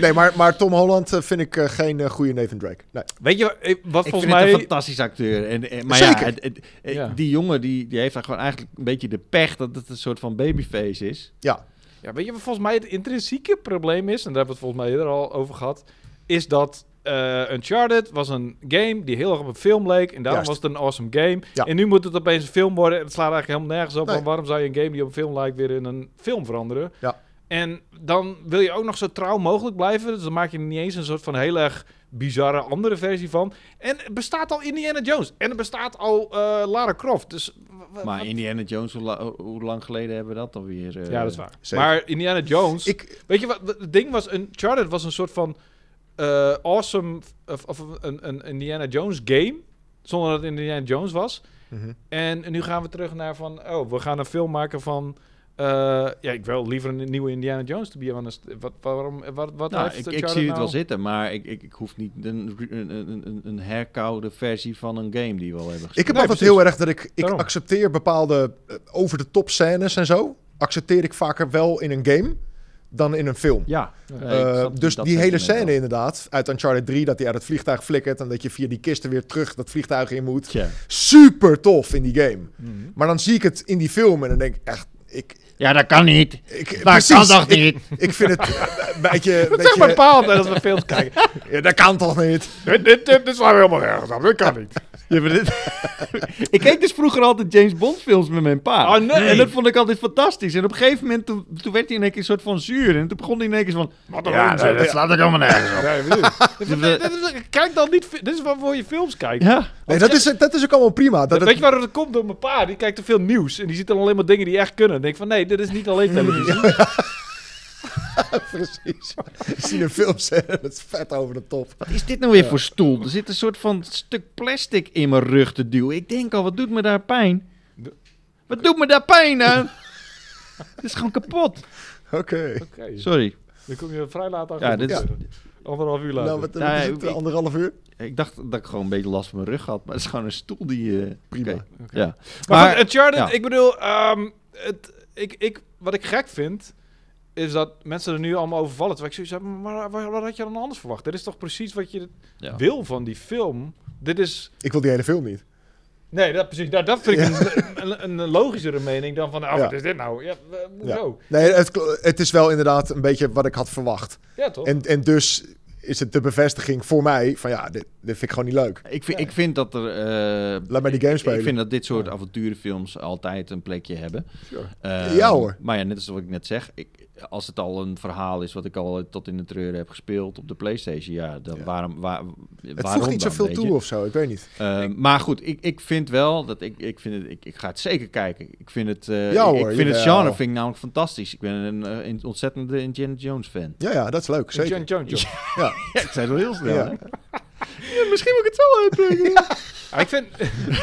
Nee, maar, maar Tom Holland eh, vind ik eh, geen eh, goede Nathan Drake. Nee.
niet? Weet je eh, wat
Ik
volgens
vind het
mij...
een fantastisch acteur. En, en- maar ja,
Zeker.
het- het- eh,
Ja.
die jongen die, die heeft daar gewoon eigenlijk een beetje de pech dat het een soort van babyface is.
Ja,
Ja, weet je wat volgens mij het intrinsieke probleem is? En daar hebben we het volgens mij eerder al over gehad. Is dat eh, Uncharted was een game die heel erg op een film leek. En daarom
Juist.
was het een awesome game.
Ja.
En nu moet het opeens een film worden. Het slaat eigenlijk helemaal nergens op.
Nee.
Want waarom zou je een game die op een film lijkt weer in een film veranderen?
Ja.
En dan wil je ook nog zo trouw mogelijk blijven. Dus dan maak je er niet eens een soort van heel erg bizarre andere versie van. En er bestaat al Indiana Jones. En er bestaat al eh, Lara Croft. Dus w- w-
Maar
wat-
Indiana Jones, hoe, la- hoe lang geleden hebben we dat dan weer? eh,
ja, dat is waar.
zeker.
Maar Indiana Jones...
ik,
Weet je wat, wat het ding was? Uncharted was een soort van eh, awesome, of, of een, een Indiana Jones game, zonder dat het Indiana Jones was.
Mhm.
En nu gaan we terug naar van, oh, we gaan een film maken van, eh, ja, ik wil liever een nieuwe Indiana Jones, to be honest. Wat, waarom, wat, wat
Nou,
heeft
ik, ik
Uncharted
zie het
nou?
wel zitten, maar ik, ik, ik hoef niet een, een, een, een- een herkoude versie van een game die we al hebben
ik
gespeeld.
heb
Nee,
altijd
precies.
heel erg dat ik, ik
Daarom.
accepteer bepaalde eh, over de top scènes en zo. Accepteer ik vaker wel in een game dan in een film.
Ja.
Ja.
nee, ik
Eh,
snap
dus
dat
die hele
sentiment
scène
wel.
inderdaad, uit Uncharted 3, dat hij uit het vliegtuig flikkert en dat je via die kisten weer terug dat vliegtuig in moet.
Tja.
Super tof in die game.
Mhm.
Maar dan zie ik het in die film en dan denk ik echt, ik,
Ja, dat kan niet.
ik
Dat kan toch
ik,
niet?
ik vind het eh, een beetje, een
Dat zegt maar
beetje
bepaald hè, als we films kijken.
ja, dat kan toch niet?
dit, dit, dit, dit slaat helemaal nergens op, dit kan niet.
ik keek dus vroeger altijd James Bond films met mijn pa.
Oh, nee.
En dat vond ik altijd fantastisch. En op een gegeven moment, toen, toen werd hij in één keer een soort van zuur. En toen begon hij in één keer zo van...
Wat een onzin.
slaat ik allemaal nergens
Nee, dit is- dit- dit is- Kijk dan niet, fi- dit is waarvoor je films kijkt.
Ja.
Nee, dat is, dat is ook allemaal prima. Dat
Weet
het-
je waar dat komt? Door mijn pa. Die kijkt te veel nieuws. En die ziet dan alleen maar dingen die echt kunnen. En denk van, nee, dit is niet alleen televisie.
precies. Ik zie een film scène, dat is vet over de top.
Wat is dit nou weer voor stoel? Er zit een soort van stuk plastic in mijn rug te duwen. Ik denk al, wat doet me daar pijn?
De-
Wat doet me daar pijn aan? Het is gewoon kapot.
Oké.
Oké.
Sorry.
Dan kom je vrij laat achter.
Ja, dit is-
Anderhalf uur later.
Nou, wat, wat
Nou,
is het,
ik-
anderhalf uur?
Ik dacht dat ik gewoon een beetje last van mijn rug had. Maar het is gewoon een stoel die... eh,
Prima.
oké. Ja.
maar
Maar-
goed, Uncharted,
ja.
ik bedoel... ehm, het, ik, ik, wat ik gek vind... Is dat mensen er nu allemaal over vallen. Terwijl ik zoiets heb, maar wa- wat had je dan anders verwacht? Dit is toch precies wat je
Ja.
wil van die film? Dit is...
Ik wil die hele film niet.
Nee, dat, precies. Dat, dat vind ik een, een, een logischere mening dan van... Ah,
Ja.
wat is dit nou? Ja, eh, hoezo?
Nee, het, kl- het is wel inderdaad een beetje wat ik had verwacht.
Ja, toch?
En, en dus is het de bevestiging voor mij van ja, dit, dit vind ik gewoon niet leuk.
Ik vind, ik vind dat er... eh,
Laat mij die game
ik-
spelen.
Ik vind dat dit soort avonturenfilms altijd een plekje hebben. Eh,
Ja, hoor.
Maar ja, net als wat ik net zeg. Ik, als het al een verhaal is wat ik al tot in de treuren heb gespeeld op de Playstation. Ja, dan
Ja.
waarom... Waar,
Het
waarom
voegt niet
dan,
zoveel
weet je?
toe of zo, ik weet niet.
Eh, maar goed, ik, ik vind wel dat ik, ik, vind het, ik, ik ga het zeker kijken. Ik vind het, eh,
Ja
ik-
hoor,
ik vind het
jawel.
genre vind ik namelijk fantastisch. Ik ben een eh, een ontzettende Indiana Jones fan.
Ja, ja, dat is leuk,
John,
zeker.
John, John.
Ja.
Ja, ik zei het wel heel snel.
Ja.
hè? Ja, misschien moet ik het zo uitbrengen.
Ah, ik, vind,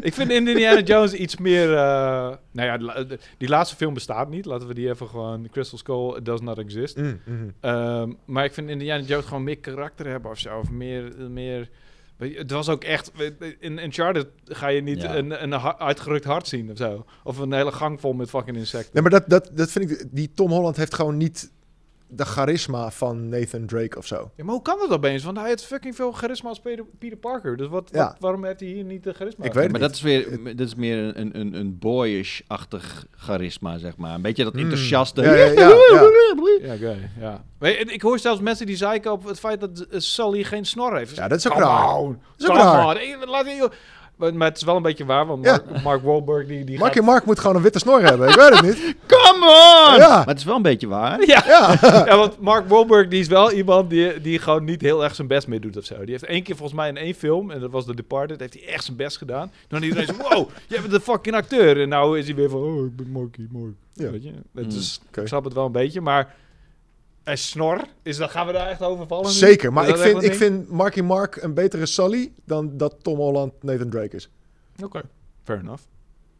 ik vind Indiana Jones iets meer... eh, nou ja, de la- de- die laatste film bestaat niet. Laten we die even gewoon... Crystal Skull does not exist.
Mm, mhm.
Ehm, maar ik vind Indiana Jones gewoon meer karakter hebben of zo. Of meer... meer weet je, het was ook echt... In Uncharted ga je niet
Ja.
een, een ha- uitgerukt hart zien of zo. Of een hele gang vol met fucking insecten.
Nee, maar dat, dat, dat vind ik, die Tom Holland heeft gewoon niet de charisma van Nathan Drake of zo.
Ja, maar hoe kan dat opeens? Want hij heeft fucking veel charisma als Peter, Peter Parker. Dus wat,
Ja.
wat- waarom heeft hij hier niet de charisma?
Ik weet het
maar
niet.
dat is, weer, dat is meer een- een, een, een boyish-achtig charisma, zeg maar. Een beetje dat
Hmm.
Mm.
enthousiaste.
Ja, ja, ja, ja.
Ja, oké. ja. Weet je, ik hoor zelfs mensen die zeiken op het feit dat eh, Sully geen snor heeft.
Ja, dat is ook
Come
raar.
on.
is ook
Come
raar.
on. Eh, laat die- maar, maar het is wel een beetje waar, want
Ja.
Mark, Mark Wahlberg die, die
Mark
gaat...
en Mark moet gewoon een witte snor hebben, ik weet het niet.
Come on!
Ja.
Maar het is wel een beetje waar.
Ja.
Ja,
ja, want Mark Wahlberg die is wel iemand die, die gewoon niet heel erg zijn best mee doet of zo. Die heeft één keer volgens mij in één film, en dat was The Departed, heeft hij echt zijn best gedaan. Dan iedereen zo, wow, jij bent een fucking acteur. En nou is hij weer van, oh, ik ben Marky Mark.
Ja.
Weet je? Het
Mm.
is,
Oké.
Ik snap het wel een beetje, maar een snor, is, dat, gaan we daar echt over vallen? nu?
zeker. Maar
Is
ik
dat echt
vind,
een
ik
ding?
vind Marky Mark een betere Sully dan dat Tom Holland Nathan Drake is.
Oké, fair enough.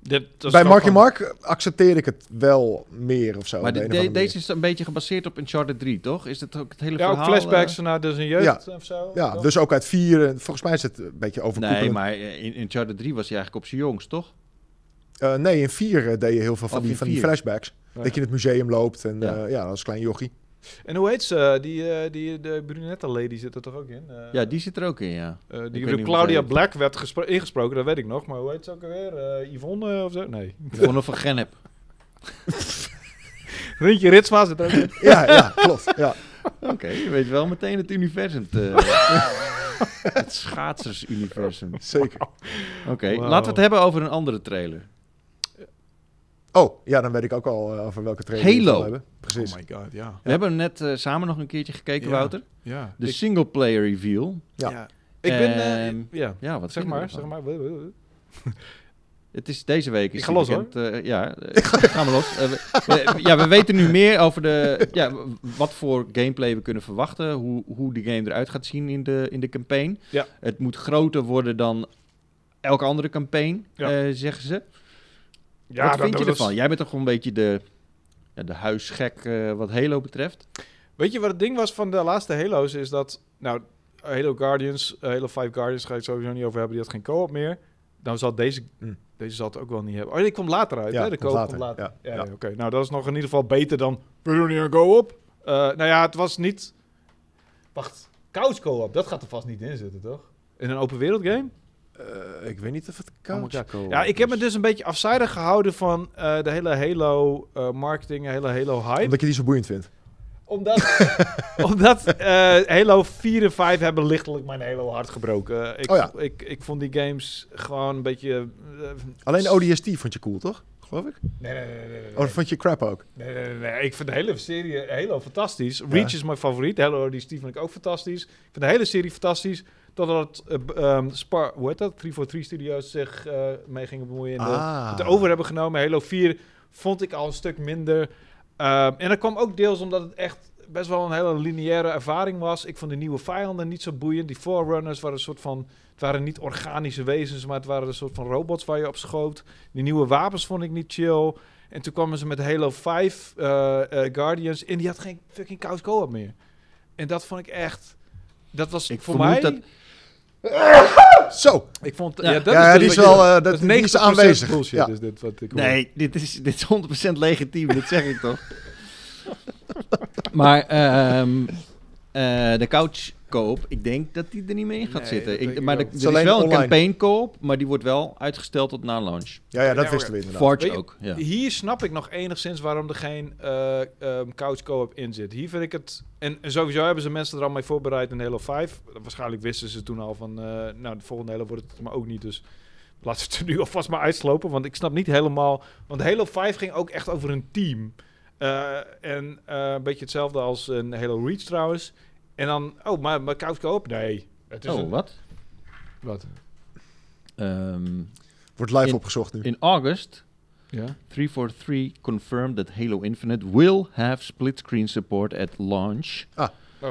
Dit, dat is
Bij
toch
Marky
gewoon-
Mark accepteer ik het wel meer of zo.
maar
op de
de-
een of
de-
andere
deze is een beetje gebaseerd op Uncharted 3, toch? Is dat ook het hele
Ja, ook
verhaal?
flashbacks
eh?
naar dus een jeugd of zo.
manier. Ja,
toch?
dus ook uit vier. en Volgens mij is het een beetje overkoepelend.
nee, maar eh, in in Uncharted 3 was hij eigenlijk op zijn jongst, toch?
Eh, nee, in vier eh, deed je heel veel van,
Oh,
die,
in
van die
vier.
flashbacks.
Ja.
Dat je in het museum loopt en eh,
Ja.
ja, ja als klein jochie.
En hoe heet ze? Die, eh, die, de brunette lady zit er toch ook in? Eh,
Ja, die zit er ook in, ja.
Eh,
Ik weet
die
niet
door
hoe
Claudia
zij heet.
Black werd gespro- ingesproken, dat weet ik nog. Maar hoe heet ze ook alweer? Eh, Yvonne eh, of zo? Nee.
Yvonne van Gennep.
Rintje Ritsma zit er ook in.
Ja, ja, klopt. Ja.
Oké, je weet wel meteen het universum te... het schaatsersuniversum.
Zeker.
Oké,
Wauw.
laten we het hebben over een andere trailer.
Oh, ja, dan weet ik ook al eh, over welke trailer we het
Halo.
wil hebben. Precies.
Oh my god, ja.
We hebben hem net eh, samen nog een keertje gekeken,
Ja.
Wouter.
Ja.
De singleplayer reveal.
Ja.
Ik ben...
Ehm,
eh ja,
Ja, wat
zeg
vind je
maar,
ervan?
zeg maar.
Het is deze week. Is
Ik ga
die
los, hoor.
bekend, eh, ja, eh, gaan we los. Eh, we- eh, ja, we weten nu meer over de, ja, w- wat voor gameplay we kunnen verwachten. Hoe, hoe die game eruit gaat zien in de, in de campaign.
Ja.
Het moet groter worden dan elke andere campaign,
Ja.
eh, zeggen ze.
Ja,
wat
dat-
vind je
dat is-
ervan? Jij bent toch een beetje de, ja, de huisgek eh, wat Halo betreft?
Weet je wat het ding was van de laatste Halo's? Is dat, nou, Halo Guardians, eh, Halo 5 Guardians ga ik sowieso niet over hebben. Die had geen co-op meer. Dan zal deze, hm,
Mm.
deze zal het ook wel niet hebben. Oh, die komt later uit.
Ja,
hè? De
komt
co-op
later,
komt later. Ja,
ja,
ja,
ja.
oké. Nou, dat is nog in ieder geval beter dan, we doen hier een co-op. Eh, nou ja, het was niet... Wacht, couch co-op, dat gaat er vast niet in zitten, toch? In een open wereld game?
Eh, ik weet niet of het
Oh
kan.
my God.
Ja, ik heb me dus een beetje afzijdig gehouden van eh, de hele Halo eh, marketing, de hele Halo hype.
Omdat je die zo boeiend vindt.
Omdat, omdat eh, Halo 4 en 5 hebben lichtelijk mijn Halo hart gebroken. Eh, ik,
Oh ja.
ik, ik vond die games gewoon een beetje... eh,
Alleen ODST vond je cool, toch? Geloof ik?
Nee, nee, nee, nee, nee, nee.
Of vond je crap ook?
Nee, nee, nee, nee. Ik vind de hele serie Halo fantastisch. Reach is mijn favoriet. Halo die Steve vind ik ook fantastisch. Ik vind de hele serie fantastisch. Totdat eh, b- ehm, Spar, hoe heet dat? 343 Studios zich eh, mee gingen bemoeien. In de,
Ah.
Het over hebben genomen. Halo 4 vond ik al een stuk minder. Ehm, en dat kwam ook deels omdat het echt best wel een hele lineaire ervaring was. Ik vond de nieuwe vijanden niet zo boeiend. Die Forerunners waren een soort van... Het waren niet organische wezens, maar het waren een soort van robots waar je op schoot. Die nieuwe wapens vond ik niet chill. En toen kwamen ze met Halo 5 eh, eh, Guardians. En die had geen fucking couch co-op meer. En dat vond ik echt... Dat was
Ik
voor
vermoed
mij...
dat-
Zo,
Ik vond...
Ja.
dat
Ja,
dus
ja,
een
die is
beetje-
wel, eh, dat- die is
90%
aanwezig.
bullshit
Ja.
is dit wat ik hoor.
Nee, dit is, dit is 100% legitiem, dat zeg ik toch? Maar ehm, eh, de couch koop, ik denk dat die er niet meer in gaat
Nee, dat
zitten.
denk
Ik,
ik
maar
ook.
er,
Het is
er is
alleen
wel een
online.
campaign koop, maar die wordt wel uitgesteld tot na launch.
Ja, ja, dat
Ja,
wisten
maar-
we inderdaad.
Forge
Weet je-
ook. Ja.
Hier snap ik nog enigszins waarom er geen eh, ehm, couch co-op in zit. Hier vind ik het... En, en sowieso hebben ze mensen er al mee voorbereid in Halo 5. Waarschijnlijk wisten ze toen al van... eh, nou, de volgende Halo wordt het maar ook niet, dus... Laten we het er nu alvast maar uitslopen, want ik snap niet helemaal... Want Halo 5 ging ook echt over een team. Eh, en eh, een beetje hetzelfde als een Halo Reach trouwens. En dan... Oh, maar, maar couch co-op? Nee. Het is
Oh,
een-
wat?
Wat?
Ehm,
Wordt live
In-
opgezocht nu.
in August,
Ja.
343 confirmed that Halo Infinite will have split-screen support at launch.
Oh.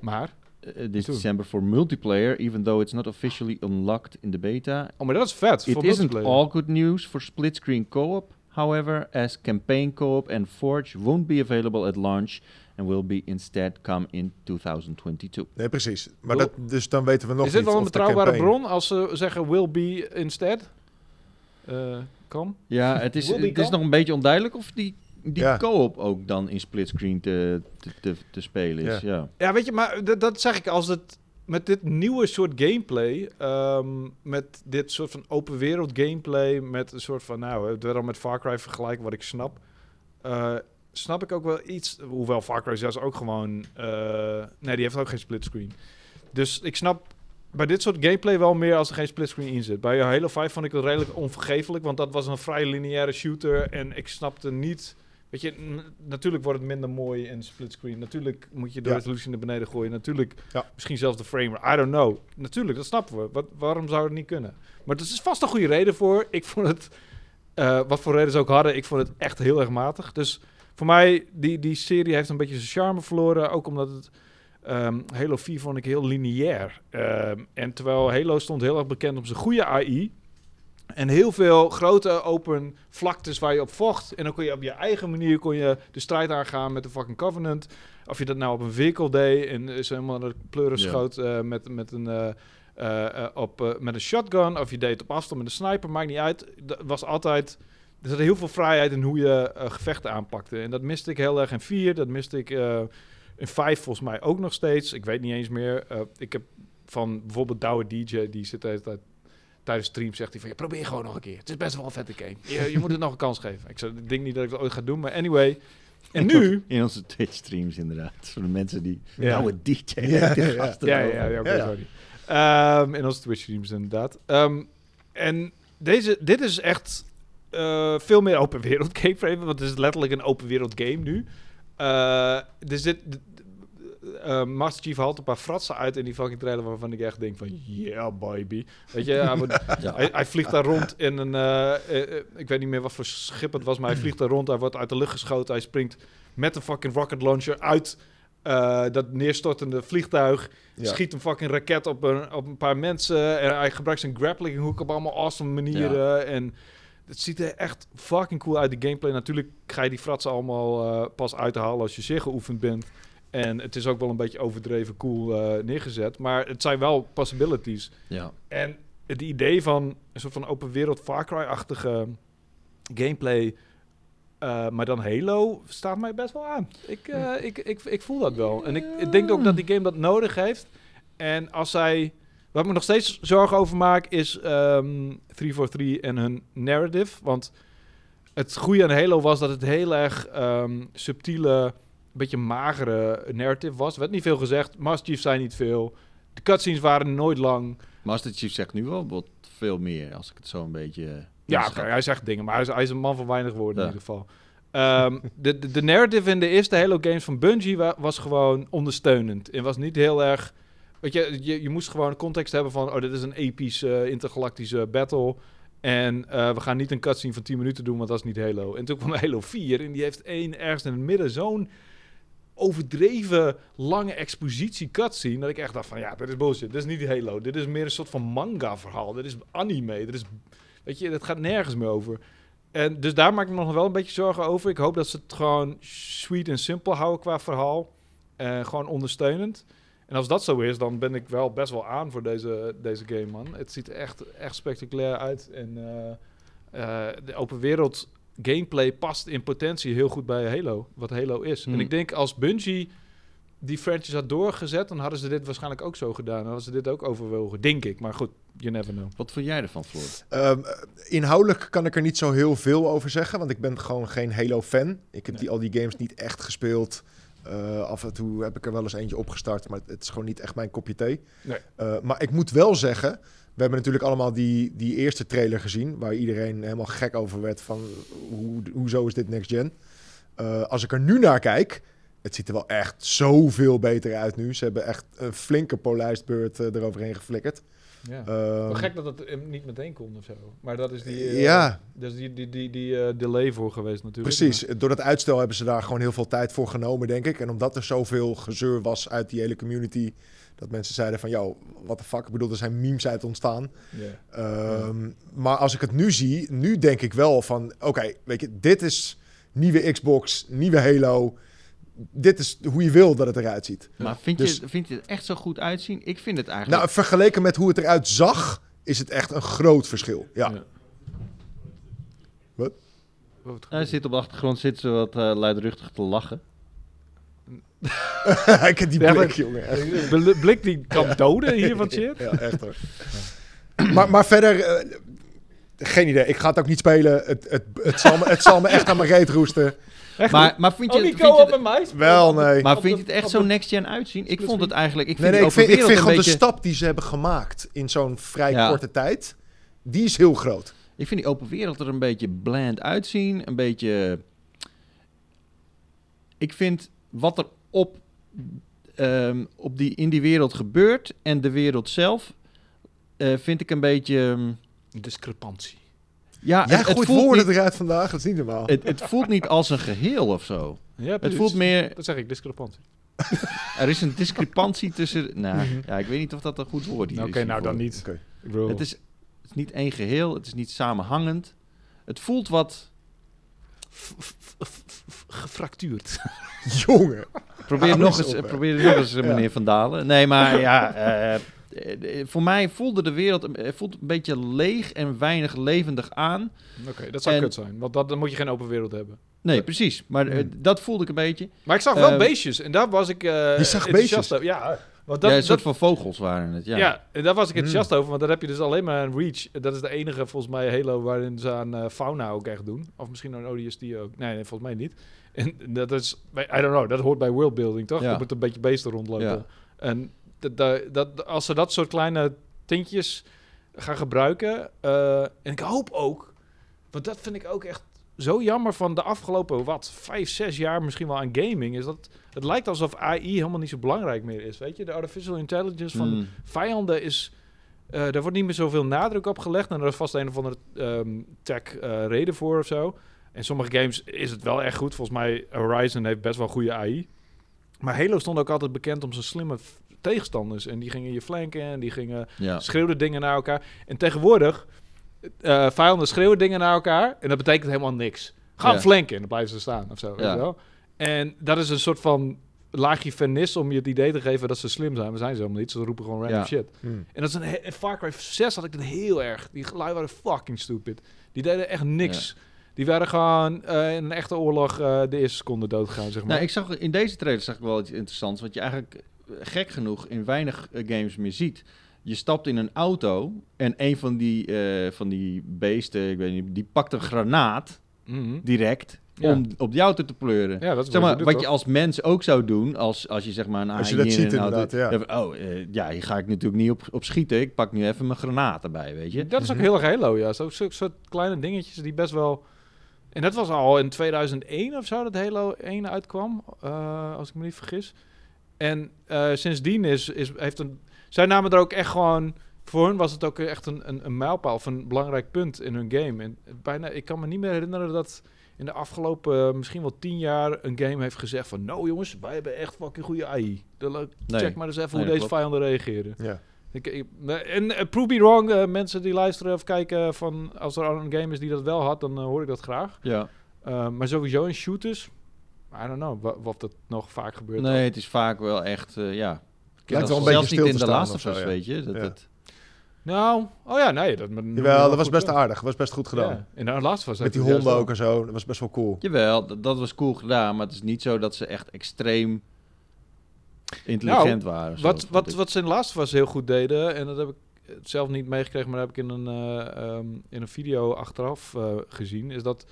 Maar?
uh, this
Toen.
December for multiplayer, even though it's not officially unlocked in the beta.
Oh, maar dat is vet.
It
voor
isn't
multiplayer.
all good news for split screen co op, however, as campaign co op and Forge won't be available at launch and will be instead come in 2022.
Nee, precies. Maar dat, dus dan weten we nog
is dit
niet
wel een
of de
betrouwbare
campaign-
bron als ze zeggen will be instead? Eh, kan?
Ja, het is,
Will die
het is
kan?
nog een beetje onduidelijk of die, die
Ja.
co-op ook dan in split screen te, te, te, te spelen is. Ja.
Ja, weet je, maar dat, dat zeg ik als het met dit nieuwe soort gameplay, ehm, met dit soort van open wereld gameplay, met een soort van, nou, het werd al met Far Cry vergelijken, wat ik snap. eh, snap ik ook wel iets, hoewel Far Cry zelfs ook gewoon, eh, nee, die heeft ook geen splitscreen. Dus ik snap bij dit soort gameplay wel meer als er geen splitscreen in zit. Bij Halo 5 vond ik het redelijk onvergeeflijk, want dat was een vrij lineaire shooter en ik snapte niet. Weet je, n- natuurlijk wordt het minder mooi in splitscreen. Natuurlijk moet je de
Ja.
resolutie naar beneden gooien. Natuurlijk,
Ja.
misschien zelfs de framer. I don't know. Natuurlijk, dat snappen we. Wat, waarom zou het niet kunnen? Maar er is vast een goede reden voor. Ik vond het, eh, wat voor reden ze ook hadden, ik vond het echt heel erg matig. Dus voor mij, die, die serie heeft een beetje zijn charme verloren. Ook omdat het Ehm, Halo 4 vond ik heel lineair. Ehm, en terwijl Halo stond heel erg bekend om zijn goede AI. En heel veel grote open vlaktes waar je op vocht. En dan kon je op je eigen manier kon je de strijd aangaan met de fucking Covenant. Of je dat nou op een vehicle deed en is helemaal naar de pleuren
Ja.
schoot eh, met, met, een, eh, eh, eh, op, eh, met een shotgun. Of je deed het op afstand met een sniper, maakt niet uit. Dat was altijd... Er zat heel veel vrijheid in hoe je eh, gevechten aanpakte. En dat miste ik heel erg in 4. Dat miste ik... eh, in vijf volgens mij ook nog steeds. Ik weet niet eens meer. Eh, ik heb van bijvoorbeeld Douwe DJ, die zit de hele tijd tijdens stream, zegt hij van... Je probeer gewoon nog een keer. Het is best wel een vette game. Je, je moet het nog een kans geven. Ik, zou, ik denk niet dat ik dat ooit ga doen, maar anyway. En nu...
In onze Twitch-streams inderdaad. Voor de mensen die...
Ja.
Nou, het DJ.
Ja,
die
ja, ja.
gasten
Ja,
over.
ja, ja, oké,
Ja, ja.
sorry. Ehm, in onze Twitch streams inderdaad. Ehm, en deze, dit is echt eh, veel meer open wereld gameplay, want het is letterlijk een open wereld game nu. Eh, dus dit, d- d- eh, Master Chief haalt een paar fratsen uit in die fucking trailer waarvan ik echt denk van, yeah baby. Weet je, hij, wordt-
Ja.
hij, hij vliegt daar rond in een, eh, eh, eh, ik weet niet meer wat voor schip het was, maar hij vliegt daar rond, hij wordt uit de lucht geschoten, hij springt met een fucking rocket launcher uit eh, dat neerstortende vliegtuig
Ja.
schiet een fucking raket op een, op een paar mensen. En hij gebruikt zijn grappling hook op allemaal awesome manieren. En het ziet er echt fucking cool uit, de gameplay. Natuurlijk ga je die fratsen allemaal eh, pas uithalen als je zeer geoefend bent. En het is ook wel een beetje overdreven cool eh, neergezet. Maar het zijn wel possibilities.
Ja.
En het idee van een soort van open wereld Far Cry-achtige gameplay... eh, maar dan Halo staat mij best wel aan. Ik, eh, ik, ik, ik voel dat wel. En ik, ik denk ook dat die game dat nodig heeft. En als zij... Waar ik me nog steeds zorgen over maak is ehm 343 en hun narrative. Want het goede aan Halo was dat het heel erg ehm, subtiele, beetje magere narrative was. Er werd niet veel gezegd. Master Chief zei niet veel. De cutscenes waren nooit lang.
Master Chief zegt nu wel wat veel meer, als ik het zo een beetje... eh,
Ja,
inschat.
oké, hij zegt dingen, maar hij is, hij is een man van weinig woorden
Ja.
in ieder geval. Ehm, de, de, de narrative in de eerste Halo games van Bungie wa- was gewoon ondersteunend. En was niet heel erg... Weet je, je, je moest gewoon context hebben van... Oh, dit is een epische eh, intergalactische battle. En eh, we gaan niet een cutscene van 10 minuten doen, want dat is niet Halo. En toen kwam Halo 4 en die heeft één ergens in het midden zo'n overdreven lange expositie cutscene... dat ik echt dacht van, ja, dit is bullshit. Dit is niet Halo. Dit is meer een soort van manga-verhaal. Dit is anime. Dit is Weet je, dat gaat nergens meer over. En dus daar maak ik me nog wel een beetje zorgen over. Ik hoop dat ze het gewoon sweet en simpel houden qua verhaal. Eh, gewoon ondersteunend. En als dat zo is, dan ben ik wel best wel aan voor deze, deze game, man. Het ziet er echt, echt spectaculair uit. En eh, eh, de open wereld gameplay past in potentie heel goed bij Halo. Wat Halo is.
Hmm.
En ik denk als Bungie die franchise had doorgezet, dan hadden ze dit waarschijnlijk ook zo gedaan. Dan hadden ze dit ook overwogen, denk ik. Maar goed, you never know.
Wat vond jij ervan, Floor?
Ehm, inhoudelijk kan ik er niet zo heel veel over zeggen, want ik ben gewoon geen Halo-fan. Ik heb
Nee.
die, al die games niet echt gespeeld. Eh, af en toe heb ik er wel eens eentje opgestart, maar het is gewoon niet echt mijn kopje thee.
Nee.
Eh, maar ik moet wel zeggen, we hebben natuurlijk allemaal die, die eerste trailer gezien, waar iedereen helemaal gek over werd van hoe, hoezo is dit next gen. Eh, als ik er nu naar kijk, het ziet er wel echt zoveel beter uit nu. Ze hebben echt een flinke polijstbeurt eh, eroverheen geflikkerd.
Ja.
Ehm,
Wel gek dat dat eh, niet meteen komt of zo. Maar dat is die, eh,
ja.
dat is die, die, die, die eh, delay voor geweest natuurlijk.
Precies, door dat uitstel hebben ze daar gewoon heel veel tijd voor genomen, denk ik. En omdat er zoveel gezeur was uit die hele community, dat mensen zeiden van, yo, what the fuck? Ik bedoel, er zijn memes uit ontstaan.
Maar- Ja.
Ehm, Maar als ik het nu zie, nu denk ik wel van, oké, weet je, dit is nieuwe Xbox, nieuwe Halo. Dit is hoe je wil dat het eruit ziet.
Maar vind,
Dus-
je, vind je het echt zo goed uitzien? Ik vind het eigenlijk...
Nou, vergeleken met hoe het eruit zag, is het echt een groot verschil. Ja,
Ja.
Wat?
Oh, wat
Hij
goed.
zit op de achtergrond zit ze wat eh, luidruchtig te lachen.
ik heb die
Ja,
blik,
maar-
jongen. echt.
Eh, bl- Blik die kan doden hier van shit.
Ja, echt hoor. Maar, maar verder, eh, geen idee. Ik ga het ook niet spelen. Het, het, het, zal, me, het zal me echt aan mijn reet roesten.
Echt,
Maar, maar vind je,
oh,
vind
niet
je het,
co-op met mij?
Wel, nee.
maar
Op
vind
de-
je het echt
op
zo
de-
next gen uitzien? Ik vond het eigenlijk... Ik
Nee,
vind,
nee, ik
over
vind, ik vind
wereld
gewoon
een
de
beetje,
stap die ze hebben gemaakt in zo'n vrij
Ja.
korte tijd, die is heel groot.
ik vind die open wereld er een beetje bland uitzien. Een beetje... Ik vind wat er op, ehm, op die, in die wereld gebeurt en de wereld zelf... eh, vind ik een beetje... ehm,
Discrepantie.
Ja,
Jij
het, het
gooit
voelt
woorden
niet,
eruit vandaag, dat is niet normaal.
het, het voelt niet als een geheel of zo.
Ja,
Het
precies.
voelt meer...
Dat zeg ik, discrepantie.
Er is een discrepantie tussen. Nou, ja, ik weet niet of dat een goed woord hier
Oké,
is.
nou
hiervoor.
dan niet.
Oké.
Ik bedoel,
Het is, het is niet één geheel, het is niet samenhangend. Het voelt wat.
f- f- f- f- gefractuurd.
Jongen.
Probeer
Hou
nog
eens
eens,
op, hè.
probeer nog eens, eh,
Ja.
meneer Van Dalen. Nee, maar ja. eh, eh, eh, voor mij voelde de wereld een- eh, voelt een beetje leeg en weinig levendig aan.
Oké, dat zou
En-
kut zijn. Want dat, dan moet je geen open wereld hebben.
Nee, precies. Maar eh,
Hmm.
dat voelde ik een beetje.
Maar ik zag wel
Ehm,
beestjes. En daar was ik eh
Je zag
enthousiast
beestjes?
over. Ja, want
ja, een
dat,
soort
dat,
van vogels waren het. Ja.
ja. en daar was ik
Hmm.
enthousiast over. Want daar heb je dus alleen maar een Reach. Dat is de enige, volgens mij, Halo waarin ze aan eh, fauna ook echt doen. Of misschien een ODST ook. Nee, nee, volgens mij niet. En dat is, I don't know, dat hoort bij worldbuilding, toch?
Ja.
Er moet een beetje beesten rondlopen.
Ja.
En dat, dat, dat- als ze dat soort kleine tintjes gaan gebruiken... eh, en ik hoop ook, want dat vind ik ook echt zo jammer van de afgelopen, wat, vijf, zes jaar misschien wel aan gaming... is dat het lijkt alsof AI helemaal niet zo belangrijk meer is, weet je? De artificial intelligence van
Mm.
vijanden is. eh daar wordt niet meer zoveel nadruk op gelegd. En er is vast een of andere ehm, tech eh, reden voor of zo. En sommige games is het wel echt goed. Volgens mij Horizon heeft best wel goede AI. Maar Halo stond ook altijd bekend om zijn slimme f- tegenstanders. En die gingen je flanken en die gingen
ja.
schreeuwden dingen naar elkaar. En tegenwoordig, eh vijanden schreeuwen dingen naar elkaar en dat betekent helemaal niks. Gaan
Ja.
flanken en dan blijven ze staan of zo. weet
Ja.
je wel? En dat is een soort van laagje vernis om je het idee te geven dat ze slim zijn. Maar zijn ze helemaal niet, ze roepen gewoon random
Ja.
shit.
Hmm.
En dat is een he- in Far Cry 6 had ik dat heel erg. Die lui waren fucking stupid. Die deden echt niks. Die waren gewoon eh, in een echte oorlog eh, de eerste seconde doodgegaan, zeg maar.
Nou, ik zag in deze trailer zag ik wel iets interessants, wat je eigenlijk eh, gek genoeg in weinig eh, games meer ziet. Je stapt in een auto en een van die, eh, van die beesten, ik weet niet, die pakt een granaat
Mhm.
direct
Ja.
om op die auto te pleuren.
Ja, dat is
Zeg maar,
doet,
wat
toch?
je als mens ook zou doen, als, als je zeg maar een
Als je
AI
dat
in
ziet
een auto-
inderdaad, ja.
dan van, oh, eh, ja, hier ga ik natuurlijk niet op, op schieten. Ik pak nu even mijn granaat erbij, weet je.
Dat is ook heel erg Halo, ja. Zo, zo, soort kleine dingetjes die best wel... En dat was al in 2001 of zo dat Halo 1 uitkwam, eh, als ik me niet vergis. En eh, sindsdien is, is, heeft een... Zij namen er ook echt gewoon... Voor hun was het ook echt een, een, een mijlpaal of een belangrijk punt in hun game. En bijna, ik kan me niet meer herinneren dat in de afgelopen eh, misschien wel tien jaar een game heeft gezegd van... Nou jongens, wij hebben echt fucking goede AI. De,
Nee.
eh, Check maar eens even
Nee,
hoe
dat
deze
klopt.
vijanden reageren.
Ja.
Ik, ik- en eh, prove me wrong, eh, mensen die luisteren of kijken van als er een game is die dat wel had, dan eh, hoor ik dat graag.
Ja,
Eh, maar sowieso in shooters, I don't know wa- of dat nog vaak gebeurt.
nee, het is vaak wel echt, eh, ja.
Lijkt wel een
Zelfs
beetje stil
niet
te
in de
staan
Last
of
of
zo,
Us,
ja.
weet je. Dat,
Ja.
dat-
Nou, oh ja, nee, dat,
Jawel, dat was best aardig. Dat was best goed gedaan.
En de laatste was
Met die honden ook en zo. Dat was best wel cool.
Jawel, dat, dat was cool gedaan, maar het is niet zo dat ze echt extreem intelligent waren. of zo,
Wat,
vond
wat,
ik.
wat ze in Last was heel goed deden, en dat heb ik eh, zelf niet meegekregen, maar dat heb ik in een, eh, ehm, in een video achteraf eh, gezien, is dat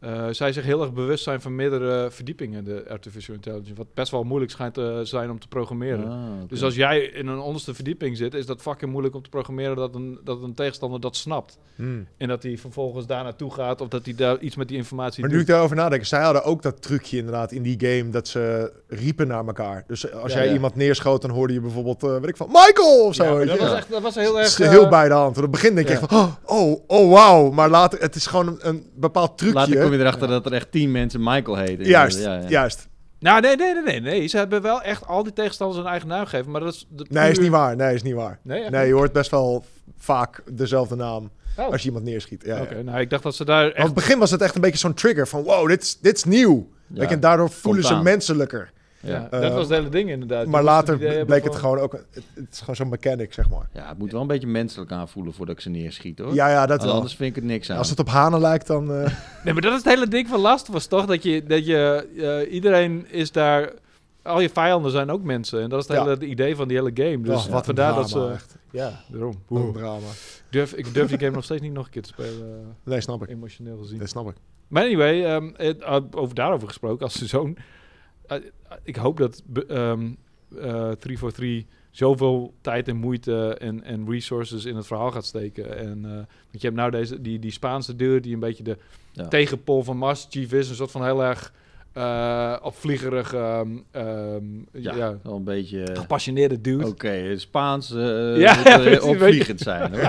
eh, zij zich heel erg bewust zijn van meerdere verdiepingen, de artificial intelligence, wat best wel moeilijk schijnt te zijn om te programmeren.
Ah, oké.
Dus als jij in een onderste verdieping zit, is dat fucking moeilijk om te programmeren dat een, dat een tegenstander dat snapt.
Hmm.
En dat hij vervolgens daar naartoe gaat of dat hij daar iets met die informatie
Maar nu
doet.
ik daarover nadenk, zij hadden ook dat trucje inderdaad in die game dat ze riepen naar elkaar. Dus als
Ja,
jij
ja.
iemand neerschoot, dan hoorde je bijvoorbeeld, eh weet ik van, Michael of zo.
Ja, maar
weet
dat,
je.
was echt, dat was heel
Het
erg...
is heel
eh,
bij de hand. Want op het begin denk je
ja.
echt van, oh, oh wauw. Maar later, het is gewoon een, een bepaald trucje.
Later kom je erachter dat er echt tien mensen Michael heten.
Juist,
Ja, ja.
juist.
Nou, nee, nee, nee, nee, nee. Ze hebben wel echt al die tegenstanders een eigen naam gegeven, maar dat is... de
Nee, is
puur-
niet waar. Nee, is niet waar.
Nee, echt
Nee, je hoort best wel vaak dezelfde naam
Oh.
als je iemand neerschiet. Ja, ja.
Oké, nou, ik dacht dat ze daar
Maar op
echt...
het begin was het echt een beetje zo'n trigger van, wow, dit is, dit is nieuw.
Ja.
Like, en daardoor voelen ze
aan.
menselijker.
Ja.
ja,
Eh,
dat was het hele ding inderdaad. Je
Maar
moest
later
het idee hebben
bleek het
van-
gewoon ook, een- het, het is gewoon zo'n mechanic, zeg maar.
Ja, het moet wel een beetje menselijk aanvoelen voordat ik ze neerschiet hoor.
Ja, ja, dat
Want
wel.
Oh, Anders vind ik het niks aan.
Als het op hanen lijkt, dan... eh,
Nee, maar dat is het hele ding van Last was toch? Dat je, dat je eh, iedereen is daar... Al je vijanden zijn ook mensen. En dat is het
Ja.
hele idee van die hele game. Dus
oh, wat een
vandaar
drama,
dat ze...
echt. Ja,
Daarom.
wat een drama.
Ik durf, ik durf die game nog steeds niet nog een keer te spelen,
Nee, snap
eh,
ik.
emotioneel gezien.
Dat snap ik.
Maar anyway, ehm, het- eh, over daarover gesproken, als de zoon... eh, eh, ik hoop dat be- ehm eh 343 zoveel tijd en moeite en, en resources in het verhaal gaat steken. En, eh, want je hebt nou deze, die, die Spaanse deur die een beetje de
Ja.
tegenpol van Master Chief is. Een soort van heel erg eh opvliegerig, ehm, ehm, ja.
ja, wel een beetje... eh,
gepassioneerde dude.
Oké, eh, Spaans eh
Ja,
moet, eh,
precies, weet
opvliegend zijn hoor.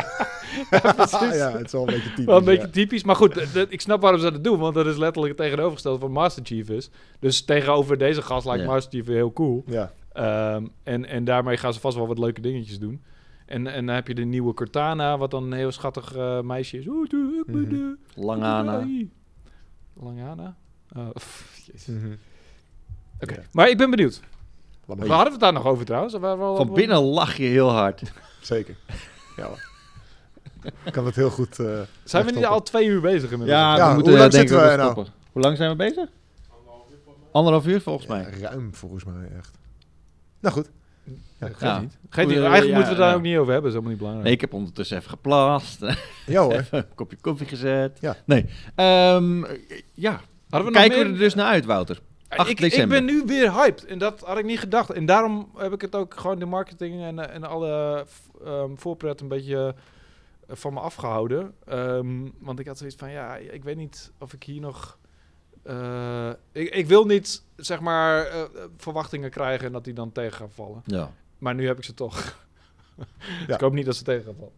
Ah, ja, het is wel een beetje typisch.
Wel een beetje
ja.
typisch, maar goed, dat- dat- ik snap waarom ze dat doen, want dat is letterlijk het tegenovergestelde van Master Chief is. Dus tegenover deze gast lijkt
Ja.
Master Chief weer heel cool.
Ja.
Ehm, en, en daarmee gaan ze vast wel wat leuke dingetjes doen. En, en dan heb je de nieuwe Cortana, wat dan een heel schattig eh, meisje is. Oeh, doe, ik ben,
Mhm.
eh,
Langana.
doei. Langana? Eh, pff, jezus.
Mhm.
Oké,
Ja.
Maar ik ben benieuwd.
Laat maar
Waar hadden we het daar nog over trouwens? Waar- waar-
Van
waar-
binnen lach je heel hard.
Zeker. Ja. hoor. Ik kan het heel goed. eh,
Zijn we niet
wegstoppen.
al twee uur bezig inmiddels?
Ja,
Ja,
we moeten
hoe lang
eh, denk ik
zitten
wel
we nou?
stoppen. Hoe lang zijn we bezig? Anderhalf uur volgens mij.
Ja, ruim volgens mij echt. Nou goed. Ja,
Geeft
Ja.
niet. Geeft niet.
Eh,
Eigenlijk
ja,
moeten we het daar
ja.
ook niet over hebben, is helemaal niet belangrijk.
Nee, ik heb ondertussen even geplast,
Ja hoor.
even een kopje koffie gezet.
Ja.
Nee, Ehm, ja.
Hadden we nog
kijken we
meer-
er dus naar uit, Wouter. 8
ik, ik
december.
ben nu weer hyped en dat had ik niet gedacht. En daarom heb ik het ook gewoon de marketing en, eh, en alle v- ehm, voorpret een beetje eh, van me afgehouden. Ehm, want ik had zoiets van, ja, ik weet niet of ik hier nog... eh, ik, ik wil niet, zeg maar, eh, eh, verwachtingen krijgen en dat die dan tegen gaan vallen.
Ja.
Maar nu heb ik ze toch. Dus
Ja.
ik hoop niet dat ze tegen gaan vallen.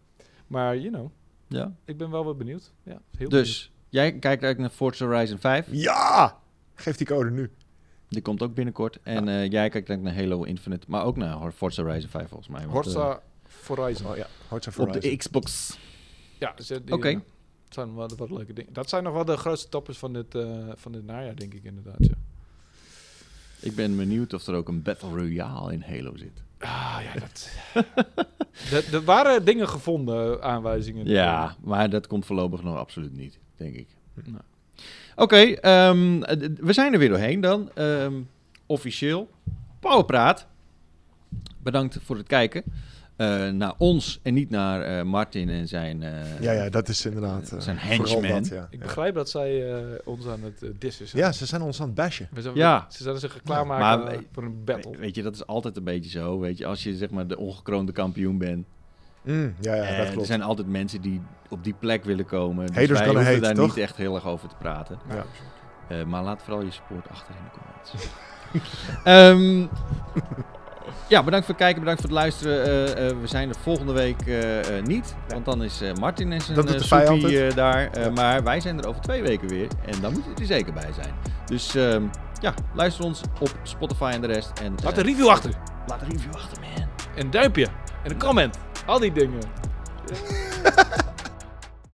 Maar, you know,
ja.
ik ben wel weer benieuwd. Ja, heel
Dus, jij kijkt eigenlijk naar Forza Horizon 5.
Ja! Geef die code nu.
Die komt ook binnenkort. En eh, jij kijkt denk ik naar Halo Infinite. Maar ook naar Forza Horizon 5 volgens mij.
benieuwd.
want, eh,
Horza Horizon.
Oh ja, Hearts of
op de
Horizon.
Xbox.
Ja, dus dat- die-
Oké.
ja, het zijn wel wat leuke dingen. Dat zijn nog wel de grootste toppers van dit, eh, van dit najaar, denk ik inderdaad. Ja.
Ik ben benieuwd of er ook een Battle Royale in Halo zit.
Ah, ja, dat... er, er waren dingen gevonden, eh, aanwijzingen.
Ja, maar dat komt voorlopig nog absoluut niet, denk ik.
Nou.
Oké, ehm, eh, d- we zijn er weer doorheen dan. Ehm, officieel. Pauwpraat. Bedankt voor het kijken. eh, naar ons en niet naar eh, Martin en zijn... eh,
Ja, ja, dat is inderdaad. eh,
Zijn
vooral
henchmen.
dat, ja.
Ik
Ja.
begrijp dat zij eh, ons aan het eh, dissen zijn.
ja, ze zijn ons aan het bashen.
We zijn
Ja.
Ze zouden zich klaarmaken
Maar
eh,
wij-
voor een battle.
We- Weet je, dat is altijd een beetje zo. Weet je, als je zeg maar de ongekroonde kampioen bent.
Mm, ja, ja,
eh,
dat
er
klopt.
zijn altijd mensen die op die plek willen komen. Dus
Haters
wij
gonna
hoeven
hate,
daar
toch?
niet echt heel erg over te praten.
Nou,
Ja.
Eh, maar laat vooral je support achter in de comments. Ehm, ja, bedankt voor het kijken, bedankt voor het luisteren. Eh, eh, we zijn er volgende week eh, eh, niet, want dan is eh, Martin en zijn
Dat doet
eh,
de vijand
soepie,
het.
eh, daar. Eh,
Ja.
Maar wij zijn er over twee weken weer en dan moet je er zeker bij zijn. Dus ehm, ja, luister ons op Spotify en de rest. En, eh,
Laat een review achter.
laat een review achter, man.
Een duimpje. En een comment. Al die dingen.